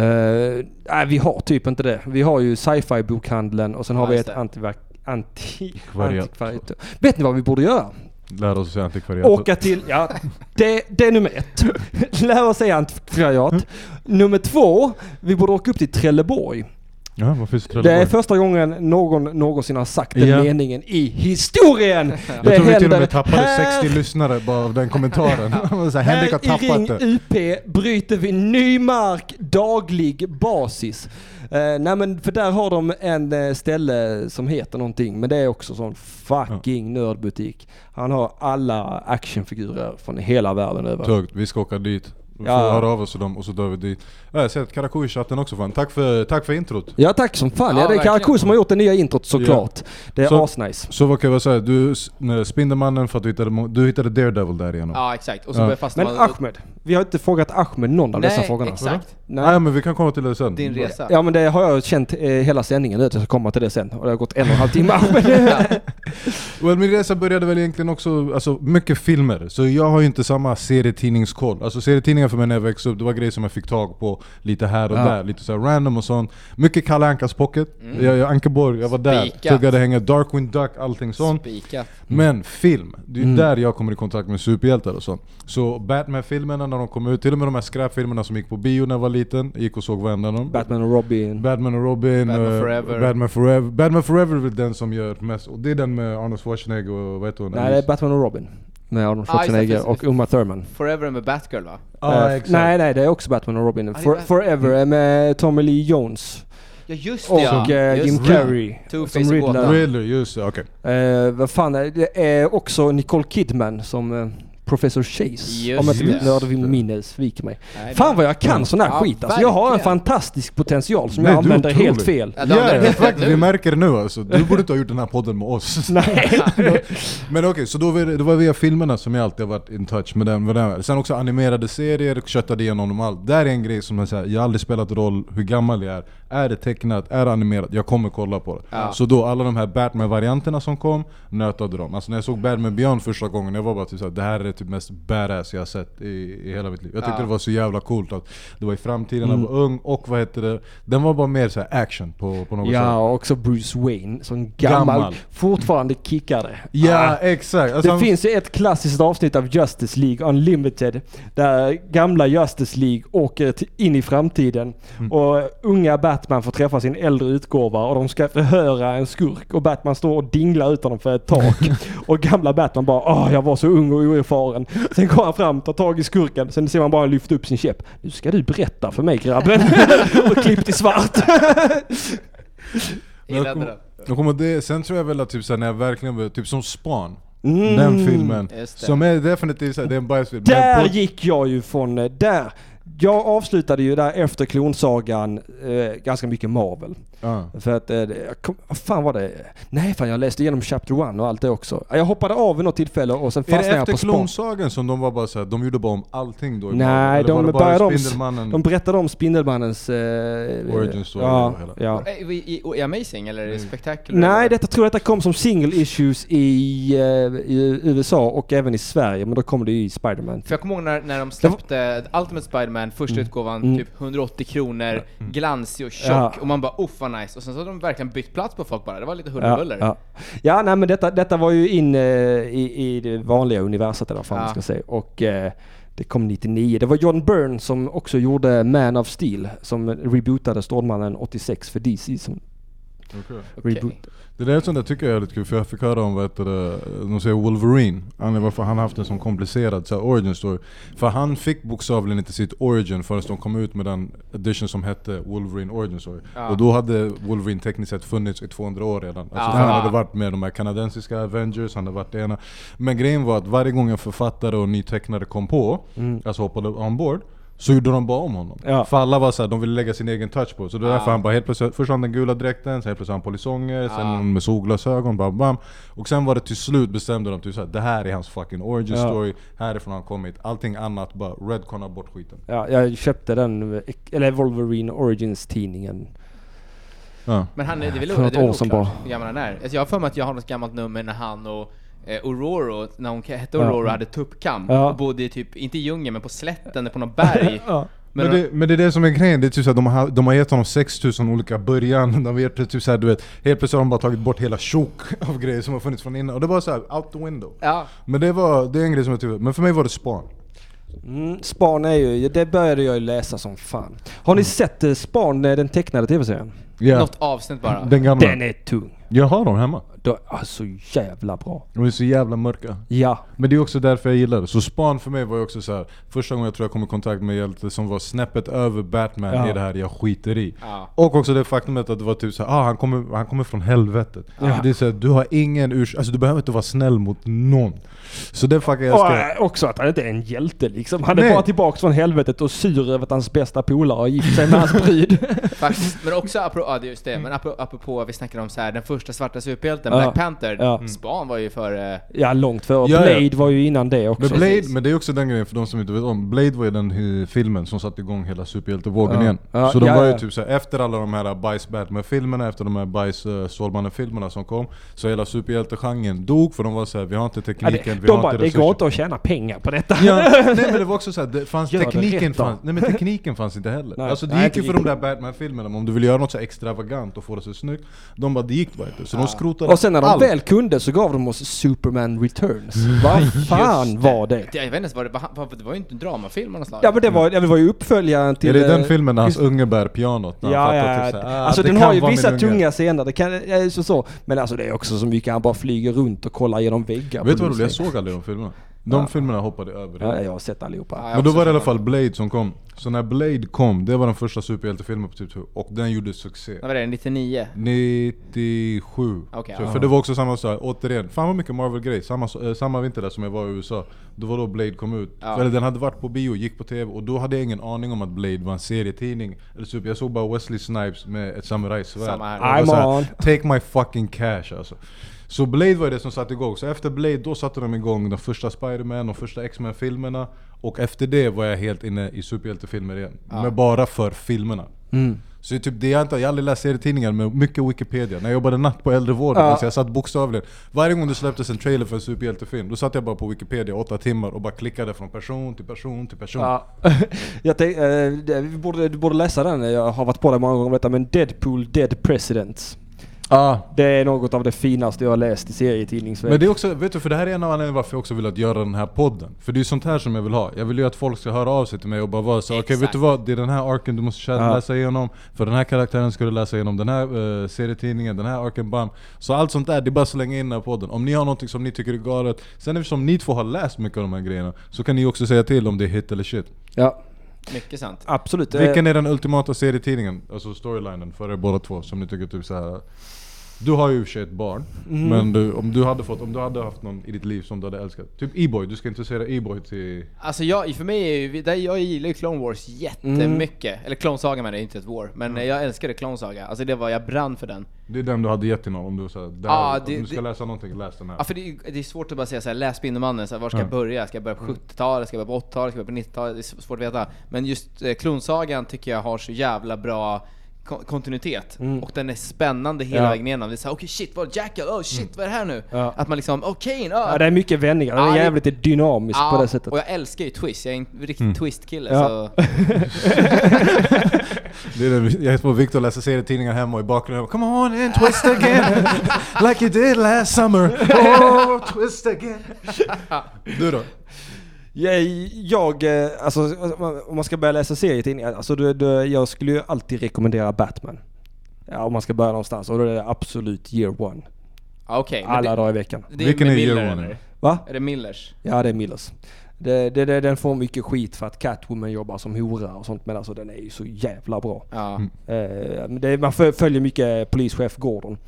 S2: Eh, nej, vi har typ inte det. Vi har ju sci-fi bokhandeln och sen har
S3: Ja,
S2: vi
S3: just
S2: ett
S3: det.
S2: antiverk... Anti...
S4: Variant.
S2: Antikvariat. Vet ni vad vi borde göra?
S4: Lär oss att säga antikvariat.
S2: Åka till... Ja, det, det är nummer ett. [laughs] Lära oss säga antikvariat. Nummer två, vi borde åka upp till Trelleborg.
S4: Ja, vad finns det,
S2: Det är första gången någon någonsin har sagt den
S4: Ja.
S2: meningen i historien.
S4: jag tror vi till och med tappade
S2: här
S4: 60 lyssnare bara av
S3: [laughs]
S4: den kommentaren. [laughs] så här, Henrik har
S2: här i Ring
S4: tappat det.
S2: UP bryter vi ny mark daglig basis. Eh, nej men för där har de en eh, ställe som heter någonting men det är också sån fucking nördbutik. Han har alla actionfigurer från hela världen över.
S4: Tungt, vi ska åka dit. Vi får
S2: Ja.
S4: höra av oss till dem och så drar vi dit. Ja, Jag ser att Karakou i chatten också fan. Tack för, tack för introt.
S2: Ja tack som fan. Ja,
S3: Ja,
S2: det är
S3: verkligen.
S2: Karakou som har gjort det nya introt såklart. Det är
S4: Så-
S2: asnice.
S4: Så vad kan jag säga? Du, s- nej, Spindelmannen för att du hittade, mo- du hittade Daredevil där igenom.
S3: Ja, exakt. Och så
S4: Ja.
S3: började fastna
S2: Men Ahmed, vi har inte frågat Ahmed någon av
S3: Nej,
S2: dessa frågorna.
S3: exakt.
S4: Nej.
S2: Nej.
S4: men vi kan komma till det sen.
S3: Din resa.
S2: Ja men det har jag känt eh, hela sändningen nu att jag ska komma till det sen. Och det har gått en och en halv
S3: [laughs]
S2: timme. Ahmed.
S4: Well, min resa började väl egentligen också, alltså mycket filmer. Så jag har ju inte samma serietidningskoll. Alltså serietidningar för mig när jag växte upp, det var grejer som jag fick tag på lite här och där. Lite så här random och sånt. Mycket Kalle Ankas pocket. Jag, jag, Ankeborg, jag var där.
S3: Mm. Spikat.
S4: Tuggade hänga, Darkwing Duck, allting sånt.
S3: Spikat.
S2: Mm.
S4: Men film, det är ju där jag kommer i kontakt med superhjältar och sånt. Så Batman-filmerna när de kom ut, till och med de här skräpfilmerna som gick på bio när jag var liten, jag gick och såg varenda dem.
S2: Batman och Robin.
S4: Batman och Robin,
S3: Batman
S4: eh,
S3: Forever.
S4: Batman Forever. Batman Forever är väl den som gör mest, och det är den med Arnold Schwarzenegger och vad heter hon?
S2: Nej, det är Batman och Robin. Med Arnold
S3: Ah, just det,
S2: Schwarzenegger
S3: precis,
S2: och Uma Thurman.
S3: Forever med Batgirl va?
S4: ah,
S2: Eh,
S4: exakt.
S2: nej, nej, det är också Batman och Robin.
S3: det är
S2: For,
S3: Bat-
S2: forever är med Tommy Lee Jones.
S3: Ja just det
S2: Och
S3: ja!
S2: eh,
S3: Just
S2: Jim
S3: det.
S2: Carrey.
S3: Two-Face
S2: Som
S3: och
S2: Riddler.
S4: Riddler, just det, okej.
S2: Eh, vad fan är det? det? är också Nicole Kidman som eh, Professor Chase.
S3: Just
S2: om jag
S3: det.
S2: inte nördminne sviker mig.
S3: Nej,
S2: Fan vad jag kan sån här
S3: Ja,
S2: skit alltså. Jag har en
S3: verkligen.
S2: fantastisk potential som
S4: Nej,
S2: jag
S4: du är
S2: använder helt
S4: otrolig.
S2: fel. [laughs]
S3: Ja, [laughs] det
S4: Ja,
S3: använder
S4: ja,
S3: jag
S4: faktiskt. Vi
S3: nu.
S4: märker det nu alltså. Du borde inte ha gjort den här podden med oss.
S2: [laughs] Nej.
S4: Men okej, så då var det, det var via filmerna som jag alltid har varit in touch med den. Med den. Sen också animerade serier, köttade igenom dem allt. Där är en grej som jag säger, jag har aldrig spelat roll hur gammal jag är. Är det tecknat, är det animerat, jag kommer kolla på det. Så då alla de här Batman-varianterna som kom, nötade dem. Alltså när jag såg Batman Beyond första gången, jag var bara typ såhär, det här är det typ mest badass jag har sett i, i hela mitt liv. Jag tyckte det var så jävla coolt att det var i framtiden, jag
S2: Mm.
S4: var ung och vad hette det? Den var bara mer så här action på, på något sätt.
S2: Ja, och också Bruce Wayne som gammal,
S4: Gammal.
S2: fortfarande kickare.
S4: Ja, exakt! Alltså,
S2: Det
S4: han-
S2: finns ju ett klassiskt avsnitt av Justice League Unlimited där gamla Justice League åker till- in i framtiden
S4: Mm.
S2: och unga Batman får träffa sin äldre utgåva och de ska förhöra en skurk och Batman står och dinglar ut honom för ett
S4: [laughs]
S2: tak och gamla Batman bara åh jag var så ung och oerfaren. Sen går han fram, tar tag i skurken, sen ser man bara lyfta upp sin käpp. Nu ska du berätta för mig grabben. [laughs] och klippt i svart.
S3: Gillade den.
S4: Då kommer det, sen tror jag väl att typ såhär, när jag verkligen började, typ som Span.
S2: Mm.
S4: Den filmen.
S3: Just det.
S4: Som är definitivt såhär, det är en bajsfilm. men
S2: Där
S4: på-
S2: gick jag ju från, eh, där. Jag avslutade ju där efter klonsagan eh, ganska mycket Marvel.
S4: Ja.
S2: För att, eh, jag kom, vad fan var det? Nej fan jag läste igenom Chapter 1 och allt det också. Jag hoppade av vid något tillfälle och sen
S4: Är det
S2: fastnade jag
S4: efter
S2: på Spawn.
S4: Klonsagan som de var bara såhär, de gjorde bara om allting då? i Marvel?
S2: Nej,
S4: Eller var
S2: de,
S4: det bara
S2: började om,
S4: Spindelmannen?
S2: de berättade om Spindelmannens... Eh,
S4: Origin story
S2: Ja,
S4: och hela-
S2: ja.
S3: Är vi Eh, i- i- i Amazing eller är det Spectacular?
S2: Mm. Nej,
S3: eller?
S2: detta tror jag detta kom som single issues i, eh, i USA och även i Sverige, men då kom det ju i Spiderman.
S3: För jag kommer ihåg när, när de släppte Ultimate Spider-Man, första
S2: Mm.
S3: utgåvan, typ 180 kronor, glansig och tjock.
S2: Ja.
S3: Och man bara uff vad nice. Och sen så hade de verkligen bytt plats på folk bara. Det var lite huller och
S2: Ja,
S3: buller.
S2: ja. ja, nej men detta, detta var ju in eh, i, i det vanliga universet eller vad fan man
S3: Ja.
S2: ska säga. Och eh, det kom 99. Det var John Byrne som också gjorde Man of Steel som rebootade Stålmannen 86 för DC som
S4: Okej.
S3: Okej.
S2: reboot.
S4: Det där är sånt där tycker jag är lite kul, för jag fick höra om vad heter det, de säger Wolverine, han, är- varför han har haft en sån komplicerad så här, origin story. För han fick bokstavligen inte sitt origin förrän de kom ut med den edition som hette Wolverine origin story. Och då hade Wolverine tekniskt sett funnits i 200 år redan. Alltså, för Han hade varit med de här kanadensiska Avengers, han hade varit det ena. Men grejen var att varje gång en författare och nytecknare kom på, alltså hoppade ombord, så gjorde de bara om honom.
S2: Ja.
S4: För alla var såhär, de ville lägga sin egen touch på det. Så det var därför han bara helt plötsligt, först har han den gula dräkten, sen helt plötsligt har han polisonger, sen någon med solglasögon, bam bam. Och sen var det till slut bestämde de typ såhär, det här är hans fucking origin story, härifrån har han kommit. Allting annat bara redconna bort skiten.
S2: Ja, jag köpte den, eh, eller Wolverine Origins tidningen.
S4: Ja.
S3: Men han, är- det är väl, det
S2: För
S3: är
S2: något
S3: väl
S2: år sedan
S3: oklart
S2: bara.
S3: hur gammal han är. Alltså jag har för mig att jag har något gammalt nummer när han och eh, Aurora, när hon hette Aurora, hade tuppkam.
S2: Ja.
S3: Och bodde i typ, inte i djungeln, men på slätten, på
S2: [laughs]
S3: något berg.
S4: Men, det, men det är det som är grejen, det är typ såhär, de, har, de har gett honom 6000 olika början, de har gett typ såhär, du vet, helt plötsligt har de bara tagit bort hela tjok av grejer som har funnits från innan. Och det var såhär, out the window.
S3: Ja.
S4: Men det, var, det är en grej som jag tycker, men för mig var det Spawn.
S2: Mm, Span är ju, det började jag ju läsa som fan. Har ni sett eh, Span, eh, den tecknade tv-serien?
S4: Ja.
S3: Något avsnitt bara.
S4: Den gamla.
S2: Den är tung.
S4: Jag har dem hemma.
S2: De är så alltså, jävla bra.
S4: De är så jävla mörka.
S2: Ja.
S4: Men det är också därför jag gillar det. Så Span för mig var ju också så här. första gången jag tror jag kom i kontakt med en hjälte som var snäppet över Batman
S2: Ja.
S4: i det här jag skiter i.
S3: Ja.
S4: Och också det faktumet att det var typ så här, ah, han, kommer, han kommer från helvetet. Det är så här, du har ingen ursäkt, alltså du behöver inte vara snäll mot någon. Så det fuckar jag
S2: Och
S4: ska...
S2: äh, också att han inte är en hjälte liksom. Han är
S4: Nej.
S2: bara tillbaks från helvetet och sur över att hans bästa polare har gift sig med hans
S4: [laughs]
S2: brud.
S3: Faktiskt. Men också apropå, ja, det är just det, men apropå, apropå vi snackade om så här, den första svarta superhjälten,
S2: Mm. Ja.
S3: Black Panther.
S2: Ja.
S3: Span var ju eh, före...
S2: ja, långt före.
S4: Ja, ja.
S2: Blade var ju innan det också.
S4: Men Blade,
S3: Precis.
S4: men det är också den grejen för de som inte vet om, Blade var ju den hi- filmen som satte igång hela superhjältevågen
S2: Ja.
S4: igen.
S2: Ja,
S4: så de
S2: ja,
S4: var ju
S2: ja.
S4: typ såhär, efter alla de här bajs Batman-filmerna, efter de här bajs eh, Stålmannen-filmerna som kom, så hela superhjältegenren dog för de var såhär, vi har inte
S2: Ja,
S4: tekniken,
S2: det,
S4: vi
S2: de
S4: har
S2: bara,
S4: inte
S2: det
S4: resurser.
S2: går inte att tjäna pengar på detta.
S4: Ja, nej men det var också såhär, det
S2: [laughs]
S4: fanns
S2: Gör det
S4: tekniken
S2: rätt då.
S4: fanns, nej, men tekniken fanns inte heller.
S2: Nej.
S4: Alltså det
S2: Nej,
S4: gick ju
S2: det
S4: för de
S2: gick-
S4: där Batman-filmerna, men om du ville göra något så här extravagant och få det så snyggt, de bara det gick bara inte. Så de skrotade
S2: Och sen när de
S4: allt.
S2: väl kunde så gav de oss Superman Returns.
S4: [laughs]
S2: Vad fan var det?
S3: Jag vet inte ens vad det var, vad- det var ju inte en dramafilm av något slag.
S2: Ja men det var, ja, det var ju uppföljaren till...
S4: Är det den
S2: eh,
S4: filmen när hans unge bär pianot? När
S2: Ja,
S4: han
S2: ja,
S4: fattar
S2: ja.
S4: typ såhär, ah,
S2: alltså
S4: det
S2: den
S4: kan
S2: har ju
S4: vara min
S2: vissa
S4: unge.
S2: tunga scener, det kan, eh, så, så. Men alltså det är också så mycket han bara flyger runt och kollar genom väggar.
S4: Vet
S2: på
S4: du vad roligt? Jag
S2: Lucy.
S4: såg aldrig de filmerna. De
S2: Ja.
S4: filmerna hoppade över.
S2: Ja, jag har sett allihopa.
S4: Men då var det i alla fall Blade som kom. Så när Blade kom, det var den första superhjältefilmen på typ 2 och den gjorde succé.
S3: När var det? 99?
S4: 97.
S3: Okej,
S4: så,
S3: ja.
S4: För det var också samma sak, återigen, fan vad mycket Marvel-grej. Samma, så- eh, samma vinter där som jag var i USA, då var då Blade kom ut.
S3: Ja.
S4: Eller den hade varit på bio, gick på TV och då hade jag ingen aning om att Blade var en serietidning. Eller typ, jag såg bara Wesley Snipes med ett samurajsvärd.
S3: Samma här.
S4: Och jag var
S2: I'm
S4: så här,
S2: on.
S4: Take my fucking cash alltså. Så Blade var det som satte igång. Så efter Blade, då satte de igång de första Spider-Man, de första X-Men-filmerna. Och efter det var jag helt inne i superhjältefilmer igen. Men bara för filmerna.
S2: Mm.
S4: Så det är typ det jag inte, jag har aldrig läst serietidningar men mycket Wikipedia. När jag jobbade natt på äldrevården, alltså jag satt bokstavligen. Varje gång det släpptes en trailer för en superhjältefilm, då satt jag bara på Wikipedia åtta timmar och bara klickade från person till person till person.
S2: Ja. [laughs] jag tänk, eh, det- vi borde, du borde läsa den, jag har varit på den många gånger om detta, men Deadpool Dead Presidents.
S4: Ah,
S2: Det är något av det finaste jag har läst i serietidningsväg.
S4: Men det är också, vet du, för det här är en av anledningarna varför jag också vill att göra den här podden. För det är ju sånt här som jag vill ha. Jag vill ju att folk ska höra av sig till mig och bara vara så okej vet du vad, det är den här arken du måste kä- läsa igenom, för den här karaktären ska du läsa igenom, den här eh, serietidningen, den här arken, bam. Så allt sånt där, det är bara att slänga in den här podden. Om ni har någonting som ni tycker är galet, sen eftersom ni två har läst mycket av de här grejerna, så kan ni också säga till om det är hit eller shit.
S2: Ja,
S3: Mycket sant.
S2: absolut.
S4: Vilken är den ultimata serietidningen, alltså storylinen för er båda två som ni tycker typ så här. Du har ju i och för sig ett barn,
S3: Mm.
S4: men du, om, du hade fått, om du hade haft någon i ditt liv som du hade älskat. Typ E-boy, du ska introducera E-boy till...
S3: Alltså jag, för mig är ju, där- jag gillar ju Clone Wars jättemycket.
S2: Mm.
S3: Eller Clone Saga menar jag, inte ett War. Men eh, jag älskade Clone Saga. Alltså det var, jag brann för den.
S4: Det är den du hade gett till någon om du, så här, det här,
S3: Ah, det-
S4: om du ska
S3: det-
S4: läsa någonting, läs den här.
S3: Ja, för det, är ju- det är svårt att bara säga såhär, läs Spindelmannen, så här, var ska jag börja? Ska jag börja på
S2: Mm.
S3: 70-talet? Ska jag börja på 80-talet? Ska jag börja på 90-talet? Det är s- svårt att veta. Men just eh, Klonsagan tycker jag har så jävla bra ko- kontinuitet.
S2: Mm.
S3: Och den är spännande hela vägen igenom. Det är såhär, okej shit, vad Jackal? Oh shit, vad är det här nu? Att man liksom, oh Kane, oh.
S2: Mm. Ja, det är mycket vändningar, den
S3: Ja,
S2: är
S3: det-
S2: jävligt dynamisk
S3: Ja,
S2: på det sättet. Mm.
S3: och jag älskar ju twist. Jag är en riktig twist-kille.
S2: Ja.
S3: Så
S4: Det är den, jag får Viktor läsa serietidningar hemma och i bakgrunden Come on
S3: [laughs]
S4: in, twist again! like you did last summer! Oh,
S3: [laughs]
S4: twist again! Du då?
S2: Jag, jag eh, alltså, om man ska börja läsa serietidningar, alltså, du, du, jag skulle ju alltid rekommendera Batman. Ja, om man ska börja någonstans, och då är det absolut year one.
S3: ja, okej. men
S2: Alla
S3: det-
S2: dagar i veckan.
S3: det
S4: Vilken
S3: med
S4: är year
S3: Miller,
S4: one?
S3: eller?
S2: Va?
S3: Är det Millers?
S2: Ja, det är Millers. Det, det, det, den får mycket skit för att Catwoman jobbar som hora och sånt, men alltså den är ju så jävla bra.
S3: Ja.
S2: Eh, men det, man fö- följer mycket polischef Gordon.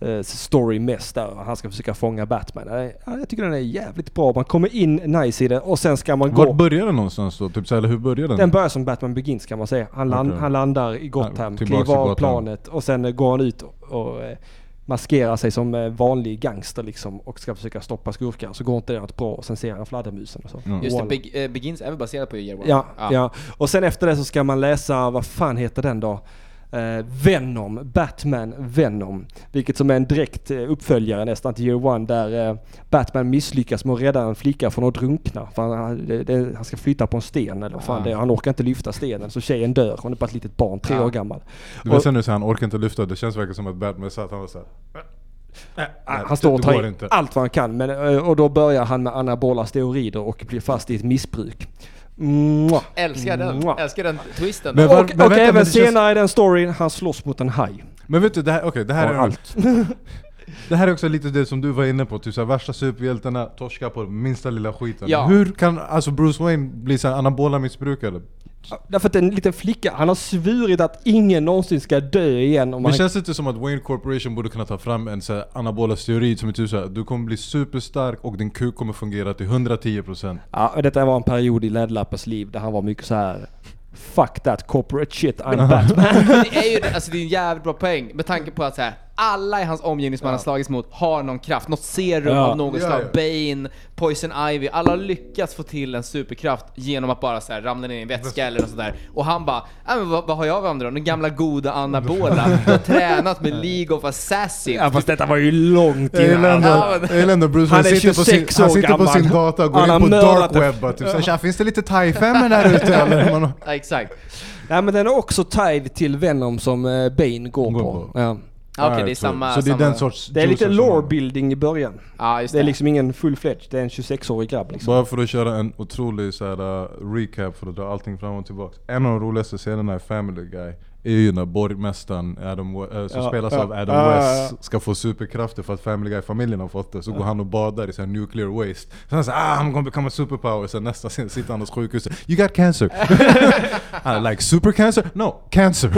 S2: Eh, story mest där, och han ska försöka fånga Batman. Eh, Ja, jag tycker den är jävligt bra. Man kommer in nice i det och sen ska man gå...
S4: Vart börjar den någonstans då? Typ så här, eller hur börjar den?
S2: Den börjar som Batman Begins kan man säga. Han, land,
S4: Okej.
S2: han landar i Gotham,
S4: Ja, tillbaks
S2: kliver
S4: till
S2: av
S4: Gotham.
S2: planet och sen eh, går han ut och, och eh, maskerar sig som eh, vanlig gangster liksom och ska försöka stoppa skurkar. Så går inte det något bra och sen ser han fladdermusen och så.
S3: Just det,
S2: Voilà.
S3: Beg- eh, Begins är väl baserat på Year One?
S2: Ja, ja. och sen efter det så ska man läsa, vad fan heter den då? Eh, Venom, Batman Venom. Vilket som är en direkt eh, uppföljare nästan till Year One där eh, Batman misslyckas med att rädda en flicka från att drunkna. För han, det, det, han ska flytta på en sten eller vad fan det är. Han orkar inte lyfta stenen så tjejen dör. Hon är bara ett litet barn, tre år gammal.
S4: Du vet sen nu så här, han orkar inte lyfta, det känns verkligen som att Batman satt, han var såhär
S2: ah, Han
S4: det-
S2: står och
S4: det
S2: tar
S4: går
S2: in
S4: inte.
S2: allt vad han kan. Men, eh, och då börjar han med anabola steroider och blir fast i ett missbruk. Mwah.
S3: Älskar den,
S2: Mwah.
S3: älskar den twisten.
S4: Men
S2: Och,
S4: var-
S2: och
S4: men vänta,
S2: även
S4: men det känns-
S2: senare i den storyn, han slåss mot en haj.
S4: Men vet du, det här, okej, det här
S2: Och
S4: är
S2: allt.
S4: Det här är också lite det som du var inne på, typ såhär, värsta superhjältarna torskar på minsta lilla skiten.
S3: Ja.
S4: Hur kan alltså Bruce Wayne bli såhär anabola missbrukare?
S2: Därför att en liten flicka, han har svurit att ingen någonsin ska dö igen om
S4: Men
S2: han...
S4: känns det inte som att Wayne Corporation borde kunna ta fram en såhär anabola steroid som är typ såhär, du kommer bli superstark och din kuk kommer fungera till 110%?
S2: Ja, och detta var en period i Läderlappes liv där han var mycket så här. Fuck that corporate shit, I'm Batman.
S4: [laughs]
S3: Det är ju det, alltså det är en jävligt bra poäng med tanke på att så här, alla i hans omgivning som han har slagits mot har någon kraft, något serum
S2: Ja.
S3: av något
S4: Ja,
S3: slag.
S4: ja.
S3: Bane, Poison Ivy, alla har lyckats få till en superkraft genom att bara så här, ramla ner i en vätska eller något sånt där. Och han bara, "Ja, men vad, vad har jag av andra då? Den gamla goda
S4: [laughs]
S3: anabola. Du har tränat med League of Assassins.
S2: ja, fast detta var ju långt
S4: Jag gillar
S2: innan.
S4: ändå-
S3: Ja, men-
S4: jag gillar ändå Bruce
S2: Han
S4: Wayne
S2: är
S4: sitter på sin,
S2: 26
S4: han
S2: år
S4: sitter på
S2: gammal.
S4: sin data och
S2: Han
S4: går
S2: har
S4: in på
S2: mördat
S4: dark
S2: det.
S4: web bara, typ såhär, "Tja, finns det lite thai-femmor där ute eller? Man,
S3: Ja, exakt.
S2: Nej men den är också tied till Venom som eh, Bane går
S4: Går
S2: på.
S4: på.
S2: Ja.
S3: Ja, Okej, det är
S4: Alright, så-
S3: samma...
S4: Så det är
S3: samma...
S4: den sorts
S2: Det är lite
S4: juicer som-
S2: lore building i början.
S3: Ja, just
S2: Det är
S3: det.
S2: liksom ingen full-fledged, det är en 26-årig grabb liksom.
S4: Bara för att köra en otrolig så här, uh, recap för att dra allting fram och tillbaka. En av de roligaste scenerna i Family Guy är ju när borgmästaren Adam, We- eh, som
S11: Ja,
S4: spelas
S11: ja,
S4: av Adam
S11: ja, ja,
S4: West
S11: ja.
S4: ska få superkrafter för att Family Guy-familjen har fått det. Så går han och badar i sån här nuclear waste. Sen så ah, I'm gonna become a superpower. Sen nästa scen sitter han hos sjukhuset. You got cancer. [laughs] Han är like super cancer? [laughs] No,
S3: [laughs]
S4: cancer.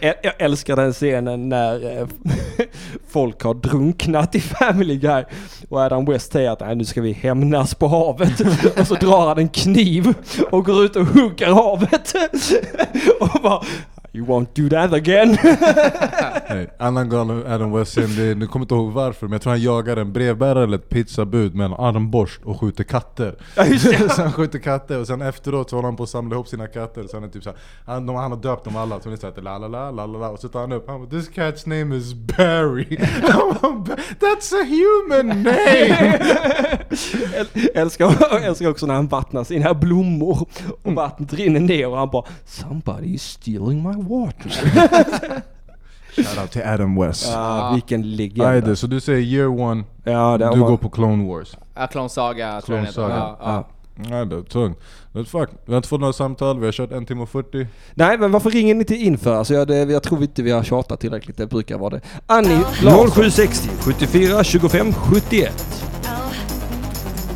S2: Jag jag älskar den scenen när eh, [laughs] folk har drunknat i Family Guy och Adam West säger att "Nej, nu ska vi hämnas på havet. [laughs] Och så drar han en kniv och går ut och hugger havet. [laughs] Och bara You won't do that again. [laughs]
S4: Nej, annan galen Adam West scen, det- nu kommer jag inte ihåg varför men jag tror han jagar en brevbärare eller ett pizzabud med en armborst och skjuter katter. [laughs] så han skjuter katter och sen efteråt så håller han på att samla ihop sina katter. Så han, är typ så här, han, de, han har döpt dem alla, så han är såhär la la la la la la och så tar han upp, han bara 'This cat's name is Barry' [laughs] That's a human name!
S2: [laughs] Äl- älskar, älskar också när han vattnar sina blommor och vattnet rinner ner och han bara Somebody is stealing my
S4: [laughs]
S2: water.
S4: Shoutout till Adam West.
S2: Ah, vilken legend.
S4: Ajde, så du säger year one,
S2: Ja, det
S4: du
S2: var-
S4: går på Clone Wars.
S3: Ja, Klonsaga tror jag den heter.
S4: Klonsaga.
S3: Ja, ja.
S4: Nej det är tungt. That's fuck. Vi har inte fått några samtal, vi har kört en timme och 40.
S2: Nej, men varför ringer ni inte in för? Alltså, jag, det, jag tror inte vi har tjatat tillräckligt. Det brukar vara det. Annie Larsson.
S9: 0760 74 25 71.
S7: Oh.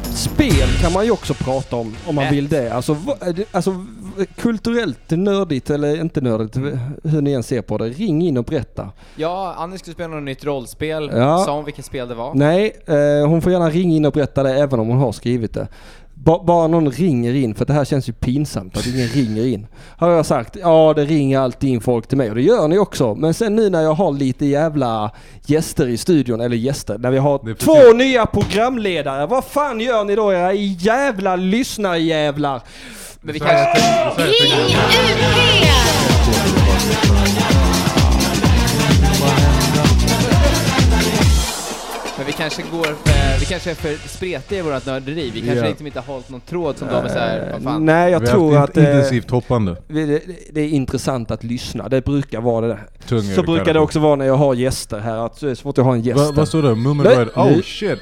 S2: Spel kan man ju också prata om, om man vill det. Alltså, va- är det- alltså v- kulturellt nördigt eller inte nördigt, v- hur ni än ser på det. Ring in och berätta.
S3: ja Annie skulle spela något nytt rollspel.
S2: Ja.
S3: Sa hon vilket spel det var?
S2: Nej, eh, hon får gärna ringa in och berätta det även om hon har skrivit det. Ba bara någon ringer in, för det här känns ju pinsamt att ingen ringer in. Har jag sagt, ja det ringer alltid in folk till mig och det gör ni också. Men sen nu när jag har lite jävla gäster i studion, eller gäster, när vi
S4: Det är
S2: har
S4: precis-
S2: två nya programledare. Vad fan gör ni då era jävla lyssnarjävlar?
S3: Men vi kanske... Men vi kanske går för, vi kanske är för spretiga i vårt nörderi. Vi kanske
S4: Ja.
S3: liksom inte har hållit någon tråd som de är såhär, vad fan.
S2: Nej, jag
S4: vi har
S2: tror
S4: haft
S2: att...
S4: in-
S2: eh,
S4: intensivt hoppande.
S2: Det, det- det är intressant att lyssna. Det brukar vara det.
S4: Tung
S2: Så
S4: överkallelse.
S2: brukar det också vara när jag har gäster här. Att så är det svårt att ha en gäst.
S4: Va, vad står det? Moomin
S2: Nej,
S4: Rider? Oh
S2: nej.
S4: shit!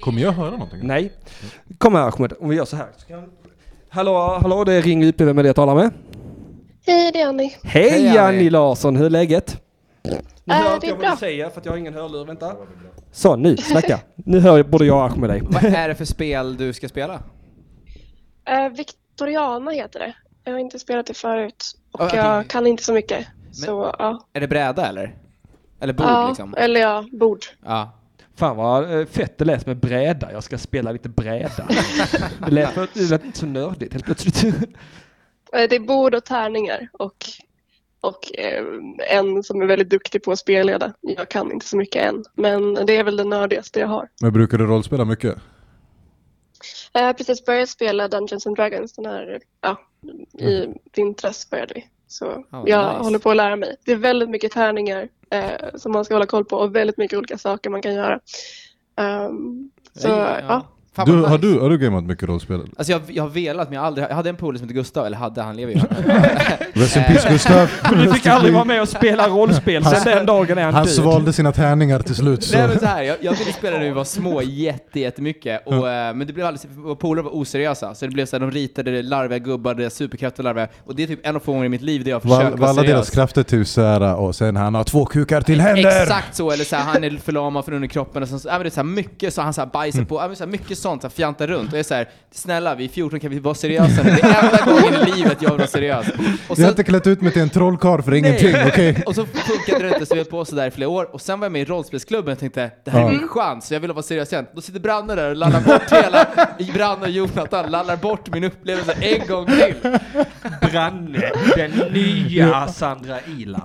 S4: Kommer jag höra någonting?
S2: Nej. Kom här Ahmed, om vi gör så här. Så kan- Hallå, hallå, det är Ring UP, vem är det jag talar med?
S12: Hej, det är Annie.
S2: Hej,
S3: Hej, Annie.
S2: Annie Larsson, hur är läget? Nu
S12: Äh,
S2: hör
S12: det
S2: inte
S12: är
S2: jag vad
S12: bra.
S2: du säger för att jag har ingen hörlur, vänta. Så, nu, snacka. Nu hör jag- både jag och Ahmed dig.
S3: Vad är det för spel du ska spela?
S12: Eh, Victoriana heter det. Jag har inte spelat det förut och
S3: Ja, jag
S12: jag
S3: tänkte-
S12: kan inte så mycket. Så ja.
S3: Är det bräda eller? Eller bord
S12: ja
S3: liksom?
S12: Eller ja, bord.
S3: Ja.
S2: Fan vad eh, fett det lät med bräda, jag ska spela lite bräda. Det lät, det lät inte så nördigt helt plötsligt.
S12: Eh, Det är bord och tärningar och, och eh, en som är väldigt duktig på att spelleda. Jag kan inte så mycket än, men det är väl det nördigaste jag har.
S4: Men brukar du rollspela mycket?
S12: Jag har Eh, precis börjat spela Dungeons and Dragons den här, ja, i vintras började vi. Så
S3: Mm. vad
S12: jag
S3: nice.
S12: håller på att lära mig. Det är väldigt mycket tärningar eh, som man ska hålla koll på och väldigt mycket olika saker man kan göra. Ehm, så ja.
S3: Fan,
S4: Du,
S3: vad
S4: har,
S3: nice.
S4: du, har du gameat mycket rollspel?
S3: Alltså jag, jag har velat men jag har aldrig, jag hade en polare som hette Gustav, eller hade, han lever ju.
S4: Rest in
S3: [laughs]
S4: peace Gustav!
S2: Du fick aldrig vara med och spela rollspel, sen den dagen är han
S4: Han
S2: död.
S4: svalde sina tärningar till slut så...
S3: Nej men så här, jag, jag ville spela när vi var
S4: [laughs]
S3: små jätte, jättemycket, och, eh, men det blev alldeles, våra polare var oseriösa, så det blev så här, de ritade larviga gubbar, det är superkraftiga larver, och det är typ en av få gånger i mitt liv där jag försöker
S4: Var, var
S3: vara
S4: alla deras
S3: seriös.
S4: krafter till såhär och sen han har två kukar till händer!
S3: Exakt så, eller så här, han är förlamad från underkroppen och sen så, ja, men det är så här, mycket så han så här,
S4: Mm.
S3: bajsar på, ja, men så här, mycket sånt, så här, fjantar runt och jag är så här, snälla vi är 14 kan vi vara seriösa nu? Det är enda gången i livet jag vill vara seriös. Och
S4: Jag har
S3: sen,
S4: inte klätt ut mig till en trollkarl för ingenting, okej?
S3: och så funkade det inte så vi höll på sådär i flera år och sen var jag med i rollspelsklubben och tänkte det här är min chans, jag vill vara seriös igen. Då sitter Branne där och lallar bort hela, Branne och Jonathan lallar bort min upplevelse en gång till.
S2: Branne, den nya Sandra Ilar.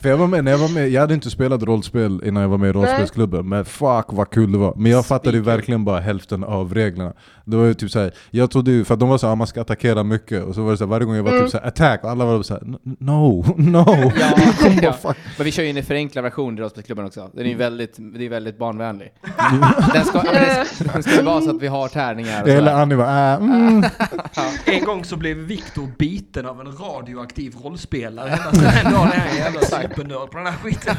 S4: För jag var med, när jag var med, jag hade inte spelat rollspel innan jag var med i rollspelsklubben, men fuck vad kul det var. Men jag fattade ju verkligen bara hälften av reglerna. Det var ju typ såhär, jag trodde ju, för att de var såhär, ah, man ska attackera mycket, och så var det såhär, varje gång jag var typ såhär, attack, och alla var såhär, "N- no, [laughs] no.
S3: Mm. Ja, ja.
S4: fuck.
S3: Men vi kör ju en förenklad version i rollspelsklubben också. Den är ju väldigt, det är väldigt barnvänlig. Den ska, ja, men den ska, den ska ju vara så att vi har tärningar och
S4: Eller
S3: sådär.
S4: Annie bara, äh, mm.
S2: En gång så blev Viktor biten av en radioaktiv rollspelare. Hela den dagen är han jävla supernörd på den här skiten.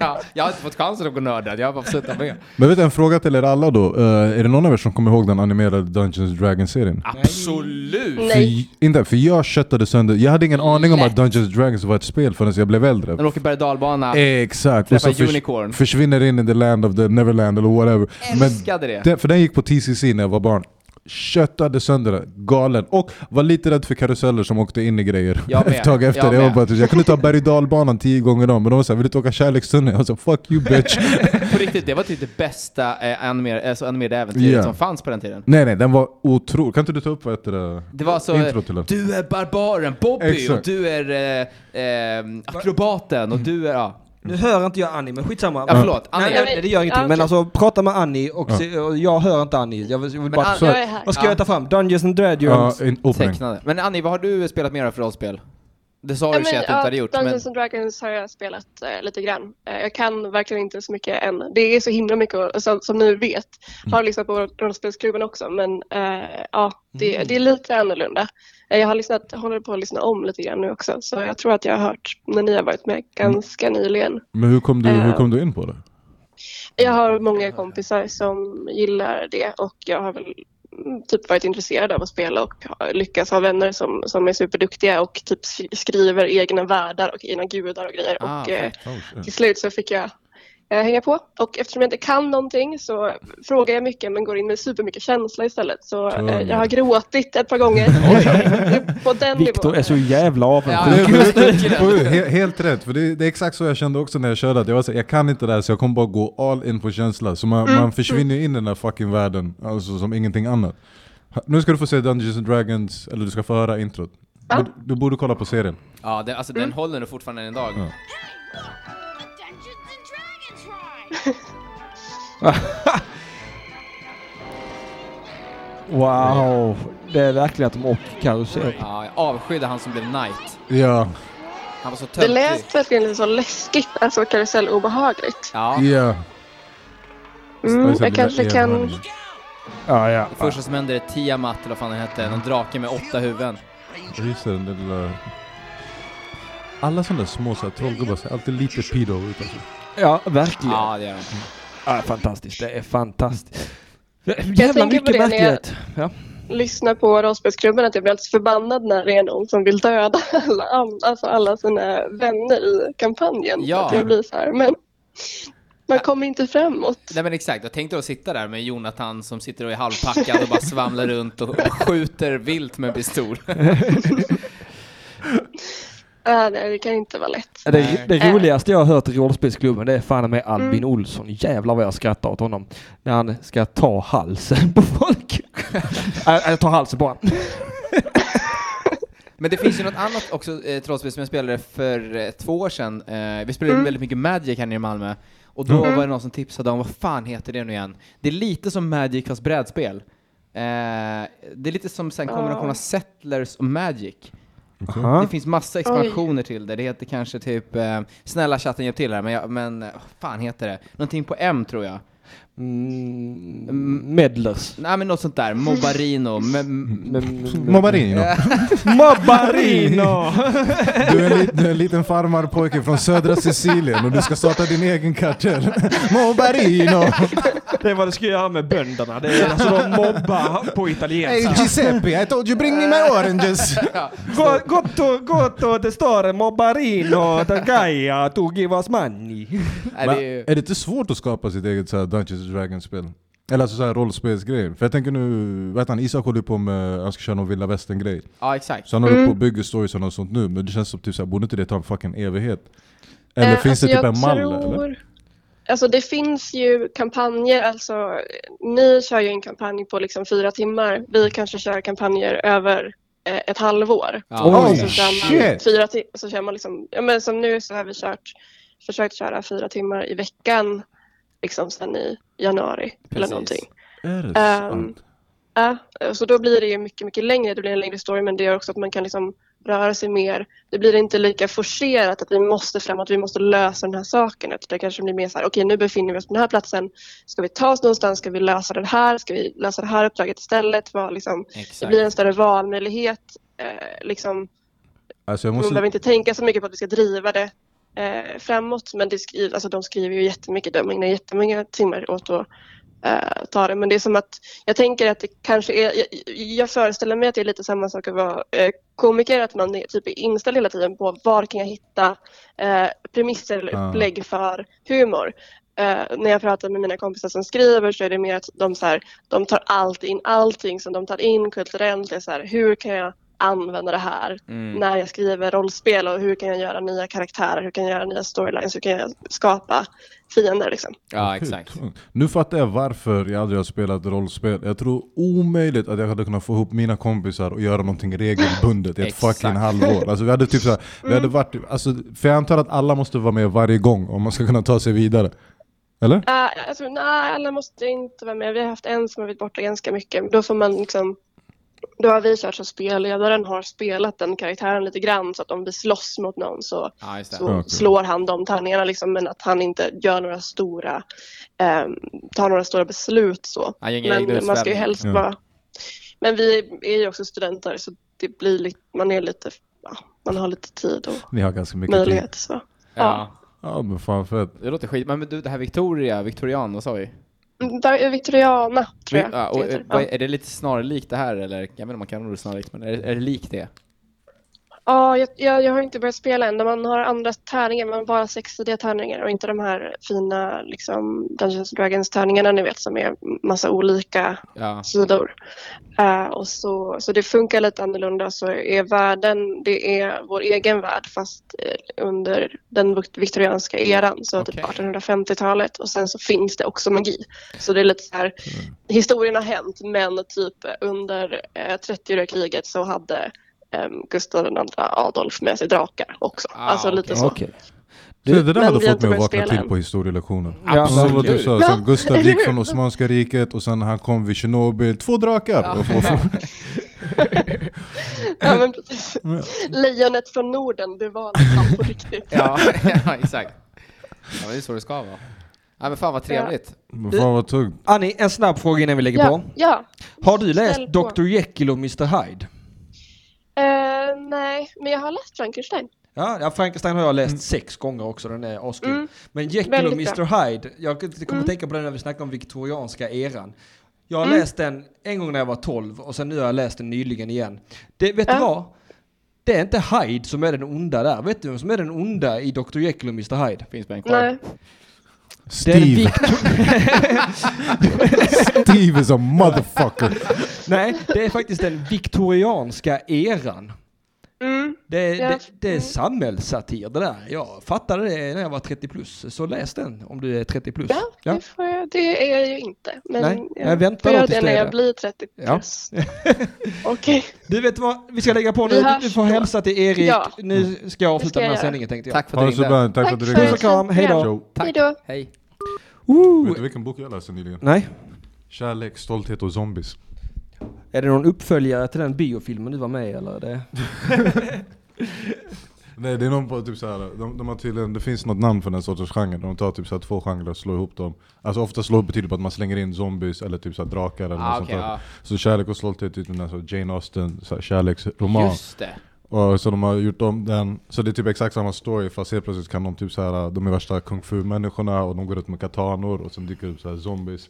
S3: Ja, jag har inte fått chansen att gå nördad, jag har bara fått sitta med.
S4: Men vet du, en fråga till er alla då. Eh, är det någon av er som kommer ihåg den animerade Dungeons Dragons-serien?
S3: Absolut!
S4: För,
S12: Nej.
S4: inte, för jag köttade sönder, jag hade ingen aning om att
S3: Lätt.
S4: Dungeons Dragons var ett spel förrän jag blev äldre.
S3: När du åker berg och dalbana.
S4: Eh. Exakt, och
S3: Träffa
S4: så förs-
S3: unicorn.
S4: försvinner in i the land of the Neverland eller whatever.
S3: Älskade det.
S4: Den, för den gick på TCC när jag var barn. Köttade sönder det, galen. Och var lite rädd för karuseller som åkte in i grejer.
S3: Jag med,
S4: [laughs] Ett tag efter.
S3: jag
S4: Jag, var
S3: med.
S4: bara, typ, jag kunde ta berg och dalbanan tio gånger om, men de var såhär, vill du inte åka kärlekstunnel? Jag sa fuck you
S3: [laughs]
S4: bitch.
S3: På riktigt, det var typ det bästa eh, animerade, alltså animerade äventyret
S4: Ja.
S3: som fanns på den tiden.
S4: nej nej, den var otrolig. Kan inte du ta upp vad heter det?
S3: Det var så,
S4: Intro till den.
S3: du är barbaren Bobby och
S4: Exakt.
S3: du är eh, eh, akrobaten och du är, ja.
S2: Nu hör inte jag Annie, men skitsamma.
S3: ja förlåt,
S2: Nej,
S3: Annie.
S12: jag-
S2: nej, det gör ingenting.
S12: Ja,
S2: Men
S12: okej.
S2: alltså, prata med Annie och se, och jag hör inte Annie. Jag vill, jag vill
S3: Men
S2: bara...
S3: Ann-
S12: Jag är här.
S2: Vad ska jag ta fram? Dungeons and
S4: Ja,
S2: Dragons?
S4: en opening.
S3: Tecknade. Men Annie, vad har du spelat mer för rollspel? Det sa
S12: Ja,
S3: du i och för sig att du inte hade gjort, men
S12: Dungeons and Dragons har jag spelat eh, lite grann. Eh, jag kan verkligen inte så mycket än. Det är så himla mycket och, som, som ni vet.
S3: Mm.
S12: Har lyssnat på rollspelsklubben också men eh, ja, det,
S3: Mm.
S12: det är lite annorlunda. Eh, jag har lyssnat, håller på att lyssna om lite grann nu också så jag tror att jag har hört när ni har varit med ganska nyligen.
S4: Men hur kom, du, hur
S12: Eh.
S4: kom du in på det? Oh,
S12: Jag har många kompisar som gillar det och jag har väl mm, typ varit intresserad av att spela och ha- lyckas ha vänner som, som är superduktiga och typ sk- skriver egna världar och egna gudar och grejer.
S3: Ah,
S12: och, eh,
S4: Oh, shit.
S12: till slut så fick jag eh, hänga på och eftersom jag inte kan någonting så frågar jag mycket men går in med supermycket känsla istället. Så eh, jag har gråtit ett par gånger. [laughs] på den nivån.
S2: Viktor är så jävla
S3: Ja,
S2: avundsjuk.
S4: Det är-
S3: Gud,
S4: det är-
S3: vilken-
S4: [laughs] det är he- Helt rätt, för det, det är exakt så jag kände också när jag körde. Att jag var så, här, jag kan inte det här så jag kommer bara gå all in på känsla. Så man,
S12: Mm.
S4: man försvinner in i den här fucking världen, alltså som ingenting annat. Ha- Nu ska du få se Dungeons and Dragons, eller du ska få höra introt.
S12: Ah.
S4: Du, du borde kolla på serien.
S3: ja, den, alltså,
S12: Mm.
S3: den håller nog fortfarande än idag.
S13: Dungeons and Dragons ride!
S2: Wow. Det är verkligen att de åker karusell.
S3: Ja, jag avskydde han som blev knight.
S4: Ja,
S3: Han var så
S12: Det
S3: töntig.
S12: lät verkligen lite så läskigt, alltså karusellobehagligt.
S3: Ja,
S4: ja.
S12: Mm,
S4: så
S12: jag
S4: det där
S12: kanske
S4: är
S12: kan
S4: varning.
S2: Ja, ja.
S3: det första som händer är Tiamat, eller vad fan den hette, någon drake med åtta huvuden.
S4: Just det, den där lilla... Alla sådana där små så här trollgubbar ser alltid lite pedo ut. alltså.
S2: Ja, verkligen. Ja.
S3: Ja, det gör han.
S2: fantastiskt. Det är fantastiskt. Det är
S12: Jag
S2: Jävla
S12: tänker på
S2: mycket
S12: det när jag-
S2: verklighet. Ja.
S12: lyssna på rollspelsklubben att jag blir alldeles förbannad när det är någon som vill döda [laughs] alla, all- alltså alla sina vänner i kampanjen.
S3: Ja.
S12: Att jag blir så här, men man kommer inte framåt.
S3: Nej men exakt, jag tänkte då sitta där med Jonathan som sitter och är halvpackad och bara svamlar runt och skjuter vilt med pistol.
S12: Äh, nej, det kan inte vara lätt.
S2: Det,
S12: Äh.
S2: det roligaste jag har hört i rollspelsklubben det är fan
S12: Mm.
S2: med Albin Olsson. Jävlar vad jag skrattar åt honom. När han ska ta halsen på
S12: [laughs]
S2: folk. Äh, Jag tar halsen på honom.
S3: Men det finns ju något annat också, eh, trollspel som jag spelade för eh, två år sedan. Eh, vi
S12: Mm.
S3: spelade väldigt mycket Magic här nere i Malmö. Och då var det någon som tipsade om, vad fan heter det nu igen? Det är lite som Magic fast brädspel. Eh, det är lite som en kombination av
S12: Ah.
S3: Settlers och Magic. Det finns massa expansioner till det. Det heter kanske typ, eh, snälla chatten hjälp till här, men, jag, men eh, vad fan heter det? Någonting på M tror jag.
S2: Mm, medlers.
S3: Nej men något sånt där,
S12: [laughs]
S3: Mobarino. Men, mm,
S4: [laughs]
S12: Mm.
S4: Mobarino.
S2: Mobbarino!
S4: Du är, en lit, du är en liten farmarpojke från södra Sicilien och du ska starta din
S3: [laughs]
S4: egen kartell. Mobarino!
S2: Det är vad du ska göra med bönderna. Det är alltså de mobbar på
S4: Hey
S2: italienska.
S4: Giuseppe, I told you bring me
S3: [laughs]
S4: my oranges!
S2: Go- Gotto, gotto, det står mobbarino, da Gaia, tu give us money.
S3: nej, det är ju,
S4: är det inte svårt att skapa sitt eget så här Dungeons and Dragons-spel? Eller alltså så här rollspelsgrejer. För jag tänker nu, vet han, Isak håller ju på med, han ska köra någon vilda västern-grej.
S3: ja exakt.
S4: Så han
S12: Mm.
S4: håller på och bygger stories och något sånt nu, men det känns som typ såhär, borde inte det ta en fucking evighet? Eller
S12: Eh,
S4: finns
S12: alltså,
S4: det typ
S12: jag
S4: en mall
S12: tror-
S4: eller?
S12: Alltså det finns ju kampanjer, alltså eh, ni kör ju en kampanj på liksom fyra timmar. Vi kanske kör kampanjer över eh, ett halvår.
S3: Ja.
S4: Oh,
S12: så kör man
S4: shit!
S12: fyra timmar, så kör man liksom, ja men som nu så har vi kört, försökt köra fyra timmar i veckan liksom sen i januari eller
S3: Precis.
S12: någonting.
S4: Är det
S12: Ehm,
S4: sant?
S12: Ja, så då blir det ju mycket, mycket längre. Det blir en längre story men det gör också att man kan liksom röra sig mer. Det blir inte lika forcerat att vi måste framåt, vi måste lösa den här saken. Utan det kanske blir mer så här, okej nu befinner vi oss på den här platsen. Ska vi ta oss någonstans? Ska vi lösa det här? Ska vi lösa det här uppdraget istället? Vad liksom, det
S3: Exakt.
S12: blir en större valmöjlighet. Eh, liksom,
S4: Alltså jag
S12: man
S4: måste...
S12: behöver inte tänka så mycket på att vi ska driva det eh, framåt. Men det skri- alltså, de skriver ju jättemycket. De ägnar jättemånga timmar åt att eh, ta det. Men det är som att jag tänker att det kanske är, jag, jag föreställer mig att det är lite samma sak att vara eh, komiker, att man är typ inställd hela tiden på var kan jag hitta eh, premisser eller
S4: Ja.
S12: upplägg för humor. Eh, när jag pratar med mina kompisar som skriver så är det mer att de, så här, de tar allt in, allting som de tar in kulturellt. Det är så här, hur kan jag använda det här
S3: Mm.
S12: när jag skriver rollspel och hur kan jag göra nya karaktärer, hur kan jag göra nya storylines, hur kan jag skapa fiender liksom.
S3: Ja, exakt.
S4: Tungt. Nu fattar jag varför jag aldrig har spelat rollspel. Jag tror omöjligt att jag hade kunnat få ihop mina kompisar och göra någonting regelbundet i ett
S3: Exakt.
S4: fucking halvår. Alltså vi hade typ såhär, vi hade varit, alltså, för jag antar att alla måste vara med varje gång om man ska kunna ta sig vidare. Eller?
S12: Uh, alltså, nej, alla måste inte vara med. Vi har haft en som har varit borta ganska mycket. Men Då får man liksom då har vi kört så att spelledaren har spelat den karaktären lite grann så att om vi slåss mot någon så,
S3: Ja, just det.
S12: så
S4: Ja, okej.
S12: slår han de tärningarna liksom, men att han inte gör några stora, ehm, tar några stora beslut så.
S3: Ja, gänga egna
S12: Men man ska ju
S3: utsvävningar.
S12: helst
S4: Ja.
S12: vara... Men vi är ju också studenter så det blir lite, man är lite, ja, man har lite tid och
S4: Ni har ganska mycket tid.
S12: möjligheter så.
S3: Ja.
S4: Ja men fan fett.
S3: Det låter skit. Men men du, det här Victoria, Victorian, vad sa vi?
S12: Mm, där är Victoriana tror jag.
S3: Ja,
S12: det
S3: och,
S12: heter.
S3: eh, vad- är det lite snarlikt det här eller? Jag vet inte om man kan det snarlikt, men är, det- är det likt det?
S12: Ja, jag, jag, jag har inte börjat spela än. Man har andra tärningar, man har bara sexsidiga tärningar och inte de här fina liksom, Dungeons and Dragons tärningarna ni vet som är massa olika
S3: Ja.
S12: sidor. Eh, och så, så det funkar lite annorlunda. Så är världen, det är vår egen värld fast eh, under den vik- viktorianska eran, så typ
S3: Okej.
S12: 1850-talet. Och sen så finns det också magi. Så det är lite så här,
S3: Mm.
S12: historien har hänt men typ under eh, 30-åriga kriget så hade eh, Gustav II Adolf med sig drakar också.
S3: Ah,
S12: alltså lite
S3: okej.
S12: så.
S2: Okej.
S4: Så det där
S12: men
S4: hade
S12: vi har
S4: fått
S12: inte
S4: mig att vakna
S12: börjat spela
S4: till
S12: än.
S4: på historielektionen.
S3: Absolut.
S4: Så vad du sa,
S12: Ja,
S4: sen Gustav
S12: eller
S4: gick
S12: hur?
S4: från Osmanska riket och sen han kom vid Tjernobyl, två drakar!
S12: Ja,
S2: [laughs]
S12: men precis. Lejonet från Norden, det var liksom på riktigt.
S3: [laughs] Ja, [laughs] ja exakt. Ja, men det är så det ska vara. Ja, men fan vad trevligt.
S4: Men fan vad tungt.
S2: Annie, en snabb fråga innan vi lägger
S12: ja,
S2: på.
S12: ja.
S2: Har du läst
S12: Ställ på.
S2: Dr Jekyll och Mr Hyde?
S12: Eh, nej, men jag har läst Frankenstein.
S2: Ja, ja, Frankenstein har jag läst sex gånger också, den är askul.
S12: Mm.
S2: Men Jekyll och
S12: Väldigt Mm.
S2: Mr Hyde, jag kommer att tänka på den när vi snackade om viktorianska eran. Jag har läst den en gång när jag var 12 och sen nu har jag läst den nyligen igen. Det, vet du
S12: Ja.
S2: vad? Det är inte Hyde som är den onda där. Vet du vem som är den onda i Dr Jekyll och Mr Hyde?
S3: Finns med en kvar.
S12: Nej.
S2: Det är
S4: Steve,
S2: Victor-
S4: Steve is a motherfucker!
S2: [laughs] Nej, det är faktiskt den viktorianska eran.
S12: Mm.
S2: Det,
S12: Ja.
S2: det, det är
S12: Mm.
S2: samhällssatir det där. Jag fattade det när jag var 30 plus. Så läs den om du är 30 plus.
S12: Ja, Det, får jag, det är jag ju inte. Men
S2: Nej,
S12: jag,
S2: jag väntar
S12: får
S2: då
S12: göra
S2: tills
S12: det
S2: du
S12: när
S2: är
S12: jag
S2: det.
S12: blir 30
S2: Ja.
S12: plus. [laughs] Okej,
S2: Du vet vad vi ska lägga på nu.
S12: Vi
S2: Du,
S12: hörs
S2: du får
S12: då.
S2: hälsa till Erik.
S12: Ja.
S2: Nu ska jag
S12: Det
S2: avsluta
S12: ska
S2: den här
S12: jag göra.
S2: sändningen tänkte jag.
S3: Tack för
S4: Ha det
S3: att du
S4: så
S3: ringde.
S4: bra, Alltså, tack för att du
S12: för
S2: Puss
S4: ringde.
S2: och kram, hej då.
S4: Ciao.
S12: Hej då.
S3: Hej.
S2: Woo!
S4: Vet du vilken bok jag läste nyligen?
S2: Nej,
S4: Kärlek, stolthet och zombies.
S2: är det någon uppföljare till den biofilmen du var med i eller? är Det...
S4: Nej det är någon på typ såhär, de, de har tydligen, det finns något namn för den sortens genre, de tar typ såhär två genrer och slår ihop dem. Alltså ofta slår betyder på att man slänger in zombies eller typ såhär drakar eller
S3: Ah,
S4: något
S3: okej,
S4: sånt där.
S3: ja.
S4: Så kärlek och stolthet är typ den där så Jane Austen så här, kärleksroman.
S3: Just det.
S4: Och så de har gjort om den, så det är typ exakt samma story fast helt plötsligt kan de typ så här, de är värsta kung fu-människorna och de går ut med katanor och sen dyker det upp så här zombies.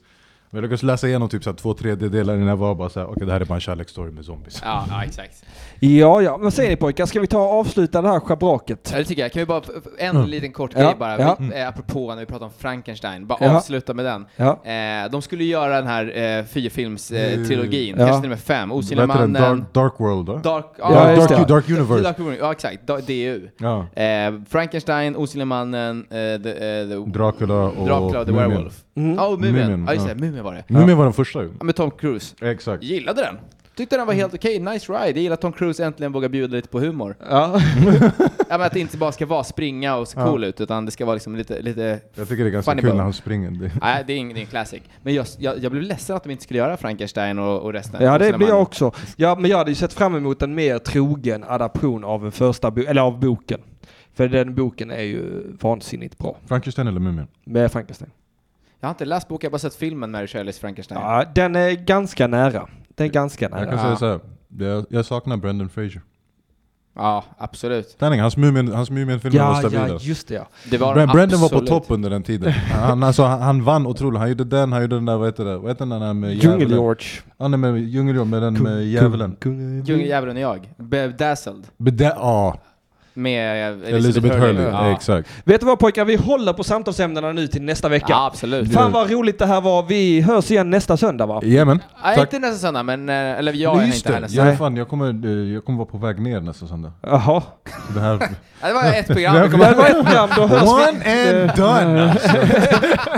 S4: Men jag lyckades läsa igenom typ så här två tredjedelar innan jag var bara såhär, okej det här är bara en kärleksstory med zombies.
S3: Ja, ja exakt.
S2: Ja, ja. Vad säger ni pojkar? Ska vi ta och avsluta det här schabraket?
S3: Ja, det tycker jag. Kan vi bara, en
S4: Mm.
S3: liten kort
S2: Ja,
S3: grej bara,
S2: ja.
S3: Vi, eh, apropå när vi pratar om Frankenstein, bara
S2: Ja.
S3: avsluta med den.
S2: Ja.
S3: Eh, de skulle ju göra den här eh, fyrfilmstrilogin, eh, trilogin,
S2: Ja.
S3: kanske till och med fem, Osynliga
S4: Vad heter den?
S3: mannen,
S4: Dark, dark World? va?
S3: Dark,
S2: Ja, just
S4: dark,
S2: det.
S4: dark Universe.
S3: Dark Universe, ja exakt, Da- DU.
S4: Ja.
S3: Eh, Frankenstein, Osynliga mannen, eh, the, eh, the
S4: Dracula och
S3: Dracula och The
S4: Mumien.
S3: Werewolf. Ja, och Mumien.
S4: Mumien,
S3: ja just
S4: ja.
S3: det, Mumien var det.
S4: Mumien var den första ju.
S3: Ja, med Tom Cruise.
S4: Exakt.
S3: Gillade den. Tyckte den var helt okej, nice ride. Jag gillar att Tom Cruise äntligen vågar bjuda lite på humor.
S2: Ja.
S3: [laughs] ja, men att det inte bara ska vara springa och se cool ut, utan det ska vara liksom lite, lite
S4: Jag tycker det är ganska
S3: Funny
S4: kul
S3: bone.
S4: när han springer. Det-
S3: Nej, det är ingen, det är en classic. Men jag, jag, jag blev ledsen att de inte skulle göra Frankenstein och, och resten.
S2: Ja, det
S3: Sen
S2: blir
S3: man-
S2: jag också. Ja, men jag hade ju sett fram emot en mer trogen adaption av en första bo- eller av boken. För den boken är ju vansinnigt bra.
S4: Frankenstein eller Mumien?
S2: Med Frankenstein.
S3: Jag har inte läst boken, jag har bara sett filmen Mary Shelley's Frankenstein.
S2: Ja, den är ganska nära. Den är ganska
S4: Jag
S2: nära.
S4: kan säga såhär, jag, jag saknar Brendan Fraser.
S3: Ja, absolut.
S4: Tärning, hans Mumin- hans Mumin-filmer var
S2: ja,
S4: stabilast.
S2: just det ja.
S3: Det var
S4: Bra-
S3: de
S4: Brandon var på
S3: absolut.
S4: topp under den tiden. Han, alltså, han, han vann otroligt. Han gjorde den, han gjorde den där, vad heter det? Vad heter den där med djävulen?
S2: Djungel-George.
S4: Ja, nej, med Djungeljord, med den med djävulen.
S3: Mm. Djungeldjävulen och jag. Bedazzled.
S4: Bede- Ja,
S3: Med eh,
S4: Elizabeth ah, Hurley.
S3: Ja.
S4: Ja, Exakt.
S2: Vet du vad pojkar, vi håller på samtalsämnena nu till nästa vecka.
S3: Ja, absolut.
S2: Fan vad roligt det här var. Vi hörs igen nästa söndag va?
S4: Jajamän.
S3: Nej,
S4: Tack.
S3: inte nästa söndag, men... eh, Eller jag
S4: Ja,
S3: är
S4: just
S3: inte här
S4: det.
S3: nästa
S4: Ja, fan, jag, kommer, eh, jag kommer vara på väg ner nästa söndag.
S2: Jaha.
S4: Det här...
S2: [laughs]
S3: Ja, Det var ett program.
S4: Det
S3: Det
S4: här
S2: Det var ett program,
S4: [laughs]
S2: då hörs vi.
S4: One and
S2: Eh,
S4: done! alltså. [laughs]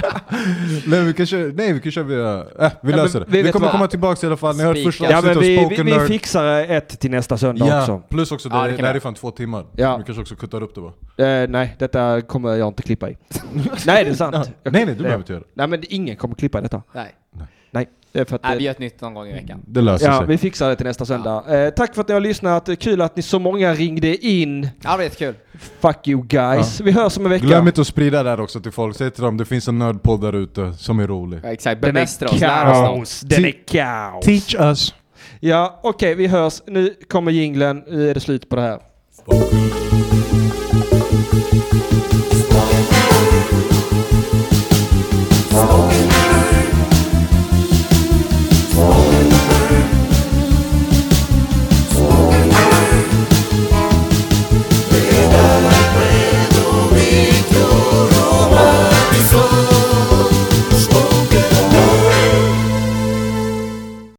S4: nej, vi kan köra, nej, vi kan köra via... Äh, vi
S2: Ja,
S4: löser det.
S2: men vi
S4: Vi,
S2: vet
S4: kommer
S2: vad.
S4: komma tillbaka i alla fall. Ni har hört
S3: Spika.
S4: första
S2: Ja
S4: avsnittet
S2: men
S4: av
S2: vi, vi,
S4: Spoken
S2: vi
S4: Nerd.
S2: fixar ett till nästa söndag också.
S4: Ja, plus också, det,
S3: Ja, det kan vi
S4: det här är
S3: göra.
S4: fan två timmar.
S2: Ja.
S4: Vi kanske också kuttar upp det bara.
S2: Eh, nej, detta kommer jag inte klippa i. nej, det är sant.
S4: Ja.
S2: Jag-
S4: Nej, nej, du behöver inte göra det.
S2: Nej men ingen kommer klippa detta.
S3: Nej.
S2: Nej. eh, För att,
S3: Nej,
S2: eh,
S3: vi gör ett nytt någon gång i veckan.
S4: Det löser
S2: Ja,
S4: sig.
S2: vi fixar det till nästa söndag. Eh, tack för att ni har lyssnat. Kul att ni så många ringde in.
S3: Ja, det var jättekul.
S2: Fuck you guys. Vi hörs om en vecka.
S4: Glöm inte att sprida det här också till folk. Säg till dem, det finns en nördpodd där ute som är rolig.
S3: Ja, exakt.
S2: Den
S3: Bemästra
S2: är
S3: oss, lär oss något.
S2: kaos. Den är kaos.
S4: Teach us!
S2: Ja, okej, vi hörs. Nu kommer jinglen. Nu är det slut på det här.
S4: Spoken.